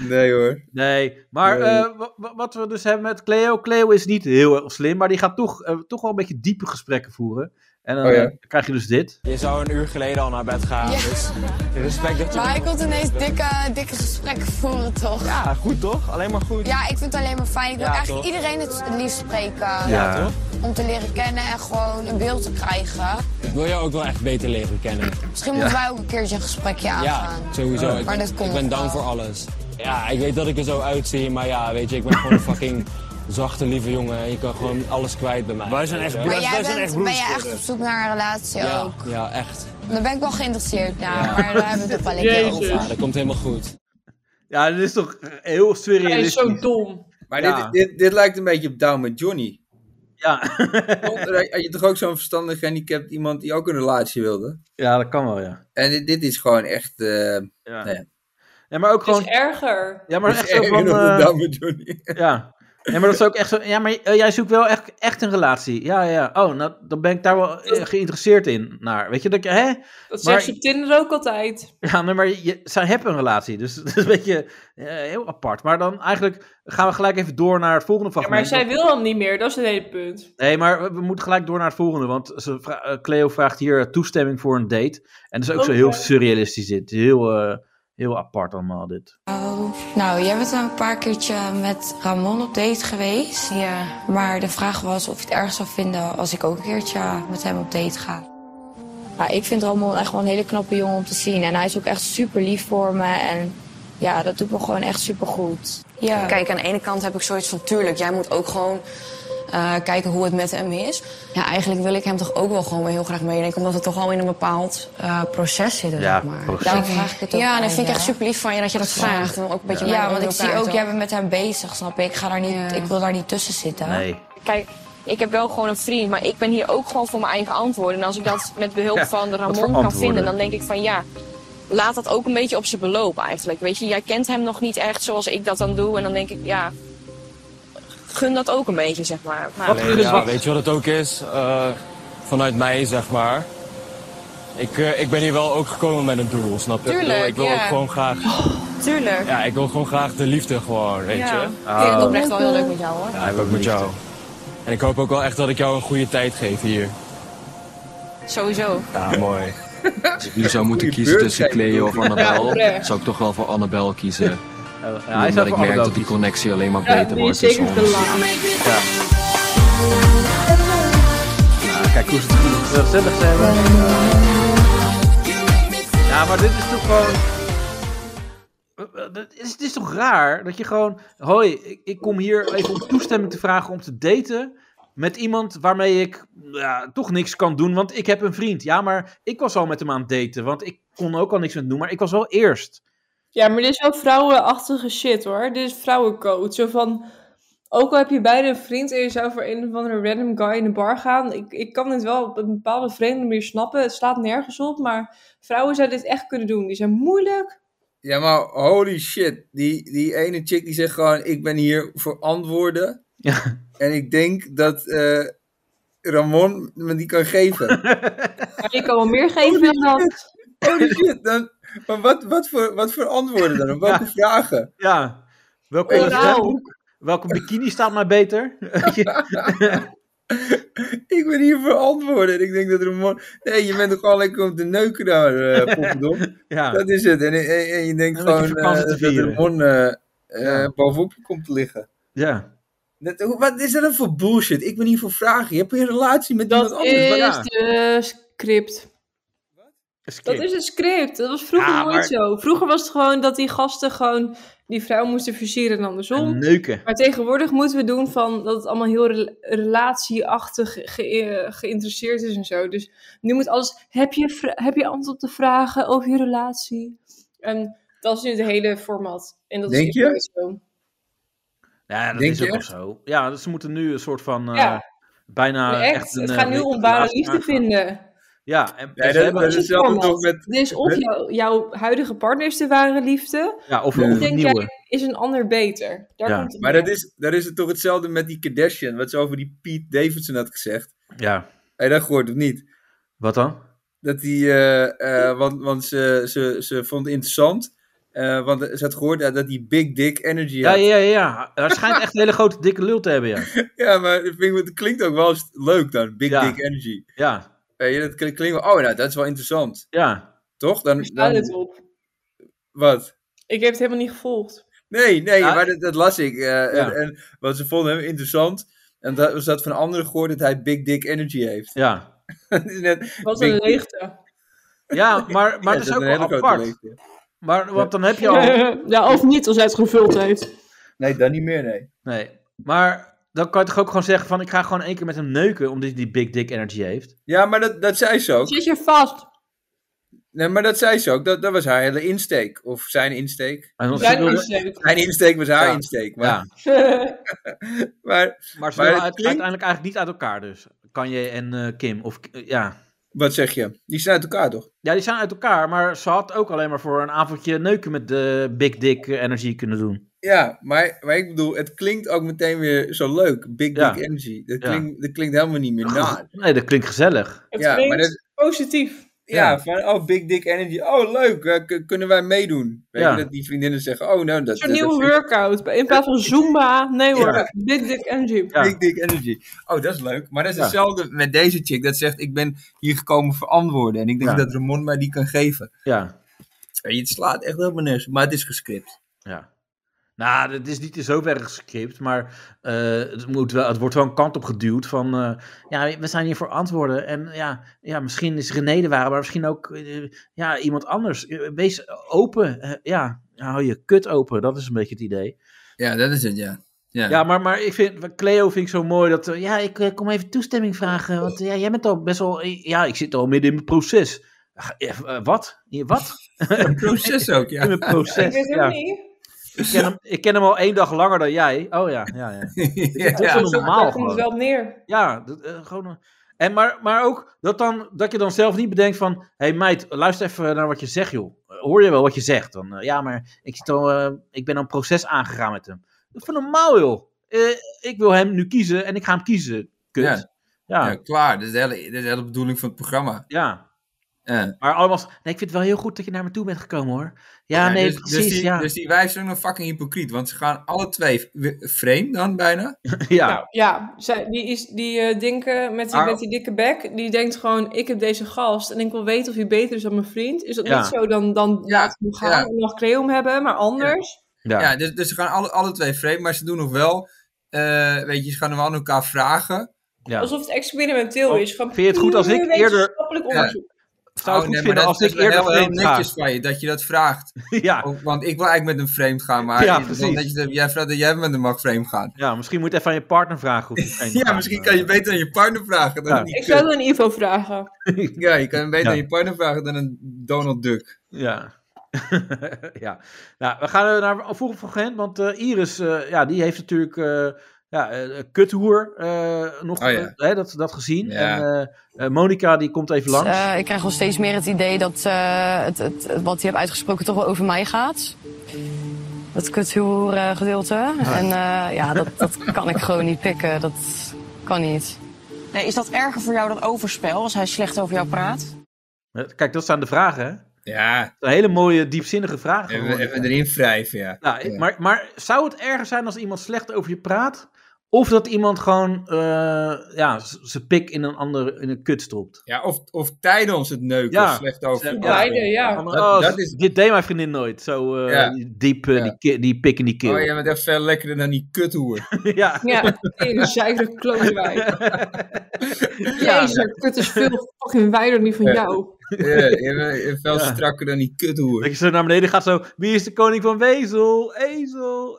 Speaker 3: Nee hoor.
Speaker 2: nee, maar
Speaker 3: Nee.
Speaker 2: eh, wa- wa- wat we dus hebben met Cleo. Cleo is niet heel erg slim, maar die gaat toch, eh, toch wel een beetje diepe gesprekken voeren. En dan
Speaker 3: Oh ja.
Speaker 2: eh, krijg je dus dit.
Speaker 7: Je zou een uur geleden al naar bed gaan.
Speaker 8: Ja.
Speaker 7: Dus respect dat je.
Speaker 8: Maar ik wil ineens dikke, dikke gesprekken voeren, toch? Ja.
Speaker 7: Ja, goed toch? Alleen maar goed.
Speaker 8: ik vind het alleen maar fijn. Ik wil
Speaker 7: Ja,
Speaker 8: eigenlijk
Speaker 7: toch?
Speaker 8: iedereen het liefst spreken.
Speaker 2: Ja.
Speaker 7: toch?
Speaker 8: Om te leren kennen en gewoon een beeld te krijgen.
Speaker 7: Ik wil jou ook wel echt beter leren kennen.
Speaker 8: Misschien moeten wij ook een keertje een gesprekje
Speaker 7: Ja,
Speaker 8: aangaan.
Speaker 7: sowieso. Ik,
Speaker 8: Maar dat komt
Speaker 7: ik ben down
Speaker 8: wel.
Speaker 7: voor alles. Ja, ik weet dat ik er zo uitzie, maar ja, weet je, ik ben gewoon een fucking zachte, lieve jongen. En je kan gewoon alles kwijt bij mij.
Speaker 9: Wij zijn echt
Speaker 7: Weet je?
Speaker 9: broers.
Speaker 8: Maar jij
Speaker 9: wij zijn echt
Speaker 8: bent, ben
Speaker 9: broers
Speaker 8: je echt op
Speaker 9: geworden.
Speaker 8: zoek naar een relatie
Speaker 7: dus- Ja,
Speaker 8: ook?
Speaker 7: ja, echt.
Speaker 8: Daar ben ik wel geïnteresseerd naar, maar daar hebben we het ook wel een keer
Speaker 4: Jezus.
Speaker 8: over.
Speaker 7: Ja, dat komt helemaal goed.
Speaker 2: Ja, dat is toch eh, heel
Speaker 4: Hij is
Speaker 2: surrealistisch.
Speaker 4: zo dom.
Speaker 3: Maar
Speaker 2: Ja.
Speaker 3: dit, dit, dit lijkt een beetje op Down met Johnny.
Speaker 2: Ja.
Speaker 3: Want er- Had je toch ook zo'n verstandig gehandicapt iemand die ook een relatie wilde?
Speaker 2: ja, dat kan wel, ja.
Speaker 3: En dit, dit is gewoon echt... eh
Speaker 2: Ja,
Speaker 3: Nee.
Speaker 2: Ja, maar ook
Speaker 4: Het is
Speaker 2: gewoon...
Speaker 4: erger.
Speaker 2: Ja, maar echt zo
Speaker 3: erger
Speaker 2: van...
Speaker 3: dan
Speaker 2: eh,
Speaker 3: Down met Johnny.
Speaker 2: Ja. Ja, maar dat is ook echt zo. Ja, maar eh, jij zoekt wel echt, echt een relatie. Ja, ja. Oh, nou, dan ben ik daar wel eh, geïnteresseerd in. Naar. Weet je, dat ik, hè?
Speaker 4: Dat
Speaker 2: Maar-
Speaker 4: zegt ze op Tinder ook altijd.
Speaker 2: Ja, nee, maar je, zij hebben een relatie. Dus dat is een beetje eh, heel apart. Maar dan eigenlijk gaan we gelijk even door naar het volgende
Speaker 4: Ja,
Speaker 2: fragment.
Speaker 4: maar zij wil hem niet meer, dat is het hele punt.
Speaker 2: Nee, maar we, we moeten gelijk door naar het volgende. Want ze vra- eh, Cleo vraagt hier eh, toestemming voor een date. En dat is ook zo heel
Speaker 4: Oké.
Speaker 2: surrealistisch dit. Heel, eh, heel apart allemaal dit.
Speaker 8: Nou, jij bent een paar keertje met Ramon op date geweest. Ja. Maar de vraag was of je het erg zou vinden als ik ook een keertje met hem op date ga. Ja, Nou, ik vind Ramon echt wel een hele knappe jongen om te zien. En hij is ook echt super lief voor me. En ja, dat doet me gewoon echt super goed. Ja.
Speaker 10: Kijk, aan de ene kant heb ik zoiets van, tuurlijk, jij moet ook gewoon eh, kijken hoe het met hem is. Ja, eigenlijk wil ik hem toch ook wel gewoon weer heel graag meenemen, omdat we toch al in een bepaald eh, proces zitten,
Speaker 2: Ja,
Speaker 10: zeg maar.
Speaker 2: proces.
Speaker 10: Daarom vraag ik het ook
Speaker 8: Ja,
Speaker 10: aan
Speaker 8: dat vind ik
Speaker 10: je.
Speaker 8: echt super
Speaker 10: lief van je dat je dat vraagt. ook een beetje
Speaker 8: Ja, want ik zie ook, jij bent met hem bezig, snap je? Ik, ga daar niet,
Speaker 10: Ja.
Speaker 8: ik wil daar niet tussen zitten.
Speaker 2: Nee.
Speaker 10: Kijk, ik heb wel gewoon een vriend, maar ik ben hier ook gewoon voor mijn eigen antwoorden. En als ik dat met behulp
Speaker 2: Ja,
Speaker 10: van
Speaker 2: wat voor
Speaker 10: Ramon kan
Speaker 2: antwoorden?
Speaker 10: vinden, dan denk ik van ja, laat dat ook een beetje op zijn beloop eigenlijk. Weet je, jij kent hem nog niet echt zoals ik dat dan doe. En dan denk ik, ja, gun dat ook een beetje, zeg maar. maar
Speaker 2: Wat
Speaker 7: Alleen,
Speaker 2: gun
Speaker 7: ja,
Speaker 2: wat?
Speaker 7: weet je wat het ook is? Eh, vanuit mij, zeg maar. Ik, eh, ik ben hier wel ook gekomen met een doel, snap je? Ik bedoel,
Speaker 10: Tuurlijk,
Speaker 7: ik wil
Speaker 10: ja.
Speaker 7: ook gewoon graag...
Speaker 10: tuurlijk.
Speaker 7: Ja, ik wil gewoon graag de liefde gewoon, weet
Speaker 10: Ja.
Speaker 7: je? Ah.
Speaker 10: Ik vind het oprecht wel heel leuk met jou hoor.
Speaker 7: Ja, ik ook met jou. En ik hoop ook wel echt dat ik jou een goede tijd geef hier.
Speaker 10: Sowieso.
Speaker 7: Ja, mooi.
Speaker 11: Als ik nu zou moeten
Speaker 3: Goeie
Speaker 11: kiezen
Speaker 3: beurt,
Speaker 11: tussen
Speaker 3: zei ik
Speaker 11: Cleo of Annabel,
Speaker 4: oprecht.
Speaker 11: zou ik toch wel voor Annabel kiezen.
Speaker 2: Eh, ja, hij
Speaker 11: omdat
Speaker 2: zou
Speaker 11: ik
Speaker 2: voor
Speaker 11: merk
Speaker 2: allebei
Speaker 11: dat die
Speaker 2: kiezen.
Speaker 11: connectie alleen maar
Speaker 4: Ja,
Speaker 11: beter
Speaker 4: die is
Speaker 11: wordt
Speaker 4: zeker
Speaker 11: tussen
Speaker 4: te
Speaker 11: ons.
Speaker 4: lang.
Speaker 2: Ja, kijk hoe ze het goed gezellig zijn. Eh, Ja, maar dit is toch gewoon... Eh, eh, dit is- Het is toch raar dat je gewoon... Hoi, ik, ik kom hier even om toestemming te vragen om te daten... Met iemand waarmee ik ja, toch niks kan doen, want ik heb een vriend. Ja, maar ik was al met hem aan het daten, want ik kon ook al niks met hem doen, maar ik was wel eerst.
Speaker 4: Ja, maar dit is wel vrouwenachtige shit hoor. Dit is vrouwencoach. Zo van, ook al heb je beide een vriend en je zou voor een of andere random guy in de bar gaan. Ik, ik kan dit wel op een bepaalde vreemde manier snappen. Het slaat nergens op, maar vrouwen zouden dit echt kunnen doen. Die zijn moeilijk.
Speaker 3: Ja, maar holy shit. Die, die ene chick die zegt gewoon, ik ben hier voor antwoorden.
Speaker 2: Ja.
Speaker 3: En ik denk dat eh, Ramon me die kan geven.
Speaker 4: Maar ik kan wel meer geven dan dat.
Speaker 3: holy shit. Oh, Dan, maar wat, wat, voor, wat voor antwoorden dan? Op welke vragen?
Speaker 2: Ja, welke,
Speaker 4: Oh, nou.
Speaker 2: zwemboek, welke bikini staat mij beter? Weet je?
Speaker 3: Ik ben hier voor antwoorden. En ik denk dat Ramon... Nee, je bent toch gewoon lekker om te neuken daar, eh poppendom.
Speaker 2: ja.
Speaker 3: Dat is het. En, en, en je denkt
Speaker 2: En dat je
Speaker 3: gewoon eh,
Speaker 2: vakantie te
Speaker 3: dat
Speaker 2: vieren.
Speaker 3: Ramon eh, eh,
Speaker 2: Ja.
Speaker 3: bovenop je komt te liggen.
Speaker 2: ja.
Speaker 3: Dat, hoe- wat is dat dan voor bullshit? Ik ben hier voor vragen. Je hebt een relatie met
Speaker 4: Dat
Speaker 3: iemand anders. maar
Speaker 4: is
Speaker 3: ja.
Speaker 4: de script. Dat
Speaker 2: Skip.
Speaker 4: is een script. Dat was vroeger
Speaker 2: Ja,
Speaker 4: nooit
Speaker 2: maar-
Speaker 4: zo. Vroeger was het gewoon dat die gasten gewoon die vrouw moesten versieren en andersom.
Speaker 2: En neuken.
Speaker 4: Maar tegenwoordig moeten we doen van dat het allemaal heel rel- relatieachtig ge- ge- geïnteresseerd is en zo. Dus nu moet alles. Heb je, vra- heb je antwoord op de vragen over je relatie? En dat is nu het hele format. En dat
Speaker 3: Denk
Speaker 4: is
Speaker 3: je?
Speaker 4: nooit zo.
Speaker 2: Ja, dat
Speaker 3: Denk
Speaker 2: is
Speaker 3: je
Speaker 2: ook wel
Speaker 3: echt?
Speaker 2: zo. Ja, dus ze moeten nu een soort van. eh,
Speaker 4: Ja.
Speaker 2: Bijna
Speaker 4: echt,
Speaker 2: echt. een,
Speaker 4: het
Speaker 2: eh,
Speaker 4: gaat nu om ware
Speaker 2: relatie
Speaker 4: liefde
Speaker 2: aangaan.
Speaker 4: vinden.
Speaker 2: Ja, en,
Speaker 3: Nee,
Speaker 2: en ze
Speaker 3: dat-
Speaker 2: hebben-
Speaker 3: dat is hetzelfde
Speaker 4: Format.
Speaker 3: toch met-
Speaker 4: Dus of
Speaker 3: met-
Speaker 4: jouw- jouw huidige partner is de ware liefde,
Speaker 2: ja, of,
Speaker 3: Ja.
Speaker 2: of
Speaker 4: Denk
Speaker 2: nieuwe.
Speaker 4: is een ander beter. Daar
Speaker 2: Ja.
Speaker 4: komt het
Speaker 3: Maar
Speaker 4: op.
Speaker 3: dat is, dat is het toch hetzelfde met die Kardashian. Wat ze over die Pete Davidson had gezegd.
Speaker 2: Ja,
Speaker 3: Heb je dat gehoord of niet?
Speaker 2: wat dan?
Speaker 3: Dat die, eh, eh, want, want ze, ze, ze vond het interessant. eh, want ze had gehoord dat dat die big dick energy
Speaker 2: Ja,
Speaker 3: had. Ja,
Speaker 2: ja, ja. ja. Hij schijnt echt een hele grote dikke lul te hebben, ja.
Speaker 3: maar dat, vind ik, dat klinkt ook wel eens leuk dan. Big
Speaker 2: Ja.
Speaker 3: dick energy.
Speaker 2: Ja,
Speaker 3: Weet je, dat klinkt klinkt wel, oh nou, dat is wel interessant.
Speaker 2: ja.
Speaker 3: Toch? Dan,
Speaker 4: Daar staat het
Speaker 3: dan,
Speaker 4: op.
Speaker 3: wat?
Speaker 4: Ik heb het helemaal niet gevolgd.
Speaker 3: Nee, nee,
Speaker 2: Ja.
Speaker 3: maar dat, dat las ik. eh, en, en, want ze vonden hem interessant. En dat was dat van anderen gehoord dat hij Big Dick Energy heeft.
Speaker 2: Ja,
Speaker 3: Het is net
Speaker 4: Wat
Speaker 3: Big
Speaker 4: een
Speaker 3: Dick.
Speaker 4: leegte.
Speaker 2: ja maar, maar het
Speaker 3: Ja, dat
Speaker 2: is ook
Speaker 3: een hele
Speaker 2: wel
Speaker 3: grote
Speaker 2: apart.
Speaker 3: leegte.
Speaker 2: Maar, want dan heb je al.
Speaker 4: ja, of niet als hij het gevuld heeft.
Speaker 3: Nee, dan niet meer, nee.
Speaker 2: Nee, maar dan kan je toch ook gewoon zeggen van ik ga gewoon één keer met hem neuken omdat hij die big dick energy heeft.
Speaker 3: Ja, maar dat, dat zei ze ook.
Speaker 4: Zit je vast?
Speaker 3: Nee, maar dat zei ze ook. Dat, dat was haar hele insteek. Of zijn insteek.
Speaker 2: En dan-
Speaker 4: Zijn
Speaker 2: ze wilde-
Speaker 4: insteek.
Speaker 3: Zijn insteek was haar
Speaker 2: Ja.
Speaker 3: insteek. Maar,
Speaker 2: Ja.
Speaker 3: maar
Speaker 2: Maar ze
Speaker 3: Maar
Speaker 2: willen
Speaker 3: het
Speaker 2: uit-
Speaker 3: klinkt-
Speaker 2: uiteindelijk eigenlijk niet uit elkaar dus. Kanye en eh, Kim. Of, eh, ja.
Speaker 3: wat zeg je? Die zijn uit elkaar toch?
Speaker 2: ja, die zijn uit elkaar, maar ze had ook alleen maar voor een avondje neuken met de big dick eh, energy kunnen doen.
Speaker 3: Ja, maar, maar ik bedoel, het klinkt ook meteen weer zo leuk. Big
Speaker 2: Ja.
Speaker 3: Dick Energy. Dat
Speaker 2: Ja.
Speaker 3: klinkt, dat klinkt helemaal niet meer na.
Speaker 2: Nee, dat klinkt gezellig.
Speaker 4: Het
Speaker 3: Ja, maar
Speaker 4: klinkt
Speaker 3: dat-
Speaker 4: positief.
Speaker 3: Ja,
Speaker 2: Ja.
Speaker 3: van oh, Big Dick Energy. Oh, leuk. eh, k- kunnen wij meedoen? Weet
Speaker 2: Ja.
Speaker 3: je, dat die vriendinnen zeggen, oh, nou, dat,
Speaker 4: Zo'n
Speaker 3: dat- dat
Speaker 4: nieuwe
Speaker 3: vind ik
Speaker 4: workout. In plaats van Zumba. Nee hoor. Big Dick Energy.
Speaker 2: Ja.
Speaker 3: Big Dick Energy. Oh, dat is leuk. Maar dat is
Speaker 2: Ja.
Speaker 3: hetzelfde met deze chick. Dat zegt, ik ben hier gekomen voor antwoorden. En ik denk
Speaker 2: Ja.
Speaker 3: dat Ramon mij die kan geven.
Speaker 2: Ja,
Speaker 3: Weet je, Het slaat echt helemaal nergens. op, Maar het is gescript.
Speaker 2: ja. Nou, het is niet in zoverre gescript, maar eh, het, moet wel, het wordt wel een kant op geduwd van... eh, ja, we zijn hier voor antwoorden en ja, ja misschien is René de ware, maar misschien ook eh, ja, iemand anders. Eh, Wees open, eh, ja, hou je kut open, dat is een beetje het idee.
Speaker 3: Ja, dat is het, ja. Ja,
Speaker 2: Ja, maar, maar ik vind, Cleo vind ik zo mooi dat, eh, ja, ik eh, kom even toestemming vragen, want eh, ja, jij bent al best wel, ja, ik zit al midden in mijn proces. Ah, eh, eh, Wat? Eh, Wat?
Speaker 3: Een proces ook, ja.
Speaker 2: In mijn
Speaker 4: Ik
Speaker 2: proces.
Speaker 4: weet
Speaker 2: Ja.
Speaker 4: helemaal niet.
Speaker 2: Ik, ken hem, ik ken hem al één dag langer dan jij. Oh ja, ja, ja.
Speaker 3: ja.
Speaker 2: is wel normaal
Speaker 4: Daar komt het
Speaker 2: gewoon.
Speaker 4: dus wel op neer.
Speaker 2: Ja, dat, eh, gewoon. een- En maar, maar ook dat, dan, dat je dan zelf niet bedenkt van: hé hey meid, luister even naar wat je zegt, joh. Eh, Hoor je wel wat je zegt? Dan, eh, ja, maar ik, zit al, eh, ik ben al een proces aangegaan met hem. Dat is van normaal, joh. Eh, ik wil hem nu kiezen en ik ga hem kiezen. Kut.
Speaker 3: Ja.
Speaker 2: Ja, ja.
Speaker 3: Ja, klaar. Dat is, de hele, dat is de hele bedoeling van het programma. Ja.
Speaker 2: Maar allemaal. Nee, ik vind het wel heel goed dat je naar me toe bent gekomen, hoor. Ja,
Speaker 3: Ja,
Speaker 2: nee,
Speaker 3: dus,
Speaker 2: precies.
Speaker 3: Dus die,
Speaker 2: ja.
Speaker 3: dus die wijven zijn ook nog fucking hypocriet. Want ze gaan alle twee w- frame dan bijna.
Speaker 2: ja.
Speaker 4: Nou ja, zij, die, is, die eh, denken met die,
Speaker 2: Maar-
Speaker 4: met die dikke bek, die denkt gewoon, ik heb deze gast en ik wil weten of hij beter is dan mijn vriend. Is dat
Speaker 2: Ja.
Speaker 4: niet zo, dan, dan
Speaker 3: Ja,
Speaker 4: laat ik hem gaan
Speaker 3: ja.
Speaker 4: en mag Cleo hem hebben, maar anders.
Speaker 2: ja.
Speaker 3: Ja, dus, dus ze gaan alle, alle twee frame. Maar ze doen nog wel... eh, weet je, ze gaan nog wel aan elkaar vragen.
Speaker 2: ja.
Speaker 4: Alsof het experimenteel
Speaker 2: Oh,
Speaker 4: is. Gewoon
Speaker 2: vind je het goed als ik
Speaker 4: puur
Speaker 2: eerder-
Speaker 4: wetenschappelijk
Speaker 3: Ja.
Speaker 4: onderzoek.
Speaker 2: Zou ik
Speaker 3: Oh,
Speaker 2: goed
Speaker 3: nee, maar
Speaker 2: vinden
Speaker 3: dat-
Speaker 2: als
Speaker 3: dat
Speaker 2: ik
Speaker 3: is wel
Speaker 2: eerder
Speaker 3: heel, heel
Speaker 2: vreemd ga.
Speaker 3: netjes van je dat je dat vraagt.
Speaker 2: Ja.
Speaker 3: Ook- want ik wil eigenlijk met een frame gaan, maar
Speaker 2: Ja,
Speaker 3: in ieder geval
Speaker 2: precies.
Speaker 3: dat je- jij vraagt dat jij met een mag frame gaan.
Speaker 2: ja, misschien moet je even aan je partner vragen. Of eh, je vreemd
Speaker 3: Ja,
Speaker 2: gaat.
Speaker 3: misschien kan je beter aan je partner vragen dan
Speaker 2: Ja.
Speaker 3: aan die
Speaker 4: Ik
Speaker 3: kut.
Speaker 4: zou het aan Ivo vragen.
Speaker 3: Ja, je kan beter
Speaker 2: Ja.
Speaker 3: aan je partner vragen dan een Donald Duck.
Speaker 2: Ja. ja. Nou, we gaan eh, naar een volgend fragment, want eh, Iris, eh, ja, die heeft natuurlijk eh ja, eh, kuthoer eh, nog
Speaker 3: Oh ja.
Speaker 2: eh, hè, dat, dat gezien.
Speaker 3: Ja.
Speaker 2: En eh, eh, Monica, die komt even langs.
Speaker 8: Eh, ik krijg wel steeds meer het idee dat eh, het, het, het- wat je hebt uitgesproken toch wel over mij gaat. Dat kuthuur eh, gedeelte. En eh, ja, dat, dat kan ik gewoon niet pikken. Dat kan niet.
Speaker 10: Nee, is dat erger voor jou, dat overspel, als hij slecht over jou praat?
Speaker 2: Eh, Kijk, dat zijn de vragen, hè?
Speaker 3: Ja,
Speaker 2: Een hele mooie, diepzinnige vragen.
Speaker 3: even,
Speaker 2: hoor ik.
Speaker 3: even erin wrijven, ja.
Speaker 2: Nou, ik-
Speaker 3: Ja.
Speaker 2: maar, maar zou het erger zijn als iemand slecht over je praat? Of dat iemand gewoon eh, ja, z- zijn pik in een ander in een kut stopt?
Speaker 3: Ja, of, of tijdens het neuken
Speaker 2: Ja.
Speaker 3: slecht over.
Speaker 2: Ja.
Speaker 4: Beide, ja.
Speaker 2: Van,
Speaker 3: dat-
Speaker 2: oh,
Speaker 3: dat is-
Speaker 2: Dit deed mijn vriendin nooit. Zo eh,
Speaker 3: Ja.
Speaker 2: diep, eh,
Speaker 3: Ja.
Speaker 2: die, ki- die pik in die keel.
Speaker 3: Oh, jij bent echt veel lekkerder dan die kuthoer.
Speaker 2: ja.
Speaker 4: Ja, een zeikere klootwijk.
Speaker 2: Ja.
Speaker 4: Jezus, kut is veel fucking wijder dan die van
Speaker 3: Ja.
Speaker 4: jou.
Speaker 3: ja, je bent veel
Speaker 2: Ja.
Speaker 3: strakker dan die kuthoer.
Speaker 2: Dat je zo naar beneden gaat, zo. Wie is de koning van Wezel? Ezel.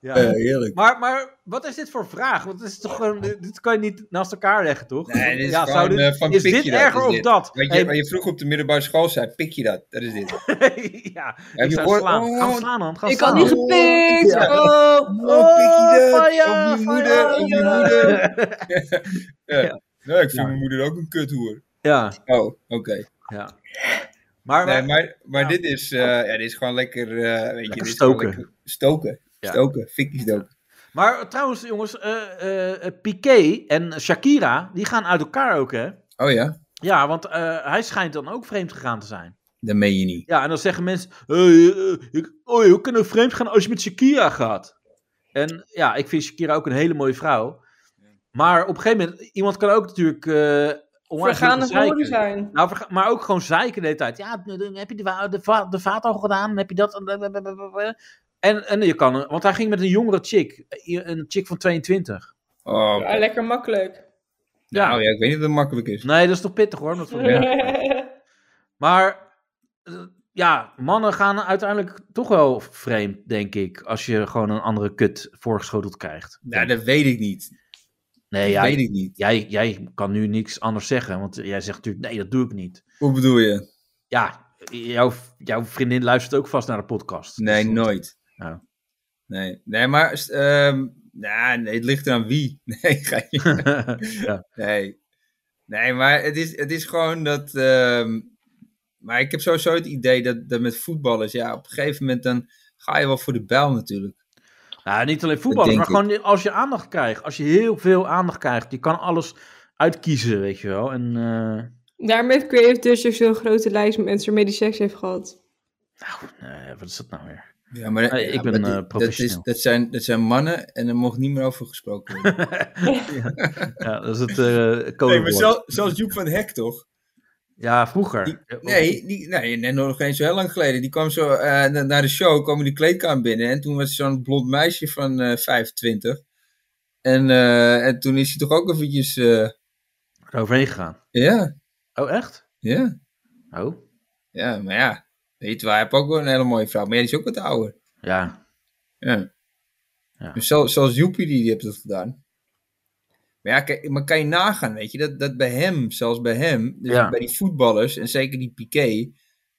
Speaker 2: ja.
Speaker 3: Ja, heerlijk.
Speaker 2: maar, maar wat is dit voor vraag? Want dit, is toch gewoon, dit dit kan je niet naast elkaar leggen, toch?
Speaker 3: Nee, dit is
Speaker 2: ja,
Speaker 3: gewoon,
Speaker 2: zou dit,
Speaker 3: eh, van
Speaker 2: is
Speaker 3: pik
Speaker 2: dit
Speaker 3: je dat,
Speaker 2: erger
Speaker 3: is
Speaker 2: of
Speaker 3: dit.
Speaker 2: dat?
Speaker 3: Weet je,
Speaker 2: Hey,
Speaker 3: waar je vroeg op de middelbare school zei, pik je dat? Dat is dit.
Speaker 2: ja,
Speaker 3: Heb
Speaker 2: ik zou
Speaker 3: je gehoord-
Speaker 2: slaan. Ga
Speaker 3: Oh,
Speaker 2: hem slaan, man. Ga hem
Speaker 4: Ik had
Speaker 2: slaan.
Speaker 4: niet gepikt.
Speaker 3: Ja.
Speaker 4: Oh,
Speaker 3: Oh, pik je dat?
Speaker 2: fire,
Speaker 3: op je
Speaker 2: fire,
Speaker 3: moeder, op je
Speaker 2: fire.
Speaker 3: moeder. ja.
Speaker 2: Ja.
Speaker 3: Nee, ik vind
Speaker 2: Ja.
Speaker 3: mijn moeder ook een kuthoer.
Speaker 2: Ja,
Speaker 3: Oh, oké.
Speaker 2: ja. Maar,
Speaker 3: Nee,
Speaker 2: maar,
Speaker 3: maar maar
Speaker 2: Ja.
Speaker 3: dit, is, eh, ja, dit is gewoon lekker... eh, weet je, dit is
Speaker 2: stoken.
Speaker 3: gewoon lekker stoken.
Speaker 2: Ja.
Speaker 3: Stoken, fikkie stoken.
Speaker 2: maar trouwens, jongens, eh eh, Piqué en Shakira, die gaan uit elkaar ook, hè?
Speaker 3: Oh ja,
Speaker 2: Ja, want eh, hij schijnt dan ook vreemd gegaan te zijn.
Speaker 3: dat meen je niet.
Speaker 2: Ja, en dan zeggen mensen, hey, eh, ik- oh, je kan ook vreemd gaan als je met Shakira gaat. En ja, ik vind Shakira ook een hele mooie vrouw. Maar op een gegeven moment, iemand kan ook natuurlijk... eh onwijs
Speaker 4: vergaande
Speaker 2: zeiken.
Speaker 4: woorden zijn.
Speaker 2: Nou, verga- maar ook gewoon zeiken de hele tijd. Ja, dan heb je de, wa- de, va- de vaat al gedaan? Heb je dat? En, en je kan... Want hij ging met een jongere chick. eh, Een chick van 22.
Speaker 3: Oh,
Speaker 4: Ja, lekker makkelijk.
Speaker 2: Ja.
Speaker 3: Nou ja, ik weet niet of dat makkelijk is.
Speaker 2: Nee, dat is toch pittig hoor. om Dat voor- Maar... eh, ja, mannen gaan uiteindelijk toch wel vreemd, denk ik. Als je gewoon een andere kut voorgeschoteld krijgt.
Speaker 3: Nou, dat weet ik niet.
Speaker 2: Nee,
Speaker 3: dat
Speaker 2: jij,
Speaker 3: weet ik niet.
Speaker 2: Jij, jij kan nu niks anders zeggen. Want jij zegt natuurlijk, nee, dat doe ik niet.
Speaker 3: Hoe bedoel je?
Speaker 2: Ja, jouw, jouw vriendin luistert ook vast naar de podcast.
Speaker 3: Nee, nooit.
Speaker 2: Nou.
Speaker 3: Nee, nee maar ehm, nou, nee, het ligt eraan wie. Nee, ga je.
Speaker 2: Ja.
Speaker 3: Nee. Nee, maar het is, het is gewoon dat. ehm, maar ik heb sowieso het idee dat, dat met voetballers, ja, op een gegeven moment dan ga je wel voor de bijl natuurlijk.
Speaker 2: Nou, niet alleen voetballers, maar
Speaker 3: denk
Speaker 2: gewoon als je aandacht krijgt. Als je heel veel aandacht krijgt. Je kan alles uitkiezen, weet je wel. En eh,
Speaker 4: Daarmee heeft Creative District zo'n grote lijst met mensen waarmee die seks heeft gehad.
Speaker 2: nee, wat is dat nou weer?
Speaker 3: Ja, maar,
Speaker 2: Nee, ik ben,
Speaker 3: maar
Speaker 2: eh,
Speaker 3: dat- dat,
Speaker 2: professioneel.
Speaker 3: dat, zijn, dat zijn mannen en er mocht niet meer over gesproken worden.
Speaker 2: Ja, dat is het eh
Speaker 3: nee, maar
Speaker 2: codewoord.
Speaker 3: zelfs, zelfs Joep van Hek toch?
Speaker 2: Ja, vroeger. Eh,
Speaker 3: Nee, die, nee, net nog eens zo heel lang geleden. Die kwam zo eh, na- naar de show, kwam in de kleedkamer binnen. En toen was er zo'n blond meisje van eh 25. En, eh, en toen is hij toch ook eventjes... eh,
Speaker 2: Overheen gegaan.
Speaker 3: ja,
Speaker 2: Oh, echt?
Speaker 3: ja,
Speaker 2: Oh,
Speaker 3: ja, maar ja. Weet je wel, hij heeft ook wel een hele mooie vrouw. Maar ja, die is ook wat ouder.
Speaker 2: ja.
Speaker 3: Ja.
Speaker 2: Ja.
Speaker 3: Dus zelfs, zelfs Joepie die, die heeft dat gedaan. Maar ja, kijk, maar kan je nagaan, weet je, dat, dat bij hem, zelfs bij hem, dus
Speaker 2: Ja.
Speaker 3: bij die voetballers, en zeker die Piqué,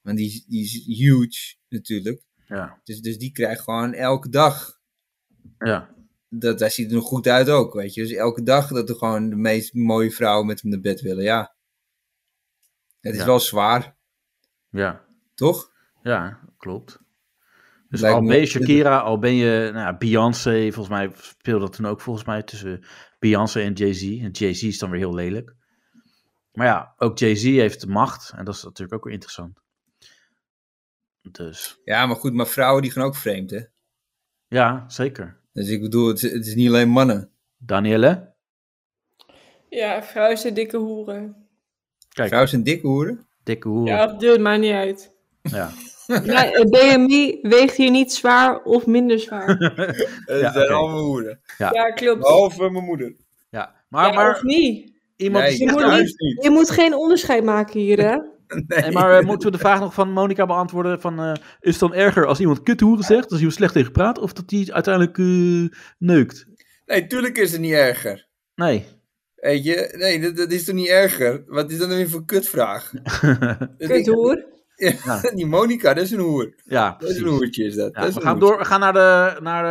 Speaker 3: want die, is- die is huge natuurlijk.
Speaker 2: Ja.
Speaker 3: Dus, dus die krijgt gewoon elke dag.
Speaker 2: Ja.
Speaker 3: Dat, daar ziet er nog goed uit ook, weet je. Dus elke dag dat er gewoon de meest mooie vrouwen met hem naar bed willen, ja. Het is
Speaker 2: Ja.
Speaker 3: wel zwaar,
Speaker 2: Ja.
Speaker 3: toch?
Speaker 2: Ja, klopt. Dus
Speaker 3: Lijkt
Speaker 2: al
Speaker 3: me-
Speaker 2: ben je Shakira, al ben je nou, ja, Beyoncé, volgens mij speelde dat toen ook volgens mij tussen Beyoncé en Jay-Z. En Jay-Z is dan weer heel lelijk. Maar ja, ook Jay-Z heeft de macht en dat is natuurlijk ook weer interessant. Dus
Speaker 3: Ja, maar goed, maar vrouwen die gaan ook vreemd, hè.
Speaker 2: ja, zeker.
Speaker 3: Dus ik bedoel, het, is- het is niet alleen mannen.
Speaker 2: Danielle?
Speaker 4: Ja, vrouwen zijn dikke hoeren.
Speaker 2: Kijk.
Speaker 3: Vrouwen zijn dikke hoeren.
Speaker 2: Dikke hoer.
Speaker 4: Ja, dat deelt mij niet uit.
Speaker 2: Ja.
Speaker 4: Ja, het BMI weegt hier niet zwaar of minder zwaar.
Speaker 3: Het
Speaker 2: Ja, zijn oké.
Speaker 3: allemaal hoeren.
Speaker 2: Ja.
Speaker 4: Ja, klopt.
Speaker 3: Behalve mijn moeder.
Speaker 2: ja. Maar,
Speaker 4: Ja, of
Speaker 2: maar
Speaker 4: niet.
Speaker 2: iemand
Speaker 3: Nee,
Speaker 2: die
Speaker 4: Je
Speaker 2: zegt
Speaker 4: moet,
Speaker 2: dan-
Speaker 3: juist
Speaker 4: niet-
Speaker 3: niet.
Speaker 4: je moet geen onderscheid maken hier, hè?
Speaker 2: Hey, maar eh, moeten we de vraag nog van Monica beantwoorden? Van, eh, is het dan erger als iemand kuthoeren zegt, als hij er slecht tegen praat, of dat hij uiteindelijk eh, neukt?
Speaker 3: Nee, tuurlijk is het niet erger.
Speaker 2: Nee.
Speaker 3: Weet je, nee, dat, dat is toch niet erger? Wat is dat dan weer voor kutvraag? Dat is-
Speaker 4: Kut hoer.
Speaker 2: Ja.
Speaker 3: Die Monica, dat is een hoer.
Speaker 2: ja,
Speaker 3: Dat is
Speaker 2: precies.
Speaker 3: een hoertje, is dat.
Speaker 2: Ja,
Speaker 3: dat is
Speaker 2: we
Speaker 3: een
Speaker 2: gaan
Speaker 3: hoertje.
Speaker 2: door, we gaan naar, de, naar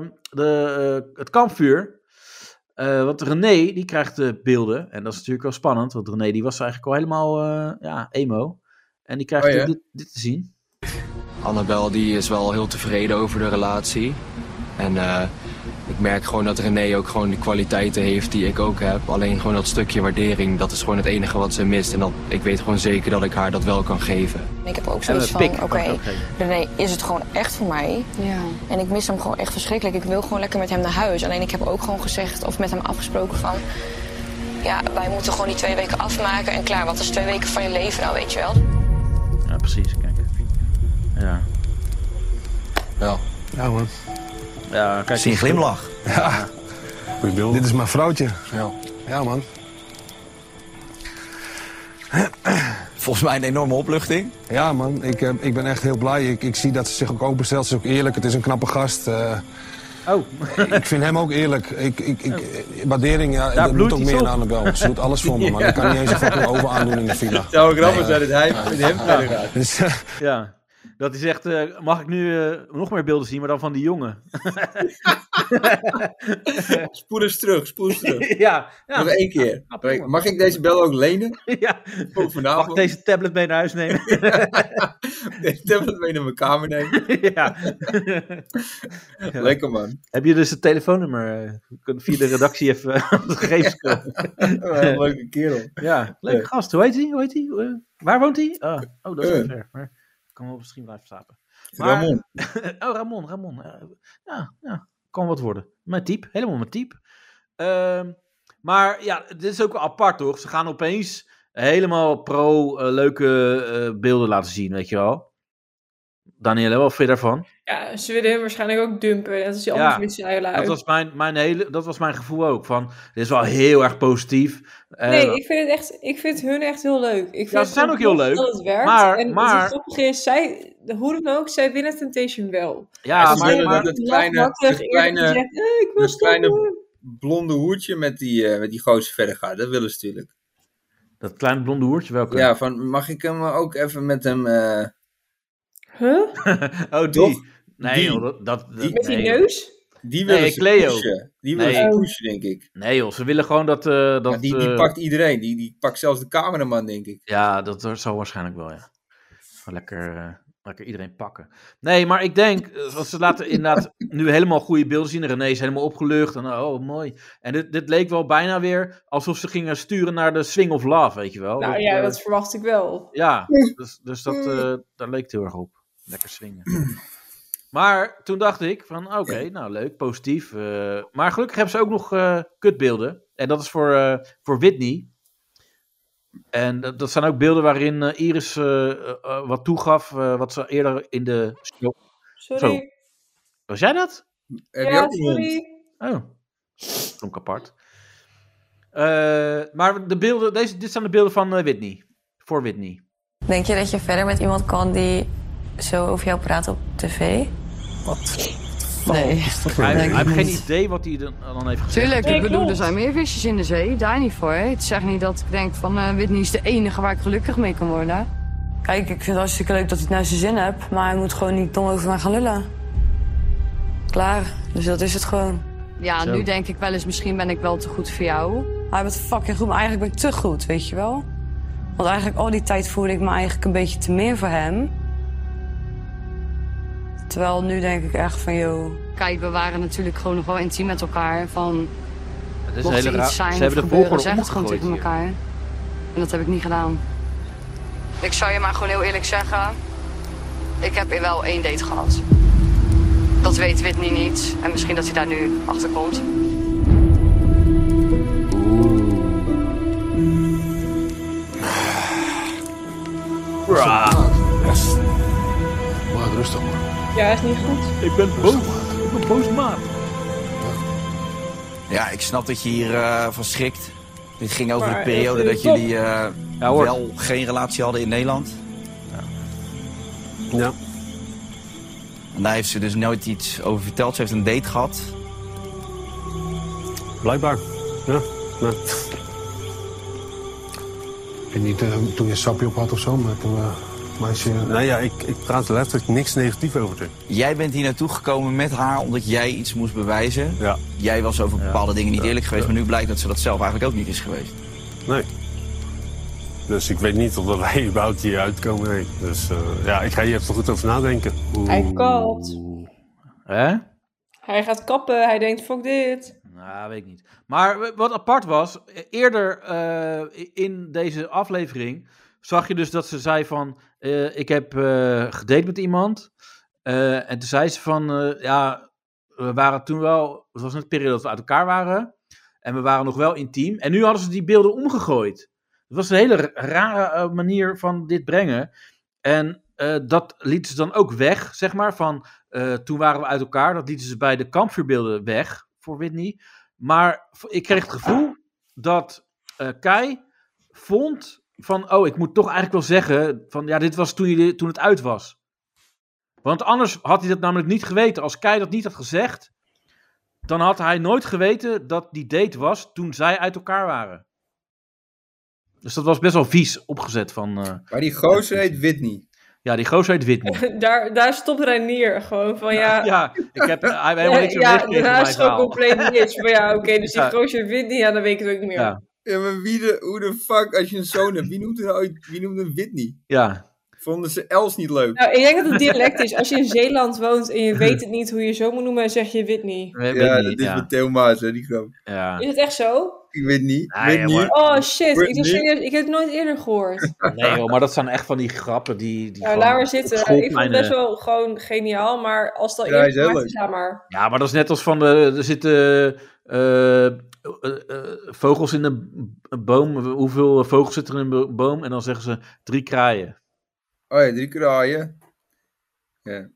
Speaker 2: de, de, eh, het kampvuur. Eh, want René, die krijgt eh, beelden. En dat is natuurlijk wel spannend, want René die was eigenlijk al helemaal eh, ja, emo. En die krijgt
Speaker 3: Oh ja.
Speaker 2: eh, dit, dit te zien.
Speaker 11: Annabel die is wel heel tevreden over de relatie. En eh, ik merk gewoon dat René ook gewoon de kwaliteiten heeft die ik ook heb. Alleen gewoon dat stukje waardering, dat is gewoon het enige wat ze mist. En dat, ik weet gewoon zeker dat ik haar dat wel kan geven.
Speaker 8: Ik heb ook
Speaker 2: En
Speaker 8: zoiets
Speaker 2: een
Speaker 8: van,
Speaker 2: pik.
Speaker 8: oké,
Speaker 2: kan ik ook geven.
Speaker 10: René, is het gewoon echt voor mij?
Speaker 8: ja.
Speaker 10: En ik mis hem gewoon echt verschrikkelijk. Ik wil gewoon lekker met hem naar huis. Alleen ik heb ook gewoon gezegd of met hem afgesproken van... Ja, wij moeten gewoon die twee weken afmaken en klaar. Wat is twee weken van je leven nou, weet je wel?
Speaker 2: Ja, precies, kijk. Ja,
Speaker 11: Ja.
Speaker 9: Ja man,
Speaker 2: ja kijk.
Speaker 12: Zie een glimlach.
Speaker 9: dit is mijn vrouwtje.
Speaker 12: Ja.
Speaker 9: Ja man.
Speaker 12: Volgens mij een enorme opluchting.
Speaker 9: Ja man, ik, eh, ik ben echt heel blij. Ik, ik zie dat ze zich ook open stelt. Ze is ook eerlijk. Het is een knappe gast. Eh,
Speaker 2: Oh,
Speaker 9: ik vind hem ook eerlijk. Ik, ik, ik, eh, waardering, ja, dat
Speaker 2: bloeit
Speaker 9: moet ook
Speaker 2: iets
Speaker 9: meer
Speaker 2: op.
Speaker 9: aan Annabel. Ze doet alles voor me man. Ik kan niet eens een fucking over aandoen in de villa.
Speaker 3: Het zou grappig zijn dat hij met hem verder gaat.
Speaker 9: Dus, eh,
Speaker 2: ja. Dat hij zegt, eh, mag ik nu eh, nog meer beelden zien, maar dan van die jongen?
Speaker 3: Spoed eens terug, spoed eens terug.
Speaker 2: ja, ja,
Speaker 3: Nog één keer. Mag ik deze bel ook lenen?
Speaker 2: ja.
Speaker 3: Voor
Speaker 2: Mag
Speaker 3: vanavond.
Speaker 2: ik deze tablet mee naar huis nemen?
Speaker 3: deze tablet mee naar mijn kamer nemen.
Speaker 2: ja.
Speaker 3: Lekker man.
Speaker 2: Heb je dus het telefoonnummer? eh, We kunnen via de redactie even eh, op de gegevens komen.
Speaker 3: Wat een leuke kerel.
Speaker 2: Ja, leuke gast. Hoe heet hij? Hoe heet hij? Eh, waar woont hij? Ah, oh, dat is wel
Speaker 3: Eh.
Speaker 2: ver. Maar ik kan wel misschien blijven slapen. Maar-
Speaker 3: Ramon.
Speaker 2: oh, Ramon, Ramon. Eh, ja, ja, kan wat worden. Mijn type, helemaal mijn type. Ehm, maar ja, dit is ook wel apart, toch? Ze gaan opeens helemaal pro eh, leuke eh, beelden laten zien, weet je wel. Danielle, wat vind je daarvan?
Speaker 4: Ja, ze willen hem waarschijnlijk ook dumpen. Net als die
Speaker 2: Ja,
Speaker 4: andere mensen
Speaker 2: Dat was mijn, mijn hele, dat was mijn gevoel ook. Van, dit is wel heel erg positief. Eh,
Speaker 4: Nee, ik vind, het echt, ik vind hun echt heel leuk. Ik vind
Speaker 2: ze
Speaker 4: het
Speaker 2: zijn
Speaker 4: gewoon
Speaker 2: ook heel
Speaker 4: tof
Speaker 2: leuk,
Speaker 4: Dat het werkt.
Speaker 2: maar-
Speaker 4: en
Speaker 2: maar-
Speaker 4: het grappige is, zij, hoe dan ook, zij winnen Temptation wel.
Speaker 2: Ja,
Speaker 4: Ze
Speaker 2: maar-
Speaker 4: zijn
Speaker 2: maar-
Speaker 4: niet
Speaker 3: dat kleine-
Speaker 4: makkelijk
Speaker 3: dat
Speaker 4: eerder
Speaker 3: kleine-
Speaker 4: gezegd, eh, ik wil
Speaker 3: Dat
Speaker 4: stoppen.
Speaker 3: kleine blonde hoertje met die, eh, met die gozer verder gaat. Dat willen ze natuurlijk.
Speaker 2: Dat kleine blonde hoertje, welke?
Speaker 3: Ja, van mag ik hem ook even met hem... eh,
Speaker 4: Huh?
Speaker 2: oh,
Speaker 3: toch?
Speaker 2: die. Nee,
Speaker 3: Die.
Speaker 2: joh, dat, dat,
Speaker 3: Die-
Speaker 4: Met die
Speaker 2: nee, joh.
Speaker 4: neus?
Speaker 3: Die willen
Speaker 2: Nee,
Speaker 3: ze
Speaker 2: Cleo.
Speaker 3: pushen. Die willen
Speaker 2: Nee.
Speaker 3: ze pushen, denk ik.
Speaker 2: Nee joh, ze willen gewoon dat... eh, dat
Speaker 3: Maar die, die
Speaker 2: eh,
Speaker 3: pakt iedereen. Die, die pakt zelfs de cameraman, denk ik.
Speaker 2: Ja, dat dat zal waarschijnlijk wel, ja. Gewoon Lekker, eh, lekker iedereen pakken. Nee, maar ik denk, eh, want ze laten inderdaad nu helemaal goede beelden zien. René is helemaal opgelucht. En, oh, mooi. En dit, dit leek wel bijna weer alsof ze gingen sturen naar de Swing of Love, weet je wel.
Speaker 4: Nou ja,
Speaker 2: eh,
Speaker 4: dat verwacht ik wel.
Speaker 2: Ja, dus, dus dat, eh, daar leek het heel erg op. Lekker swingen. Maar toen dacht ik van, oké, nou leuk, positief. eh, maar gelukkig hebben ze ook nog eh, kutbeelden. En dat is voor, eh, voor Whitney. En dat, dat zijn ook beelden waarin eh, Iris eh, eh, eh, wat toegaf, eh, wat ze eerder in de show... Zo,
Speaker 4: Sorry.
Speaker 2: was jij dat?
Speaker 3: Heb
Speaker 4: Ja, sorry.
Speaker 2: Oh, klonk apart. Eh, maar de beelden, deze, dit zijn de beelden van eh, Whitney. Voor Whitney.
Speaker 13: Denk je dat je verder met iemand kan die zo over jou praat op tv? Wat? Nee.
Speaker 2: Hij, hij heeft geen
Speaker 13: niet.
Speaker 2: idee wat hij dan, dan heeft gezegd.
Speaker 14: Tuurlijk, ik bedoel, er zijn meer visjes in de zee, daar niet voor. hè. Het zegt niet dat ik denk van eh Whitney is de enige waar ik gelukkig mee kan worden.
Speaker 13: Kijk, ik vind het hartstikke leuk dat hij het naar zijn zin hebt, maar hij moet gewoon niet dom over mij gaan lullen. Klaar, dus dat is het gewoon.
Speaker 14: Ja,
Speaker 13: Zo.
Speaker 14: nu denk ik wel eens, misschien ben ik wel te goed voor jou.
Speaker 13: Hij bent fucking goed, maar eigenlijk ben ik te goed, weet je wel? Want eigenlijk al die tijd voelde ik me eigenlijk een beetje te meer voor hem. Terwijl nu denk ik echt van, joh,
Speaker 14: Kijk, we waren natuurlijk gewoon nog wel intiem met elkaar. Van,
Speaker 2: Het is
Speaker 14: mocht er
Speaker 2: hele
Speaker 14: iets
Speaker 2: raar-
Speaker 14: zijn
Speaker 2: ze hebben
Speaker 14: of
Speaker 2: de
Speaker 14: gebeuren,
Speaker 2: volgorde
Speaker 14: zeg het gewoon
Speaker 2: omgegooid
Speaker 14: tegen elkaar. En dat heb ik niet gedaan. Ik zou je maar gewoon heel eerlijk zeggen. Ik heb wel één date gehad. Dat weet Whitney niet. En misschien dat hij daar nu achter komt.
Speaker 15: Maak rustig, man.
Speaker 4: Ja, is niet goed.
Speaker 2: Ik ben boos. Ik ben boos maat.
Speaker 12: Ja, ik snap dat je hier eh, van schrikt. Dit ging over
Speaker 4: Maar
Speaker 12: de periode
Speaker 4: het
Speaker 12: dat
Speaker 4: is top.
Speaker 12: jullie eh,
Speaker 3: É
Speaker 2: Ja, hoor.
Speaker 12: wel geen relatie hadden in Nederland. Ja. En daar heeft ze dus nooit iets over verteld. Ze heeft een date gehad.
Speaker 15: Blijkbaar. Ja. Nee.
Speaker 9: Ik weet niet eh, toen je een sapje op had of zo, maar toen eh, meisje...
Speaker 15: Nou ja, ik, ik praat er letterlijk niks negatiefs over terug.
Speaker 12: Jij bent hier naartoe gekomen met haar omdat jij iets moest bewijzen.
Speaker 15: Ja.
Speaker 12: Jij was over bepaalde dingen niet
Speaker 15: Ja.
Speaker 12: eerlijk geweest,
Speaker 15: Ja.
Speaker 12: maar nu blijkt dat ze dat zelf eigenlijk ook niet is geweest.
Speaker 15: Nee. Dus ik weet niet of dat wij überhaupt hier uitkomen. Nee. Dus eh, ja, ik ga hier even goed over nadenken.
Speaker 4: Hij kapt.
Speaker 2: Hè?
Speaker 4: Hij gaat kappen. Hij denkt, fuck dit.
Speaker 2: Nou, weet ik niet. Maar w- wat apart was, eh, eerder eh, in deze aflevering zag je dus dat ze zei van, eh, ik heb eh gedate met iemand. Eh, en toen zei ze van, eh, ja, we waren toen wel, het was net de periode dat we uit elkaar waren. En we waren nog wel intiem. En nu hadden ze die beelden omgegooid. Het was een hele ra- rare eh, manier van dit brengen. En eh, dat lieten ze dan ook weg, zeg maar. Van eh, toen waren we uit elkaar. Dat lieten ze bij de kampvuurbeelden weg voor Whitney. Maar v- ik kreeg het gevoel dat eh Kai vond van... Oh, ik moet toch eigenlijk wel zeggen van... Ja, dit was toen, jullie, toen het uit was. Want anders had hij dat namelijk niet geweten. Als Kai dat niet had gezegd... Dan had hij nooit geweten dat die date was toen zij uit elkaar waren. Dus dat was best wel vies opgezet van... eh,
Speaker 3: Maar die gozer heet Whitney.
Speaker 2: ja, die gozer heet Whitney.
Speaker 4: Daar, daar stopt Reinier gewoon van, ja...
Speaker 2: Ja, ik heb, eh, hij heeft helemaal niks meer
Speaker 4: ja,
Speaker 2: meegekregen van
Speaker 4: daarna
Speaker 2: mijn
Speaker 4: is het gewoon
Speaker 2: verhaal.
Speaker 4: compleet niks. Van ja, oké, dus die
Speaker 2: Ja.
Speaker 4: gozer wint niet, ja, dan weet ik het ook niet meer.
Speaker 2: Ja.
Speaker 3: Ja, maar wie de, hoe de fuck, als je een zoon hebt, wie noemt er nou ooit, wie noemt een Whitney?
Speaker 2: Ja.
Speaker 3: Vonden ze Els niet leuk?
Speaker 4: Nou, ik denk dat het dialect is. Als je in Zeeland woont en
Speaker 2: Mhm.
Speaker 4: je weet het niet hoe je zo moet noemen, zeg je Whitney.
Speaker 2: We- weet
Speaker 3: ja,
Speaker 2: niet,
Speaker 3: dat is
Speaker 2: ja.
Speaker 3: met Theo Maas, hè, die grap.
Speaker 2: Ja.
Speaker 4: Is het echt zo?
Speaker 3: Ik weet niet.
Speaker 2: Ah,
Speaker 3: weet
Speaker 2: ja,
Speaker 3: niet.
Speaker 2: maar-
Speaker 4: Oh shit, ik,
Speaker 3: Whitney?
Speaker 4: was serieus, ik heb het nooit eerder gehoord.
Speaker 2: Nee joh, maar dat zijn echt van die grappen die... die
Speaker 4: Nou,
Speaker 2: gewoon
Speaker 4: laat maar zitten.
Speaker 2: op
Speaker 4: Ik
Speaker 2: school
Speaker 4: vond het
Speaker 2: kleine-
Speaker 4: best wel gewoon geniaal, maar als dat
Speaker 2: Ja, hij is
Speaker 4: eerder
Speaker 2: heel
Speaker 4: gemaakt is,
Speaker 2: leuk.
Speaker 4: ja maar.
Speaker 2: Ja, maar dat is net als van de, er zitten eh, eh, eh, vogels in een b- boom. Hoeveel vogels zitten er in een bo- boom? En dan zeggen ze drie kraaien.
Speaker 3: Oh ja, drie kraaien. Ja.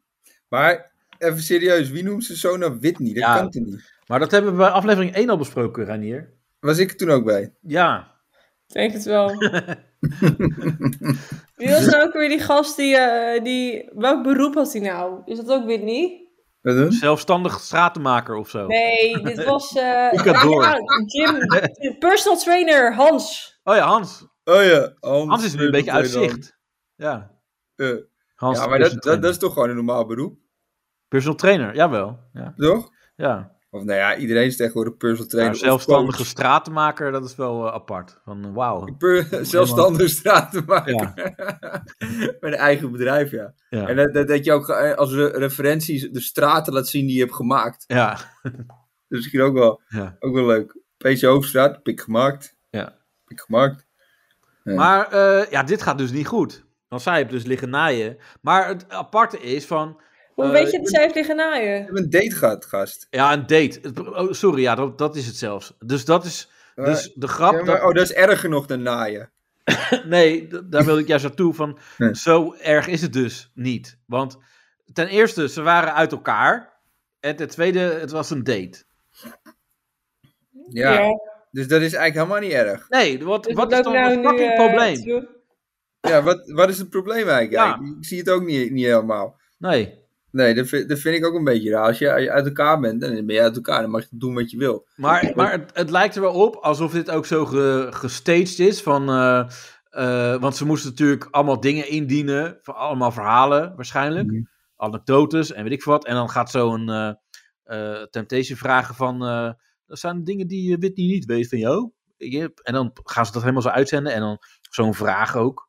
Speaker 3: Maar even serieus, wie noemt zijn zoon nou Whitney? Dat
Speaker 2: Ja.
Speaker 3: kan toch niet?
Speaker 2: Maar dat hebben we bij aflevering 1 al besproken, Ranier.
Speaker 3: Was ik er toen ook bij?
Speaker 2: Ja.
Speaker 4: Ik denk het wel. Wie was nou ook weer die gast die, eh, die... Welk beroep had hij nou? Is dat ook Whitney?
Speaker 2: Zelfstandig stratenmaker of zo.
Speaker 4: Nee, dit was... eh,
Speaker 2: Ik had door.
Speaker 4: ja, Jim, personal trainer Hans.
Speaker 2: Oh ja, Hans.
Speaker 3: Oh ja,
Speaker 2: Hans is nu een beetje uit zicht. Ja. Hans
Speaker 3: ja,
Speaker 2: de personal
Speaker 3: maar dat, dat,
Speaker 2: trainer.
Speaker 3: dat is toch gewoon een normaal beroep?
Speaker 2: Personal trainer, jawel. Ja.
Speaker 3: Toch?
Speaker 2: Ja.
Speaker 3: Of nou ja, iedereen is tegenwoordig personal trainer.
Speaker 2: Maar
Speaker 3: of
Speaker 2: zelfstandige
Speaker 3: coach.
Speaker 2: stratenmaker, dat is wel eh, apart. Van eh, wauw.
Speaker 3: Per, zelfstandige straten maken.
Speaker 2: Ja.
Speaker 3: Met een eigen bedrijf, ja.
Speaker 2: Ja.
Speaker 3: En dat, dat, dat je ook eh, als re- referentie de straten laat zien die je hebt gemaakt.
Speaker 2: Ja.
Speaker 3: Dat is misschien ook wel,
Speaker 2: Ja.
Speaker 3: ook wel leuk. Peetje Hoofdstraat, heb ik gemaakt.
Speaker 2: Ja.
Speaker 3: Heb ik gemaakt.
Speaker 2: Maar eh, ja, dit gaat dus niet goed. Want zij heeft dus liggen naaien. Maar het aparte is van...
Speaker 4: Hoe
Speaker 2: eh,
Speaker 4: weet je dat zij heeft liggen naaien?
Speaker 3: een date gehad, gast.
Speaker 2: Ja, een date. Het- oh, sorry, ja, dat, dat is het zelfs. Dus dat is... Dus de grap...
Speaker 3: Eh, Ja, maar- Oh, dat is erger nog dan naaien.
Speaker 2: nee, d- daar wilde ik juist naartoe van. Zo erg is het dus niet. Want ten eerste, ze waren uit elkaar. En ten tweede, het was een date.
Speaker 3: Ja. Dus dat is eigenlijk helemaal niet erg.
Speaker 2: Nee, wat,
Speaker 4: Dus
Speaker 2: wat
Speaker 4: dat
Speaker 2: is dan
Speaker 4: nou
Speaker 2: het
Speaker 4: nu,
Speaker 2: fucking
Speaker 4: eh,
Speaker 2: probleem?
Speaker 4: te doen?
Speaker 3: Ja, wat, wat is het probleem eigenlijk? Ja, Ik, ik zie het ook niet, niet helemaal.
Speaker 2: Nee.
Speaker 3: Nee, dat vind, dat vind ik ook een beetje raar. Als je als je uit elkaar bent, dan ben je uit elkaar. Dan mag je doen wat je wil.
Speaker 2: Maar, maar het, het lijkt er wel op alsof dit ook zo ge, gestaged is. Van, eh, eh, want ze moesten natuurlijk allemaal dingen indienen. Van allemaal verhalen waarschijnlijk. Anekdotes en weet ik wat. En dan gaat zo'n eh eh, Temptation vragen van... eh, dat zijn dingen die eh, Whitney niet weet van jou. Je- En dan gaan ze dat helemaal zo uitzenden. En dan zo'n vraag ook.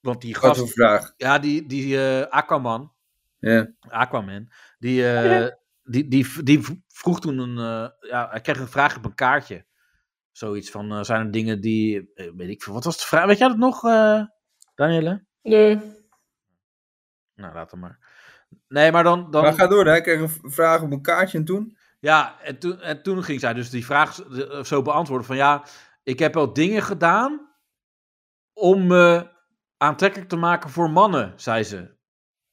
Speaker 2: Want die
Speaker 3: Wat
Speaker 2: gast...
Speaker 3: een vraag.
Speaker 2: Ja, die, die eh, Aquaman.
Speaker 3: Ja.
Speaker 2: Aquaman. Die, eh, die, die, die vroeg toen een. eh, ja, hij kreeg een vraag op een kaartje. Zoiets van: eh, zijn er dingen die. eh, weet ik veel. Wat was de vraag? Weet jij dat nog, eh Danielle?
Speaker 4: Nee.
Speaker 2: Nou, laat hem maar. Nee, maar dan. dan
Speaker 3: Maar ga door, hè. Ik kreeg een v- vraag op een kaartje en toen.
Speaker 2: Ja, en toen, en toen ging zij dus die vraag z- eh, zo beantwoorden: van ja, ik heb wel dingen gedaan. om me aantrekkelijk te maken voor mannen, zei ze.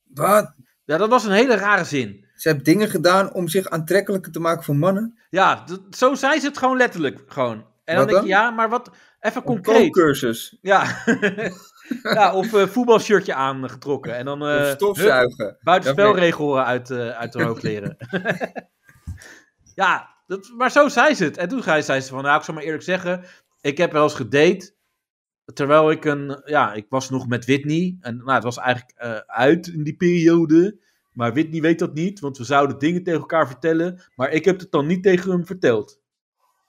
Speaker 3: Wat?
Speaker 2: Ja, dat was een hele rare zin.
Speaker 3: Ze hebben dingen gedaan om zich aantrekkelijker te maken voor mannen.
Speaker 2: Ja, d- zo zei ze het gewoon letterlijk. Gewoon. En dan
Speaker 3: Wat
Speaker 2: denk je,
Speaker 3: dan?
Speaker 2: ja, maar wat. Even concreet.
Speaker 3: Kookcursus.
Speaker 2: Ja. ja, of eh, voetbalshirtje aangetrokken. En dan. eh,
Speaker 3: Of stofzuigen.
Speaker 2: hup, Buitenspelregel
Speaker 3: Dat
Speaker 2: uit, eh, uit de hoofd leren. ja, dat, maar zo zei ze het. En toen zei zei ze van, nou, ik zal maar eerlijk zeggen. Ik heb wel eens gedate. Terwijl ik een. Ja, ik was nog met Whitney. En nou, het was eigenlijk eh, uit in die periode. Maar Whitney weet dat niet, want we zouden dingen tegen elkaar vertellen. Maar ik heb het dan niet tegen hem verteld.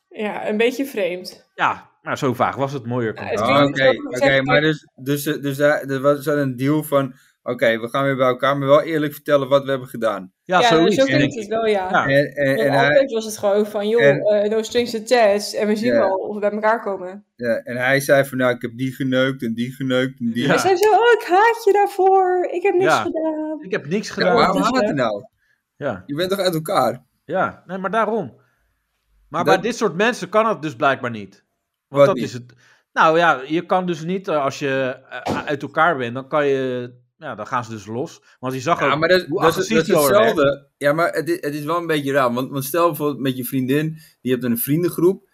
Speaker 4: Ja, een beetje vreemd.
Speaker 2: Ja, maar zo vaag was het mooier. kan
Speaker 4: het
Speaker 2: het.
Speaker 4: klinkt-
Speaker 3: Oh, Oké, oké, maar dus, dus, eh, dus daar, er was er een deal van... Oké, we gaan weer bij elkaar, maar wel eerlijk vertellen wat we hebben gedaan.
Speaker 4: Ja, zo klinkt het wel, ja.
Speaker 3: En, en,
Speaker 4: Want
Speaker 3: en, hij,
Speaker 4: altijd was het gewoon van, joh,
Speaker 3: en-
Speaker 4: eh, no strings attached. En we zien
Speaker 3: Ja.
Speaker 4: wel of we bij elkaar komen.
Speaker 3: ja, en hij zei van, nou, ik heb die geneukt en die geneukt en die...
Speaker 4: En zij zo, oh, ik haat je daarvoor. Ik heb niks
Speaker 3: Ja.
Speaker 4: gedaan.
Speaker 2: Ik heb niks
Speaker 3: Ja,
Speaker 2: gedaan.
Speaker 3: waarom haat hij nou?
Speaker 2: Ja.
Speaker 3: Je bent toch uit elkaar?
Speaker 2: Ja, nee, maar daarom. Maar
Speaker 3: Dat-
Speaker 2: bij dit soort mensen kan het dus blijkbaar niet. Want dat
Speaker 3: niet?
Speaker 2: is het. Nou ja, je kan dus niet eh, als je eh, uit elkaar bent, dan kan je. Ja, dan gaan ze dus los. Want je zag
Speaker 3: Ja,
Speaker 2: ook
Speaker 3: maar dat,
Speaker 2: hoe
Speaker 3: dat, is,
Speaker 2: agressief
Speaker 3: dat is
Speaker 2: die al werd.
Speaker 3: hetzelfde. Ja, maar het is, het is wel een beetje raar. Want, want stel bijvoorbeeld met je vriendin, die hebt een vriendengroep.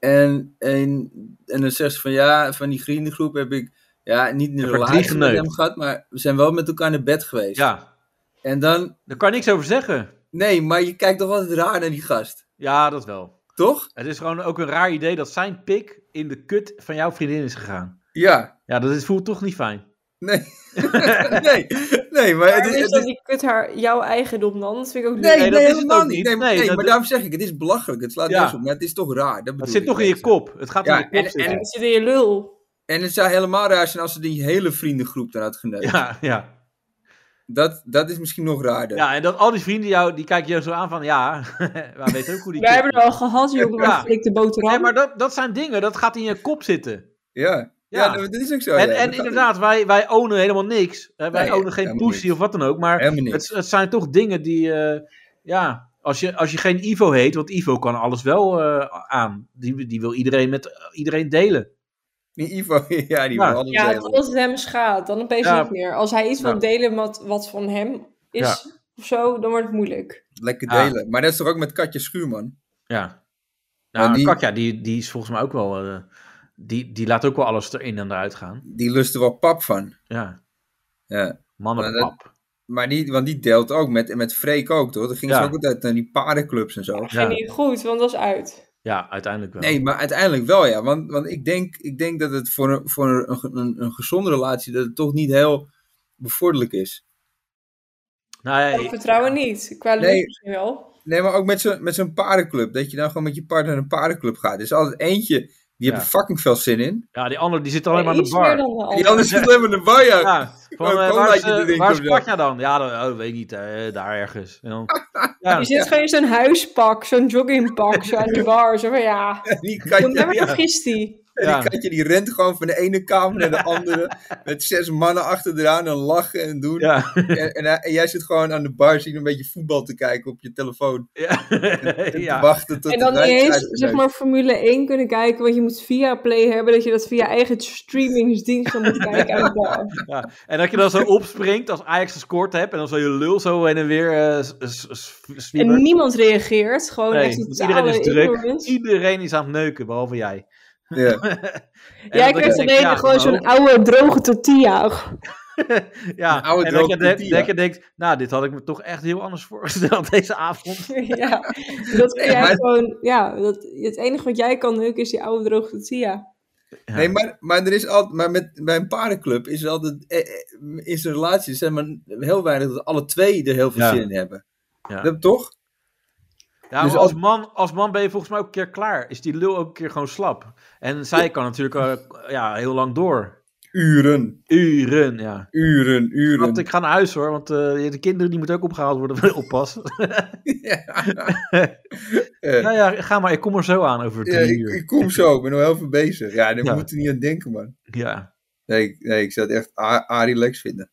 Speaker 3: En, en, en dan zegt ze van ja, van die vriendengroep heb ik ja, niet een
Speaker 2: Heb er drie
Speaker 3: relatie met
Speaker 2: geneukt.
Speaker 3: hem gehad, maar we zijn wel met elkaar naar bed geweest.
Speaker 2: Ja.
Speaker 3: En dan.
Speaker 2: Daar kan je niks over zeggen.
Speaker 3: Nee, maar je kijkt toch altijd raar naar die gast.
Speaker 2: Ja, dat wel.
Speaker 3: Toch?
Speaker 2: Het is gewoon ook een raar idee dat zijn pik in de kut van jouw vriendin is gegaan.
Speaker 3: Ja.
Speaker 2: Ja, dat is, voelt toch niet fijn.
Speaker 3: nee, nee, maar het
Speaker 4: En
Speaker 3: is.
Speaker 4: is
Speaker 3: het is-
Speaker 4: dat dus die kut haar, jouw eigendom dan? Dat vind ik ook
Speaker 3: Nee, nee,
Speaker 4: niet.
Speaker 3: helemaal niet. Nee, maar- nee, maar daarom zeg ik, het is belachelijk. Het slaat
Speaker 2: Ja.
Speaker 3: nergens op, maar het is toch raar. Dat, bedoel
Speaker 2: zit
Speaker 3: ik,
Speaker 2: toch in je
Speaker 3: weet
Speaker 2: kop. Het gaat in je kop
Speaker 3: en-
Speaker 2: zitten.
Speaker 3: en-
Speaker 4: Het zit in je lul.
Speaker 3: En het zou helemaal raar zijn als ze die hele vriendengroep dan had geneukt.
Speaker 2: Ja, ja.
Speaker 3: Dat, dat is misschien nog raarder.
Speaker 2: Ja, en dat al die vrienden jou, die kijken jou zo aan van, ja, we weten ook hoe die...
Speaker 4: Wij hebben er al gehad, jongen,
Speaker 2: Ja.
Speaker 4: maar flik de boterham.
Speaker 2: Nee, maar dat, dat zijn dingen, dat gaat in je kop zitten.
Speaker 3: Ja,
Speaker 2: ja,
Speaker 3: dat is ook zo.
Speaker 2: En,
Speaker 3: ja.
Speaker 2: en
Speaker 3: Dat gaat-
Speaker 2: inderdaad, wij, wij ownen helemaal niks. Hè, wij
Speaker 3: Nee,
Speaker 2: ownen geen
Speaker 3: helemaal
Speaker 2: pussy of wat dan ook, maar het, het zijn toch dingen die, eh, ja, als je, als je geen Ivo heet, want Ivo kan alles wel eh, aan. Die, die wil iedereen met eh, iedereen delen.
Speaker 3: Die Ivo, ja, die
Speaker 2: Ja.
Speaker 3: wil alles
Speaker 4: Ja,
Speaker 3: delen.
Speaker 4: tot als het hem schaadt, dan opeens
Speaker 3: Ja.
Speaker 4: niet meer. Als hij iets
Speaker 3: Ja.
Speaker 4: wil delen wat, wat van hem is
Speaker 3: Ja.
Speaker 4: of zo, dan wordt het moeilijk.
Speaker 3: Lekker
Speaker 2: Ja.
Speaker 3: delen. Maar dat is toch ook met Katje Schuurman?
Speaker 2: Ja.
Speaker 3: En
Speaker 2: Nou,
Speaker 3: die-
Speaker 2: Katja, die, die is volgens mij ook wel... eh, die, die laat ook wel alles erin en eruit gaan.
Speaker 3: Die lust er wel pap van.
Speaker 2: Ja.
Speaker 3: Ja.
Speaker 2: Mannenpap.
Speaker 3: Maar, dat- maar die, want die deelt ook met, met Freek ook, toch? Dan gingen
Speaker 2: Ja.
Speaker 3: ze ook altijd naar die paardenclubs en zo.
Speaker 4: Ging niet goed, want dat is uit.
Speaker 2: Ja, uiteindelijk wel.
Speaker 3: Nee, maar uiteindelijk wel, ja. Want, want ik, denk, ik denk dat het voor, een, voor een, een, een gezonde relatie... dat het toch niet heel bevorderlijk is.
Speaker 2: Nou,
Speaker 4: Qua vertrouwen niet. Qua liefde
Speaker 3: Nee.
Speaker 4: misschien wel.
Speaker 3: Nee, maar ook met zo'n met zo'n paardenclub. Dat je dan gewoon met je partner naar een paardenclub gaat. Er is altijd eentje, die heeft
Speaker 2: Ja.
Speaker 3: er fucking veel zin in.
Speaker 2: Ja, die andere die zit alleen
Speaker 3: Nee,
Speaker 2: maar aan de
Speaker 3: iets
Speaker 2: bar.
Speaker 3: meer dan
Speaker 4: Oh,
Speaker 3: de Die andere zit alleen maar aan de bar, ja.
Speaker 2: van,
Speaker 3: Gewoon
Speaker 2: eh,
Speaker 3: een
Speaker 2: waar is,
Speaker 3: colaatje
Speaker 2: eh,
Speaker 3: drinken
Speaker 2: waar is
Speaker 3: of zo.
Speaker 2: Katja dan? Ja, dat oh, weet ik niet. eh, daar ergens. En dan, ja.
Speaker 4: je zit gewoon in zo'n huispak, zo'n joggingpak, zo aan die bar. Zo van ja,
Speaker 3: Die
Speaker 4: moet
Speaker 3: katje,
Speaker 4: never
Speaker 3: ja.
Speaker 4: vergist die.
Speaker 2: Ja.
Speaker 3: die katje die rent gewoon van de ene kamer naar de andere. met zes mannen achter eraan en lachen en doen. En, en, hij- en jij zit gewoon aan de bar zien een beetje voetbal te kijken op je telefoon. En te
Speaker 2: ja.
Speaker 3: wachten tot
Speaker 4: En dan
Speaker 3: de
Speaker 4: niet eens
Speaker 3: wedstrijd
Speaker 4: zeg
Speaker 3: is.
Speaker 4: maar Formule 1 kunnen kijken, want je moet via Play hebben, dat je dat via eigen streamingsdienst dan moet kijken aan de bar.
Speaker 2: Ja. En dat je dan zo opspringt als Ajax gescoord hebt. En dan zo je lul zo heen en weer eh, s- s- s- zwiepen.
Speaker 4: En niemand reageert, gewoon
Speaker 2: Nee,
Speaker 4: echt
Speaker 2: want
Speaker 4: totale
Speaker 2: iedereen is druk.
Speaker 4: ignorance.
Speaker 2: Iedereen is aan het neuken, behalve jij.
Speaker 3: Ja.
Speaker 4: Jij krijgt
Speaker 2: dan
Speaker 4: alleen gewoon zo'n oude droge tortilla.
Speaker 2: ja,
Speaker 4: oude
Speaker 2: en dat je,
Speaker 4: droge
Speaker 2: de-
Speaker 4: tortilla.
Speaker 2: dat je denkt, nou, dit had ik me toch echt heel anders voorgesteld deze avond.
Speaker 4: ja, dat kun
Speaker 2: Nee,
Speaker 4: jij
Speaker 2: maar-
Speaker 4: gewoon, ja, dat, het enige wat jij kan neuken is die oude droge tortilla.
Speaker 3: Nee, maar, maar, er is altijd, maar met, bij een paardenclub is er altijd. eh, eh, is de relatie zeg maar, heel weinig dat alle twee er heel veel
Speaker 2: Ja.
Speaker 3: zin in hebben.
Speaker 2: Ja.
Speaker 3: Dat, toch?
Speaker 2: Ja,
Speaker 3: Dus
Speaker 2: maar als,
Speaker 3: als-
Speaker 2: man, als man ben je volgens mij ook een keer klaar. Is die lul ook een keer gewoon slap. En zij kan natuurlijk eh, ja, heel lang door.
Speaker 3: Uren.
Speaker 2: Uren, ja.
Speaker 3: Uren, uren.
Speaker 2: Want ik ga naar huis hoor, want eh, de kinderen die moeten ook opgehaald worden van de oppas. nou ja, ga maar, ik kom er zo aan over
Speaker 3: Eh, Ja,
Speaker 2: drie
Speaker 3: ik,
Speaker 2: uur.
Speaker 3: ik kom zo, ik ben nog heel veel bezig. Ja, daar
Speaker 2: Ja.
Speaker 3: moet je niet aan denken, man.
Speaker 2: Ja.
Speaker 3: Nee, ik, nee, ik zou het echt a, a relax vinden.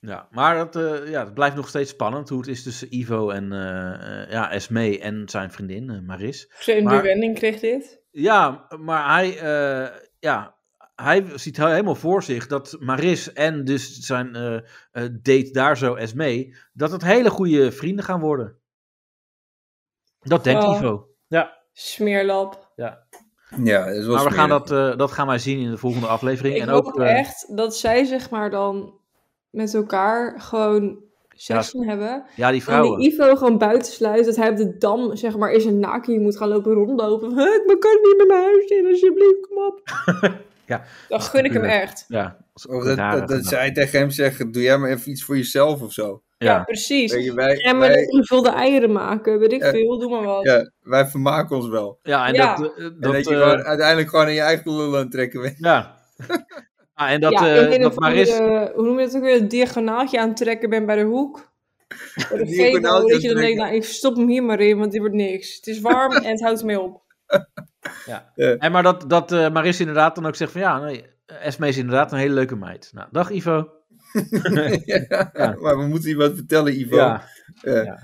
Speaker 2: Ja, maar dat, eh, ja, het blijft nog steeds spannend hoe het is tussen Ivo en eh, eh, ja, Esme en zijn vriendin eh, Maris.
Speaker 4: Vreemde
Speaker 2: Maar-
Speaker 4: wending kreeg dit.
Speaker 2: Ja, maar hij, eh, ja, hij ziet he- helemaal voor zich dat Maris en dus zijn eh, eh, date daar zo Esme, dat het hele goede vrienden gaan worden. Dat denkt
Speaker 4: Oh.
Speaker 2: Ivo. Ja.
Speaker 4: Smeerlap.
Speaker 2: Ja.
Speaker 3: Ja, dat is wel
Speaker 2: maar we gaan
Speaker 3: smerig.
Speaker 2: dat, eh, dat gaan wij zien in de volgende aflevering.
Speaker 4: Ik
Speaker 2: en
Speaker 4: hoop
Speaker 2: ook, eh,
Speaker 4: echt dat zij zeg maar dan met elkaar gewoon seks
Speaker 2: Ja,
Speaker 4: gaan hebben.
Speaker 2: ja, die
Speaker 4: En
Speaker 2: vrouwen.
Speaker 4: die Ivo gewoon buiten sluit, dat hij op de dam zeg maar in zijn naki moet gaan lopen rondlopen. Huh, ik kan niet met mijn huis in, alsjeblieft, kom op.
Speaker 2: ja,
Speaker 4: Dan gun ik hem echt.
Speaker 2: Ja.
Speaker 3: Of dat, dat, dat zij tegen hem zeggen: doe jij maar even iets voor jezelf of zo.
Speaker 4: Ja, precies.
Speaker 3: Weet je, wij,
Speaker 4: en maar
Speaker 3: wij-
Speaker 4: gevulde eieren maken, weet ik
Speaker 3: Ja.
Speaker 4: veel, doe maar wat.
Speaker 3: ja, wij vermaken ons wel.
Speaker 2: Ja, en
Speaker 4: Ja.
Speaker 2: dat... eh,
Speaker 3: En
Speaker 2: dat,
Speaker 3: dat je
Speaker 2: eh,
Speaker 3: gewoon uiteindelijk gewoon in je eigen lul aan het trekken bent.
Speaker 2: Ja. Ah, en dat,
Speaker 4: ja,
Speaker 2: eh,
Speaker 4: en in
Speaker 2: dat
Speaker 4: een
Speaker 2: Maris...
Speaker 4: verkeerde- hoe noem je dat ook weer, een diagonaaltje aantrekken ben bij de hoek. Bij de
Speaker 3: Diagonaaltje
Speaker 4: veto, dat je dan denkt,
Speaker 3: aantrekken.
Speaker 4: nou, ik stop hem hier maar in, want dit wordt niks. Het is warm en het houdt mee op.
Speaker 2: Ja. En maar dat, dat eh, Maris inderdaad dan ook zegt van ja, nee, Esme is inderdaad een hele leuke meid. Nou, dag Ivo.
Speaker 3: Ja, Maar we moeten je wat vertellen, Ivo.
Speaker 2: Ja.
Speaker 3: Eh,
Speaker 2: Ja.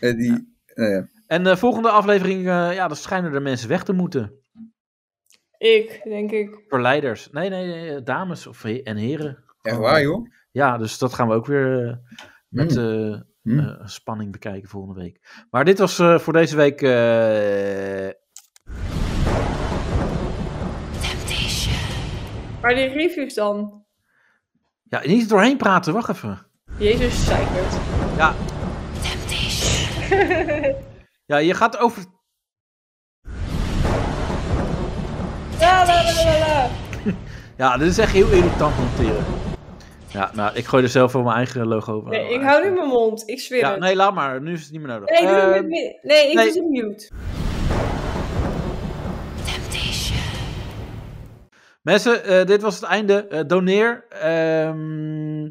Speaker 3: En die, nou ja.
Speaker 2: En de volgende aflevering, eh, ja, dan schijnen er mensen weg te moeten.
Speaker 4: Ik, denk ik.
Speaker 2: Verleiders. Nee, nee, nee, eh, dames of he- en heren.
Speaker 3: Echt waar, joh?
Speaker 2: Ja, dus dat gaan we ook weer eh, met eh, eh, spanning bekijken volgende week. Maar dit was eh, voor deze week eh,
Speaker 4: Maar die reviews dan?
Speaker 2: Ja, niet doorheen praten, wacht even.
Speaker 4: Jezus, zeikert.
Speaker 2: Ja. Ja, je gaat over.
Speaker 4: La, la, la, la, la.
Speaker 2: Ja, dit is echt heel irritant monteren. Ja, nou, ik gooi er zelf wel mijn eigen logo over.
Speaker 4: Nee, ik hou nu mijn mond, ik zweer
Speaker 2: Oh, ja,
Speaker 4: het.
Speaker 2: nee, laat maar. Nu is het niet meer nodig.
Speaker 4: Nee, ik doe het
Speaker 2: Eh,
Speaker 4: met mi- Nee, ik
Speaker 2: nee.
Speaker 4: doe het mute.
Speaker 2: Mensen, eh, dit was het einde. Eh, doneer. Ehm,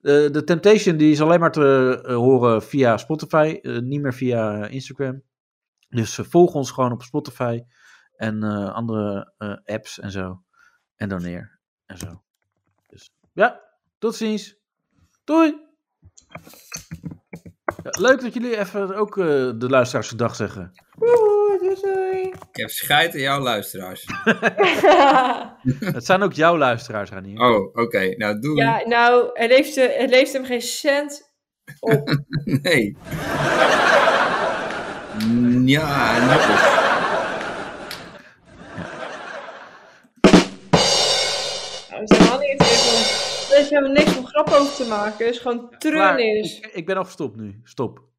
Speaker 2: de, de Temptation die is alleen maar te eh, horen via Spotify, eh, niet meer via eh, Instagram. Dus eh, volg ons gewoon op Spotify en eh, andere eh, apps en zo. En doneer en zo. Dus ja, tot ziens. Doei! Ja, leuk dat jullie even ook eh, de luisteraars gedag zeggen.
Speaker 4: Woehoe, doei, doei.
Speaker 3: Ik heb scheid aan jouw luisteraars.
Speaker 2: Het zijn ook jouw luisteraars, Ranier.
Speaker 3: Oh, oké. Nou, doe.
Speaker 4: Ja, nou, het leeft, eh, het leeft hem geen cent.
Speaker 3: Nee. Mm, Ja, nou goed.
Speaker 4: Nou, dat is helemaal niet. Er is helemaal niks om grap over te maken. Het is gewoon
Speaker 2: Maar
Speaker 4: treurnis.
Speaker 2: ik, ik ben al gestopt nu. Stop.